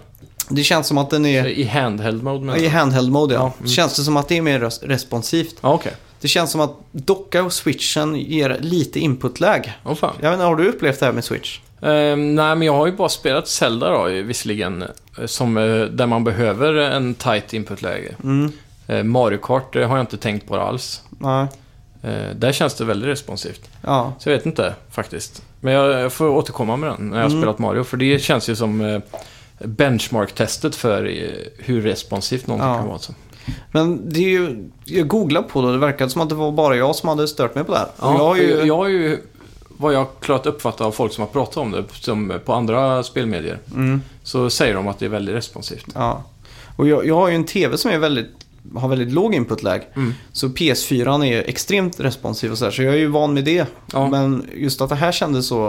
A: Det känns som att den är
B: I handheld mode menar
A: i
B: jag.
A: handheld mode ja.
B: mm.
A: Känns det som att det är mer res- responsivt.
B: Ja, okej.
A: Det känns som att docka och switchen ger lite inputläge.
B: Åh fan.
A: Jag vet inte, har du upplevt det här med switch?
B: Ehm, nej, men jag har ju bara spelat Zelda då, eh, visserligen. eh, Som, eh, där man behöver en tight input-läge.
A: Mm.
B: Eh, Mario Kart eh, har jag inte tänkt på det alls.
A: Nej.
B: Eh, där känns det väldigt responsivt.
A: Ja.
B: Så jag vet inte faktiskt. Men jag, jag får återkomma med den när jag har
A: Mm.
B: spelat Mario. För det känns ju som eh, benchmark-testet för eh, hur responsivt någonting
A: Ja.
B: kan vara. alltså. Så.
A: Men det är ju, jag googlade på det och det verkade som att det var bara jag som hade stört mig på det här. Och
B: Ja,
A: jag har ju,
B: jag har ju vad jag klart uppfattat av folk som har pratat om det som eh, på andra spelmedier.
A: Mm,
B: Så säger de att det är väldigt responsivt.
A: ja. Och jag, jag har ju en TV som är väldigt, har väldigt låg inputläge.
B: Mm.
A: Så PS4 är ju extremt responsiv och sådär. Så jag är ju van med det.
B: Ja.
A: Men just att det här kändes så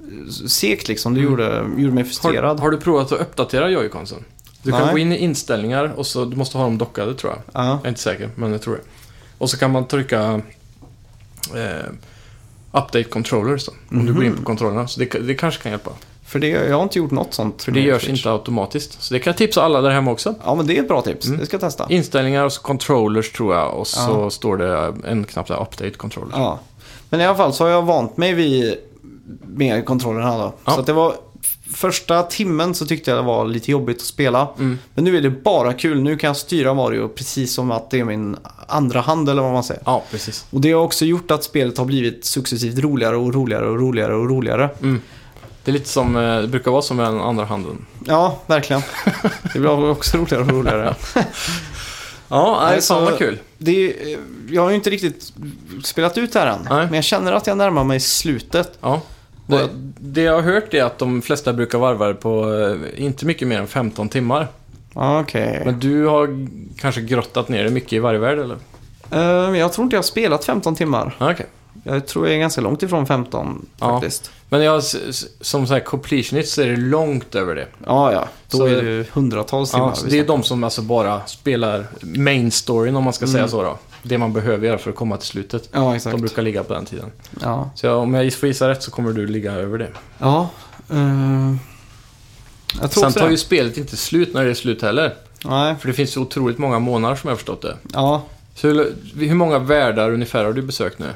A: eh, segt liksom. Det gjorde, gjorde mig
B: Mm. Har,
A: frustrerad.
B: har du provat att uppdatera joyconsen? Du kan
A: Nej.
B: gå in i inställningar och så, du måste ha dem dockade tror jag.
A: Ja.
B: Jag är inte säker, men jag tror det. Och så kan man trycka eh, Update controllers då, om du går
A: Mhm.
B: in på kontrollerna. Så det, det kanske kan hjälpa.
A: För det, jag har inte gjort något sånt.
B: För det görs inte automatiskt. Så det kan jag tipsa alla där hemma också.
A: Ja men det är ett bra
B: Mm.
A: tips. Det ska jag testa.
B: Inställningar och så controllers tror jag och så
A: Ja.
B: står det en knapp där, Update controllers.
A: Ja. Men i alla fall så har jag vant mig vid med kontrollerna då.
B: Ja.
A: Så att det var f- första timmen så tyckte jag det var lite jobbigt att spela.
B: Mm.
A: Men nu är det bara kul. Nu kan jag styra Mario precis som att det är min andra hand eller vad man säger.
B: Ja, precis.
A: Och det har också gjort att spelet har blivit successivt roligare och roligare och roligare och roligare.
B: Det är lite som, eh, det brukar vara som med den andra handen.
A: Ja, verkligen. Det blir också roligare och roligare.
B: Ja, det är
A: Alltså-
B: fan vad kul.
A: Det är, eh, jag har ju inte riktigt spelat ut det här än.
B: Nej.
A: Men jag känner att jag närmar mig slutet.
B: Ja. Det, det jag har hört är att de flesta brukar varva det på eh, inte mycket mer än 15 timmar.
A: Ja, Okej.
B: Men du har g- kanske grottat ner det mycket i varje värld eller?
A: Eh, jag tror inte jag har spelat 15 timmar.
B: Ja, okej.
A: Jag tror jag är ganska långt ifrån 15
B: Ja.
A: faktiskt.
B: Men jag, s- s- som så här completionist så är det långt över det.
A: Ja, ja. Då
B: Så-
A: är det hundratals timmar.
B: Ja, så det är de som alltså bara spelar main storyn om man ska säga så då. Det man behöver göra för att komma till slutet.
A: ja exakt.
B: De brukar ligga på den tiden.
A: Ja.
B: Så jag, om jag får gissa rätt så kommer du ligga över det.
A: ja eh, jag tror
B: Sen
A: också
B: tar
A: det.
B: ju spelet inte slut när det är slut heller.
A: Nej,
B: För det finns så otroligt många månader som jag har förstått det.
A: ja.
B: Så hur, hur många världar ungefär har du besökt nu?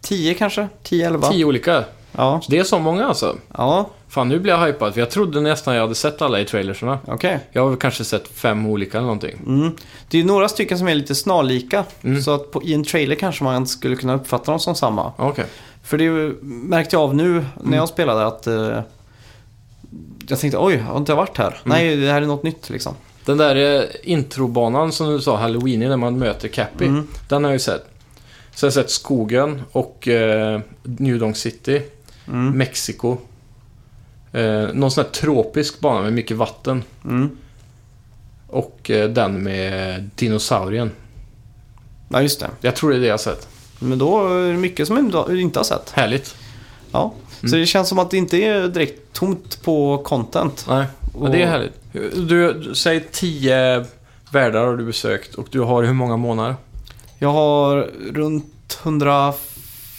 A: 10 kanske? 10, 11?
B: Tio olika.
A: Ja,
B: Så det är så många alltså.
A: ja.
B: Fan, nu blir jag hypad. För jag trodde nästan jag hade sett alla i trailerserna.
A: okej.
B: Jag har väl kanske sett fem olika eller någonting.
A: Mm. Det är ju några stycken som är lite snarlika.
B: Mm.
A: Så att på, i en trailer kanske man skulle kunna uppfatta dem som samma.
B: Okej.
A: För det är ju- märkte jag av nu
B: Mm.
A: när jag spelade att eh, jag tänkte oj, har inte jag varit
B: Mm.
A: här? Nej, det här är något nytt liksom.
B: Den där eh, introbanan som du sa, Halloween, när man möter Cappy. Den har jag ju sett. Sen har jag sett skogen och eh, New Donk City.
A: Mm.
B: Mexiko. Eh, någon sån här tropisk bana med mycket vatten.
A: Mm.
B: Och eh, den med dinosaurien.
A: Ja, just det.
B: Jag tror det är det jag har sett.
A: Men då är det mycket som jag inte har sett.
B: Härligt.
A: Ja.
B: Mm.
A: Så det känns som att det inte är direkt tomt på content.
B: Nej, men det är härligt. Du, du säger tio världar har du besökt och du har hur många månader?
A: Jag har runt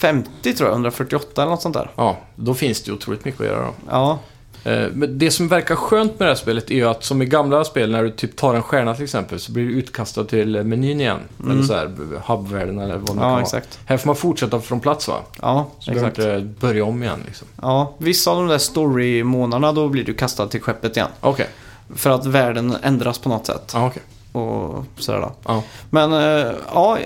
A: 150 tror jag, 148 eller något sånt där.
B: Ja, då finns det ju otroligt mycket att göra då.
A: Ja,
B: Eh, Men det som verkar skönt med det här spelet är ju att som i gamla spel när du typ tar en stjärna till exempel så blir du utkastad till eh, menyn igen. Eller så här hubvärlden eller vad det nu kan
A: Mm. ja
B: vara.
A: exakt.
B: Här får man fortsätta från plats va?
A: Ja,
B: Så behöver
A: exakt.
B: du inte börja om igen liksom.
A: Ja, vissa av de där story-månaderna då blir du kastad till skeppet igen.
B: Okej,
A: För att världen ändras på något sätt.
B: ja okej.
A: Och sådär då.
B: Ja.
A: Men eh, ja,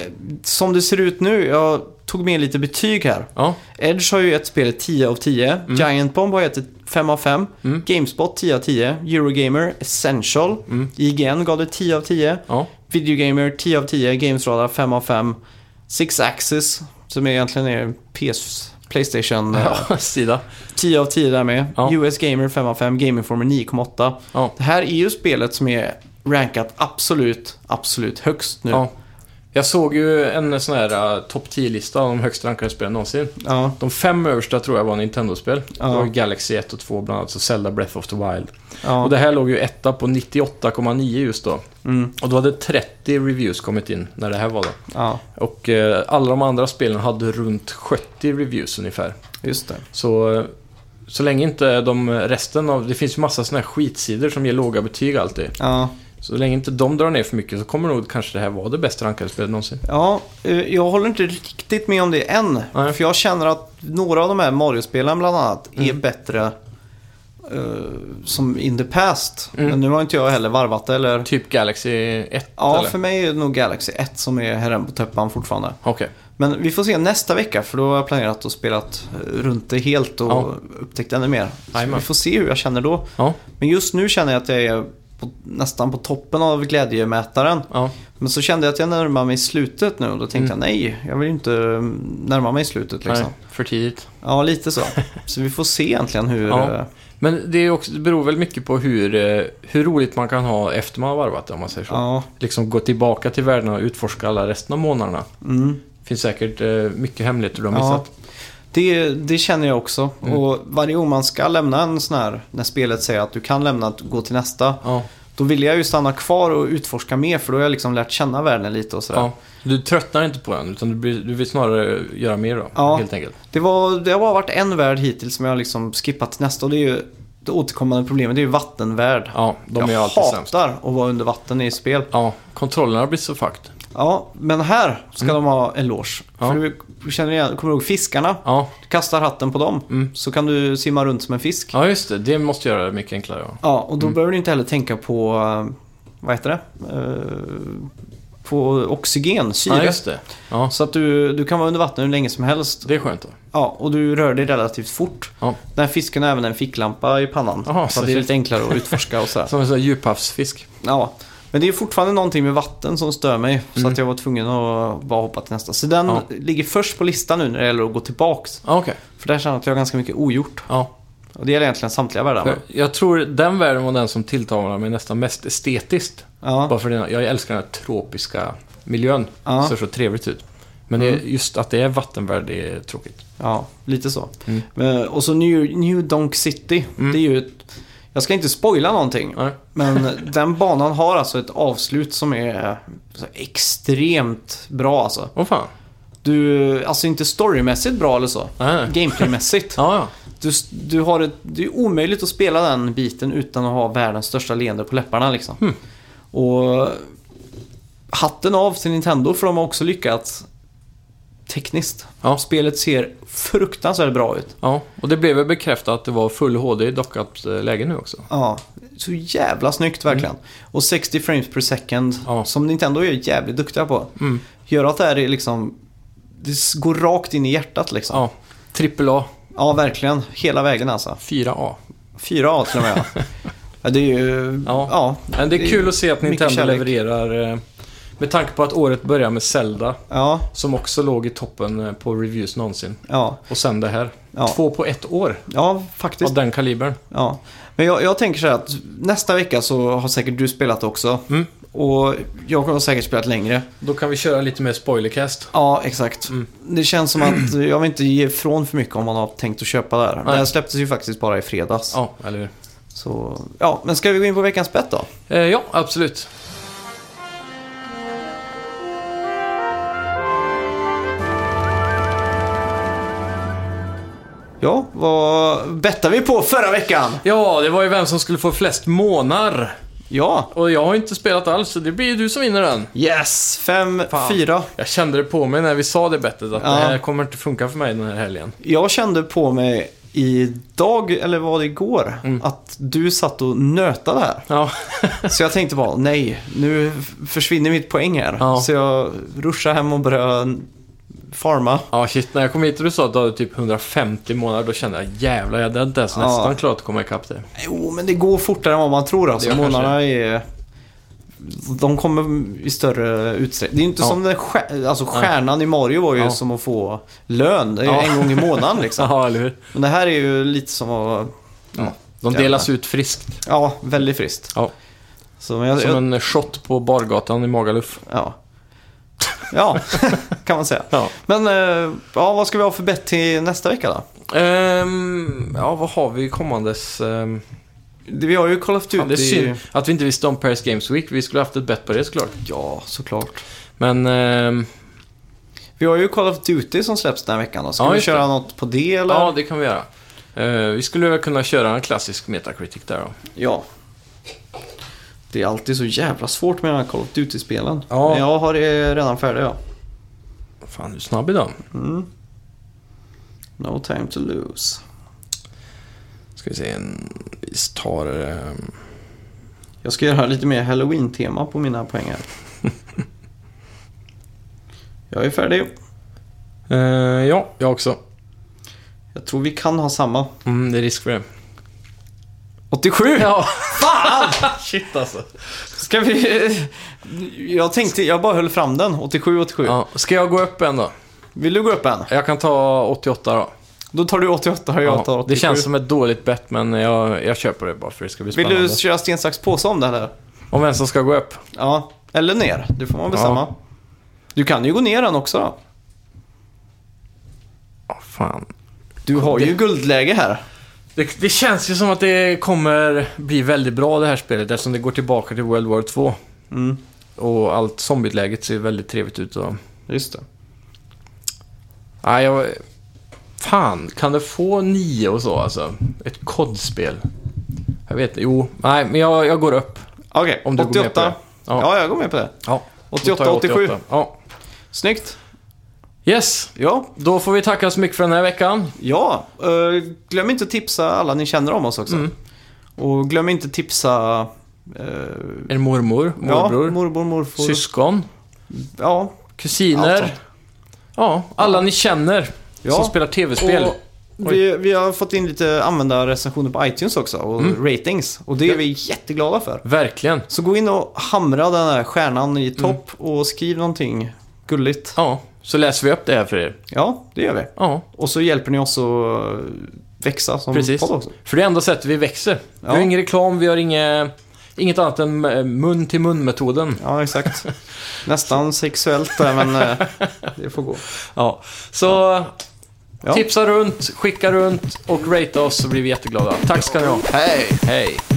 A: som det ser ut nu, jag tog med lite betyg här.
B: Ja.
A: Edge har ju ett spel 10 av 10. Giant Bomb har gett ett 5 av 5.
B: Mm.
A: Gamespot 10 av 10. Eurogamer Essential.
B: Mm.
A: IGN gav det 10 av 10.
B: Ja.
A: Videogamer 10 av 10. Gamesradar 5 av 5. Six Axis, som är egentligen är PS, Playstation, eh,
B: ja. Sida.
A: 10 av 10 där med.
B: Ja.
A: US Gamer 5 av 5. Game Informer 9,8.
B: Ja.
A: Det här är ju spelet som är rankat absolut, absolut högst nu.
B: Ja. Jag såg ju en sån här uh, topp 10-lista av de högst rankade spelen någonsin.
A: Ja.
B: De fem översta tror jag var Nintendo-spel.
A: Ja.
B: Det var Galaxy 1 och 2 bland annat, så Zelda Breath of the Wild.
A: ja.
B: Och det här låg ju etta på 98,9 just då.
A: Mm.
B: Och då hade 30 reviews kommit in när det här var då.
A: ja,
B: Och eh, alla de andra spelen hade runt 70 reviews ungefär.
A: just det.
B: Så, eh, så länge inte de resten av... Det finns ju massa såna här skitsidor som ger låga betyg alltid.
A: Ja.
B: Så länge inte de drar ner för mycket så kommer nog kanske det här vara det bästa rankade spelet någonsin.
A: Ja, eh, jag håller inte riktigt med om det än.
B: Nej.
A: För jag känner att några av de här Mario-spelen bland annat
B: Mm.
A: är bättre eh, som in the past.
B: Mm.
A: Men nu har inte jag heller varvat det, eller...
B: Typ Galaxy 1
A: Ja,
B: eller?
A: för mig är det nog Galaxy 1 som är herren på täppan fortfarande.
B: Okej.
A: Men vi får se nästa vecka för då har jag planerat att spela runt det helt och
B: Ja.
A: upptäckt ännu mer. Så
B: Jajamän.
A: vi får se hur jag känner då.
B: Ja.
A: Men just nu känner jag att jag är på, nästan på toppen av glädjemätaren.
B: Ja.
A: Men så kände jag att jag närmar mig slutet nu och då tänkte
B: Mm.
A: jag nej, jag vill ju inte eh, närma mig slutet liksom.
B: Nej, för tidigt.
A: Ja, lite så. Så vi får se egentligen hur...
B: Ja.
A: eh,
B: Men det, är också, det beror väl mycket på hur, eh, hur roligt man kan ha efter man har varvat det, om man säger så.
A: ja
B: Liksom gå tillbaka till världen och utforska alla resten av månaderna.
A: mm.
B: finns säkert eh, mycket hemligheter du har
A: Ja.
B: missat.
A: Det, det känner jag också.
B: Mm.
A: Och varje gång man ska lämna en sån här, när spelet säger att du kan lämna, att gå till nästa.
B: Ja.
A: Då vill jag ju stanna kvar och utforska mer för då har jag liksom lärt känna världen lite och sådär.
B: Ja. Du tröttnar inte på den, utan du, blir, du vill snarare göra mer då,
A: Ja.
B: helt enkelt.
A: Det, var, det har bara varit en värld hittills som jag har liksom skippat till nästa och det är ju det återkommande problemet, det är ju vattenvärld.
B: Ja, de är ju
A: jag
B: alltid
A: hatar
B: sämst.
A: att vara under vatten i spel.
B: Ja, kontrollerna blir så fucked.
A: Ja, men här ska de ha eloge.
B: Mm. Ja.
A: För du, du känner igen, kommer du ihåg fiskarna?
B: Ja.
A: Du kastar hatten på dem
B: Mm.
A: så kan du simma runt som en fisk.
B: ja, just det. Det måste göra det mycket enklare. Ja.
A: Ja, och då behöver du inte heller tänka på, eh, vad heter det? Eh, På oxygen,
B: ja,
A: syre.
B: just det. Ja,
A: så att du, du kan vara under vatten hur länge som helst.
B: det är skönt då.
A: Ja, och du rör dig relativt fort.
B: Ja.
A: Den här fisken har även en ficklampa i pannan.
B: Jaha,
A: så
B: så
A: det är
B: shit.
A: lite enklare att utforska och sådär.
B: Som en sån här djuphavsfisk.
A: Ja. Men det är fortfarande någonting med vatten som stör mig. Så
B: Mm.
A: att jag var tvungen att bara hoppa till nästa. Så den
B: Ja.
A: ligger först på listan nu när det gäller att gå tillbaks.
B: Ja, okej.
A: För där känner jag att jag har ganska mycket ogjort.
B: Ja.
A: Och det gäller egentligen samtliga världar.
B: Jag,
A: men-
B: jag tror den världen var den som tilltalade mig nästan mest estetiskt.
A: Ja.
B: Bara för den, jag älskar den här tropiska miljön.
A: Ja. Mm.
B: Det ser så trevligt ut. Men det, just att det är vattenvärld, det är tråkigt.
A: Ja, lite så.
B: Mm.
A: Men, och så New, New Donk City.
B: Mm.
A: Det är ju ett, Jag ska inte spoila någonting.
B: Nej.
A: Men den banan har alltså ett avslut som är så extremt bra alltså.
B: Åh fan.
A: Du, alltså inte storymässigt bra eller så.
B: Nej.
A: Gameplaymässigt.
B: Ja, ja.
A: Du, du har ett, det är omöjligt att spela den biten utan att ha världens största leende på läpparna liksom.
B: Hmm.
A: Och hatten av till Nintendo för de har också lyckats tekniskt.
B: Ja.
A: Spelet ser fruktansvärt bra ut.
B: ja. Och det blev väl bekräftat att det var full HD i dockat eh, läge nu också.
A: Ja, så jävla snyggt verkligen. Och 60 frames per second,
B: Mm. Ja.
A: som Nintendo är jävligt duktiga på,
B: Mm.
A: gör att det här är liksom... Det s- går rakt in i hjärtat liksom. Ja,
B: Ja. Trippel A,
A: verkligen. Hela vägen alltså.
B: 4A.
A: 4A till och med. ja. ja, det är ju...
B: Ja.
A: Ja.
B: Men det är kul att se att
A: mycket
B: Nintendo
A: kärlek.
B: levererar. eh, Med tanke på att året börjar med Zelda,
A: Ja,
B: som också låg i toppen eh, på reviews någonsin.
A: ja,
B: Och sen det här.
A: Ja.
B: Två på ett år.
A: ja
B: Av
A: faktiskt.
B: den kalibern.
A: Ja. Men jag, jag tänker så här att nästa vecka så har säkert du spelat också.
B: Mm.
A: Och jag har säkert spelat längre.
B: Då kan vi köra lite mer spoilercast.
A: Ja, exakt.
B: Mm.
A: Det känns som att jag vill inte ge ifrån för mycket om man har tänkt att köpa där. Det här
B: Nej.
A: släpptes ju faktiskt bara i fredags.
B: Ja, eller
A: Så, ja, men ska vi gå in på veckans bett då?
B: eh, Ja, absolut.
A: Ja, vad bettade vi på förra veckan?
B: Ja, det var ju vem som skulle få flest månar.
A: Ja.
B: Och jag har inte spelat alls, så det blir ju du som vinner den.
A: Yes, fem
B: Fan.
A: fyra.
B: Jag kände det på mig när vi sa det bettet att
A: Ja.
B: det här kommer inte funka för mig den här helgen.
A: Jag kände på mig idag, eller var det igår,
B: Mm.
A: att du satt och nötade här.
B: Ja,
A: Så jag tänkte bara, nej, nu försvinner mitt poäng här.
B: Ja.
A: Så jag ruschade hem och började farma.
B: Ja, shit. När jag kom hit och du sa att du hade typ 150 månader, då kände jag jävlar, jag hade inte ens
A: Ja.
B: nästan klarat att komma ikapp det.
A: Jo, men det går fortare än vad man tror alltså.
B: Det gör
A: Månaderna är... De kommer i större utsträckning. Det är ju inte
B: Ja.
A: som den stjär... alltså, stjärnan i Mario var ju
B: Ja.
A: som att få lön. Det är ju
B: Ja.
A: en gång i månaden liksom.
B: Ja, eller hur?
A: Men det här är ju lite som att...
B: Ja. De delas ut friskt.
A: Ja, väldigt friskt.
B: Ja.
A: Så, men jag, jag,
B: Som en shot på bargatan i Magaluf.
A: Ja. Ja, kan man säga.
B: Ja.
A: Men eh, ja, vad ska vi ha för bett till nästa vecka då?
B: Ehm, ja, vad har vi kommandes? Ehm,
A: Det- Vi har ju Call of Duty.
B: fan, det är synd att vi inte visste om Paris Games Week. Vi skulle haft ett bett på det såklart.
A: Ja, såklart.
B: Men ehm,
A: Vi har ju Call of Duty som släpps den här veckan då. Ska
B: Ja,
A: vi
B: just
A: köra
B: det.
A: något på det eller?
B: ja, det kan vi göra. Ehm, vi skulle väl kunna köra en klassisk Metacritic där då.
A: Ja. Det är alltid så jävla svårt med de här Call of Duty-spelen.
B: Ja.
A: Men jag har det redan färdigt ja.
B: Fan, du är snabb idag.
A: No time to lose.
B: Ska vi se, en, vi tar... ehm,
A: Jag ska göra lite mer halloween-tema på mina poäng här. jag är färdig.
B: eh, ja, jag också.
A: Jag tror vi kan ha samma.
B: Mm, det är risk för det.
A: 87!
B: Ja,
A: Fan!
B: shit alltså.
A: Ska vi... Jag tänkte, jag bara höll fram den. 87, 87.
B: Ja, ska jag gå upp en då?
A: Vill du gå upp en?
B: Jag kan ta 88 då.
A: Då tar du 88 och jag tar
B: Ja,
A: 87.
B: det känns som ett dåligt bett, men jag, jag köper det bara för det ska bli
A: Vill
B: spännande.
A: du köra sten, sax, påse om det eller?
B: Om vem som ska gå upp?
A: Ja. Eller ner, det får man bestämma.
B: Ja.
A: Du kan ju gå ner den också då.
B: Ja, fan.
A: Du har ju guldläge här.
B: Det, det känns ju som att det kommer bli väldigt bra det här spelet eftersom det går tillbaka till World War 2.
A: Mm,
B: Och allt zombieläget ser väldigt trevligt ut. Och...
A: just det.
B: Nej, jag... Fan, kan det få nio och så alltså? Ett kodspel. Jag vet inte, jo. Nej, men jag, jag går upp.
A: Okej,
B: Om du
A: 88.
B: går med på det.
A: Ja.
B: Ja.
A: jag går med på det.
B: Ja. Då
A: 88,
B: tar jag
A: 87.
B: Ja.
A: Snyggt.
B: Yes,
A: Ja,
B: då får vi tacka så mycket för den här veckan.
A: ja. Eh, glöm inte att tipsa alla ni känner om oss också.
B: Mm.
A: Och glöm inte att tipsa... eh,
B: Er mormor, morbror,
A: Ja, morbror, morfar.
B: syskon,
A: ja.
B: kusiner.
A: Allt sånt.
B: ja, alla ni känner
A: Ja.
B: som spelar tv-spel.
A: Och vi, vi har fått in lite användarrecensioner på iTunes också och ratings. Och det är vi jätteglada för.
B: Verkligen.
A: Så gå in och hamra den här stjärnan i topp och skriv någonting gulligt.
B: Ja, så läser vi upp det här för er.
A: Ja, det gör vi.
B: Ja,
A: Och så hjälper ni oss att växa som
B: precis.
A: podd också.
B: För det är enda sättet vi växer.
A: Ja.
B: Vi har ingen reklam, vi har inget, inget annat än eh, mun-till-mun-metoden.
A: Ja, exakt. Nästan sexuellt där, men eh, det får gå.
B: Ja. Så
A: Ja.
B: tipsa runt, skicka runt och rate oss så blir vi jätteglada. Tack ska ni ha.
A: Hej!
B: Hej.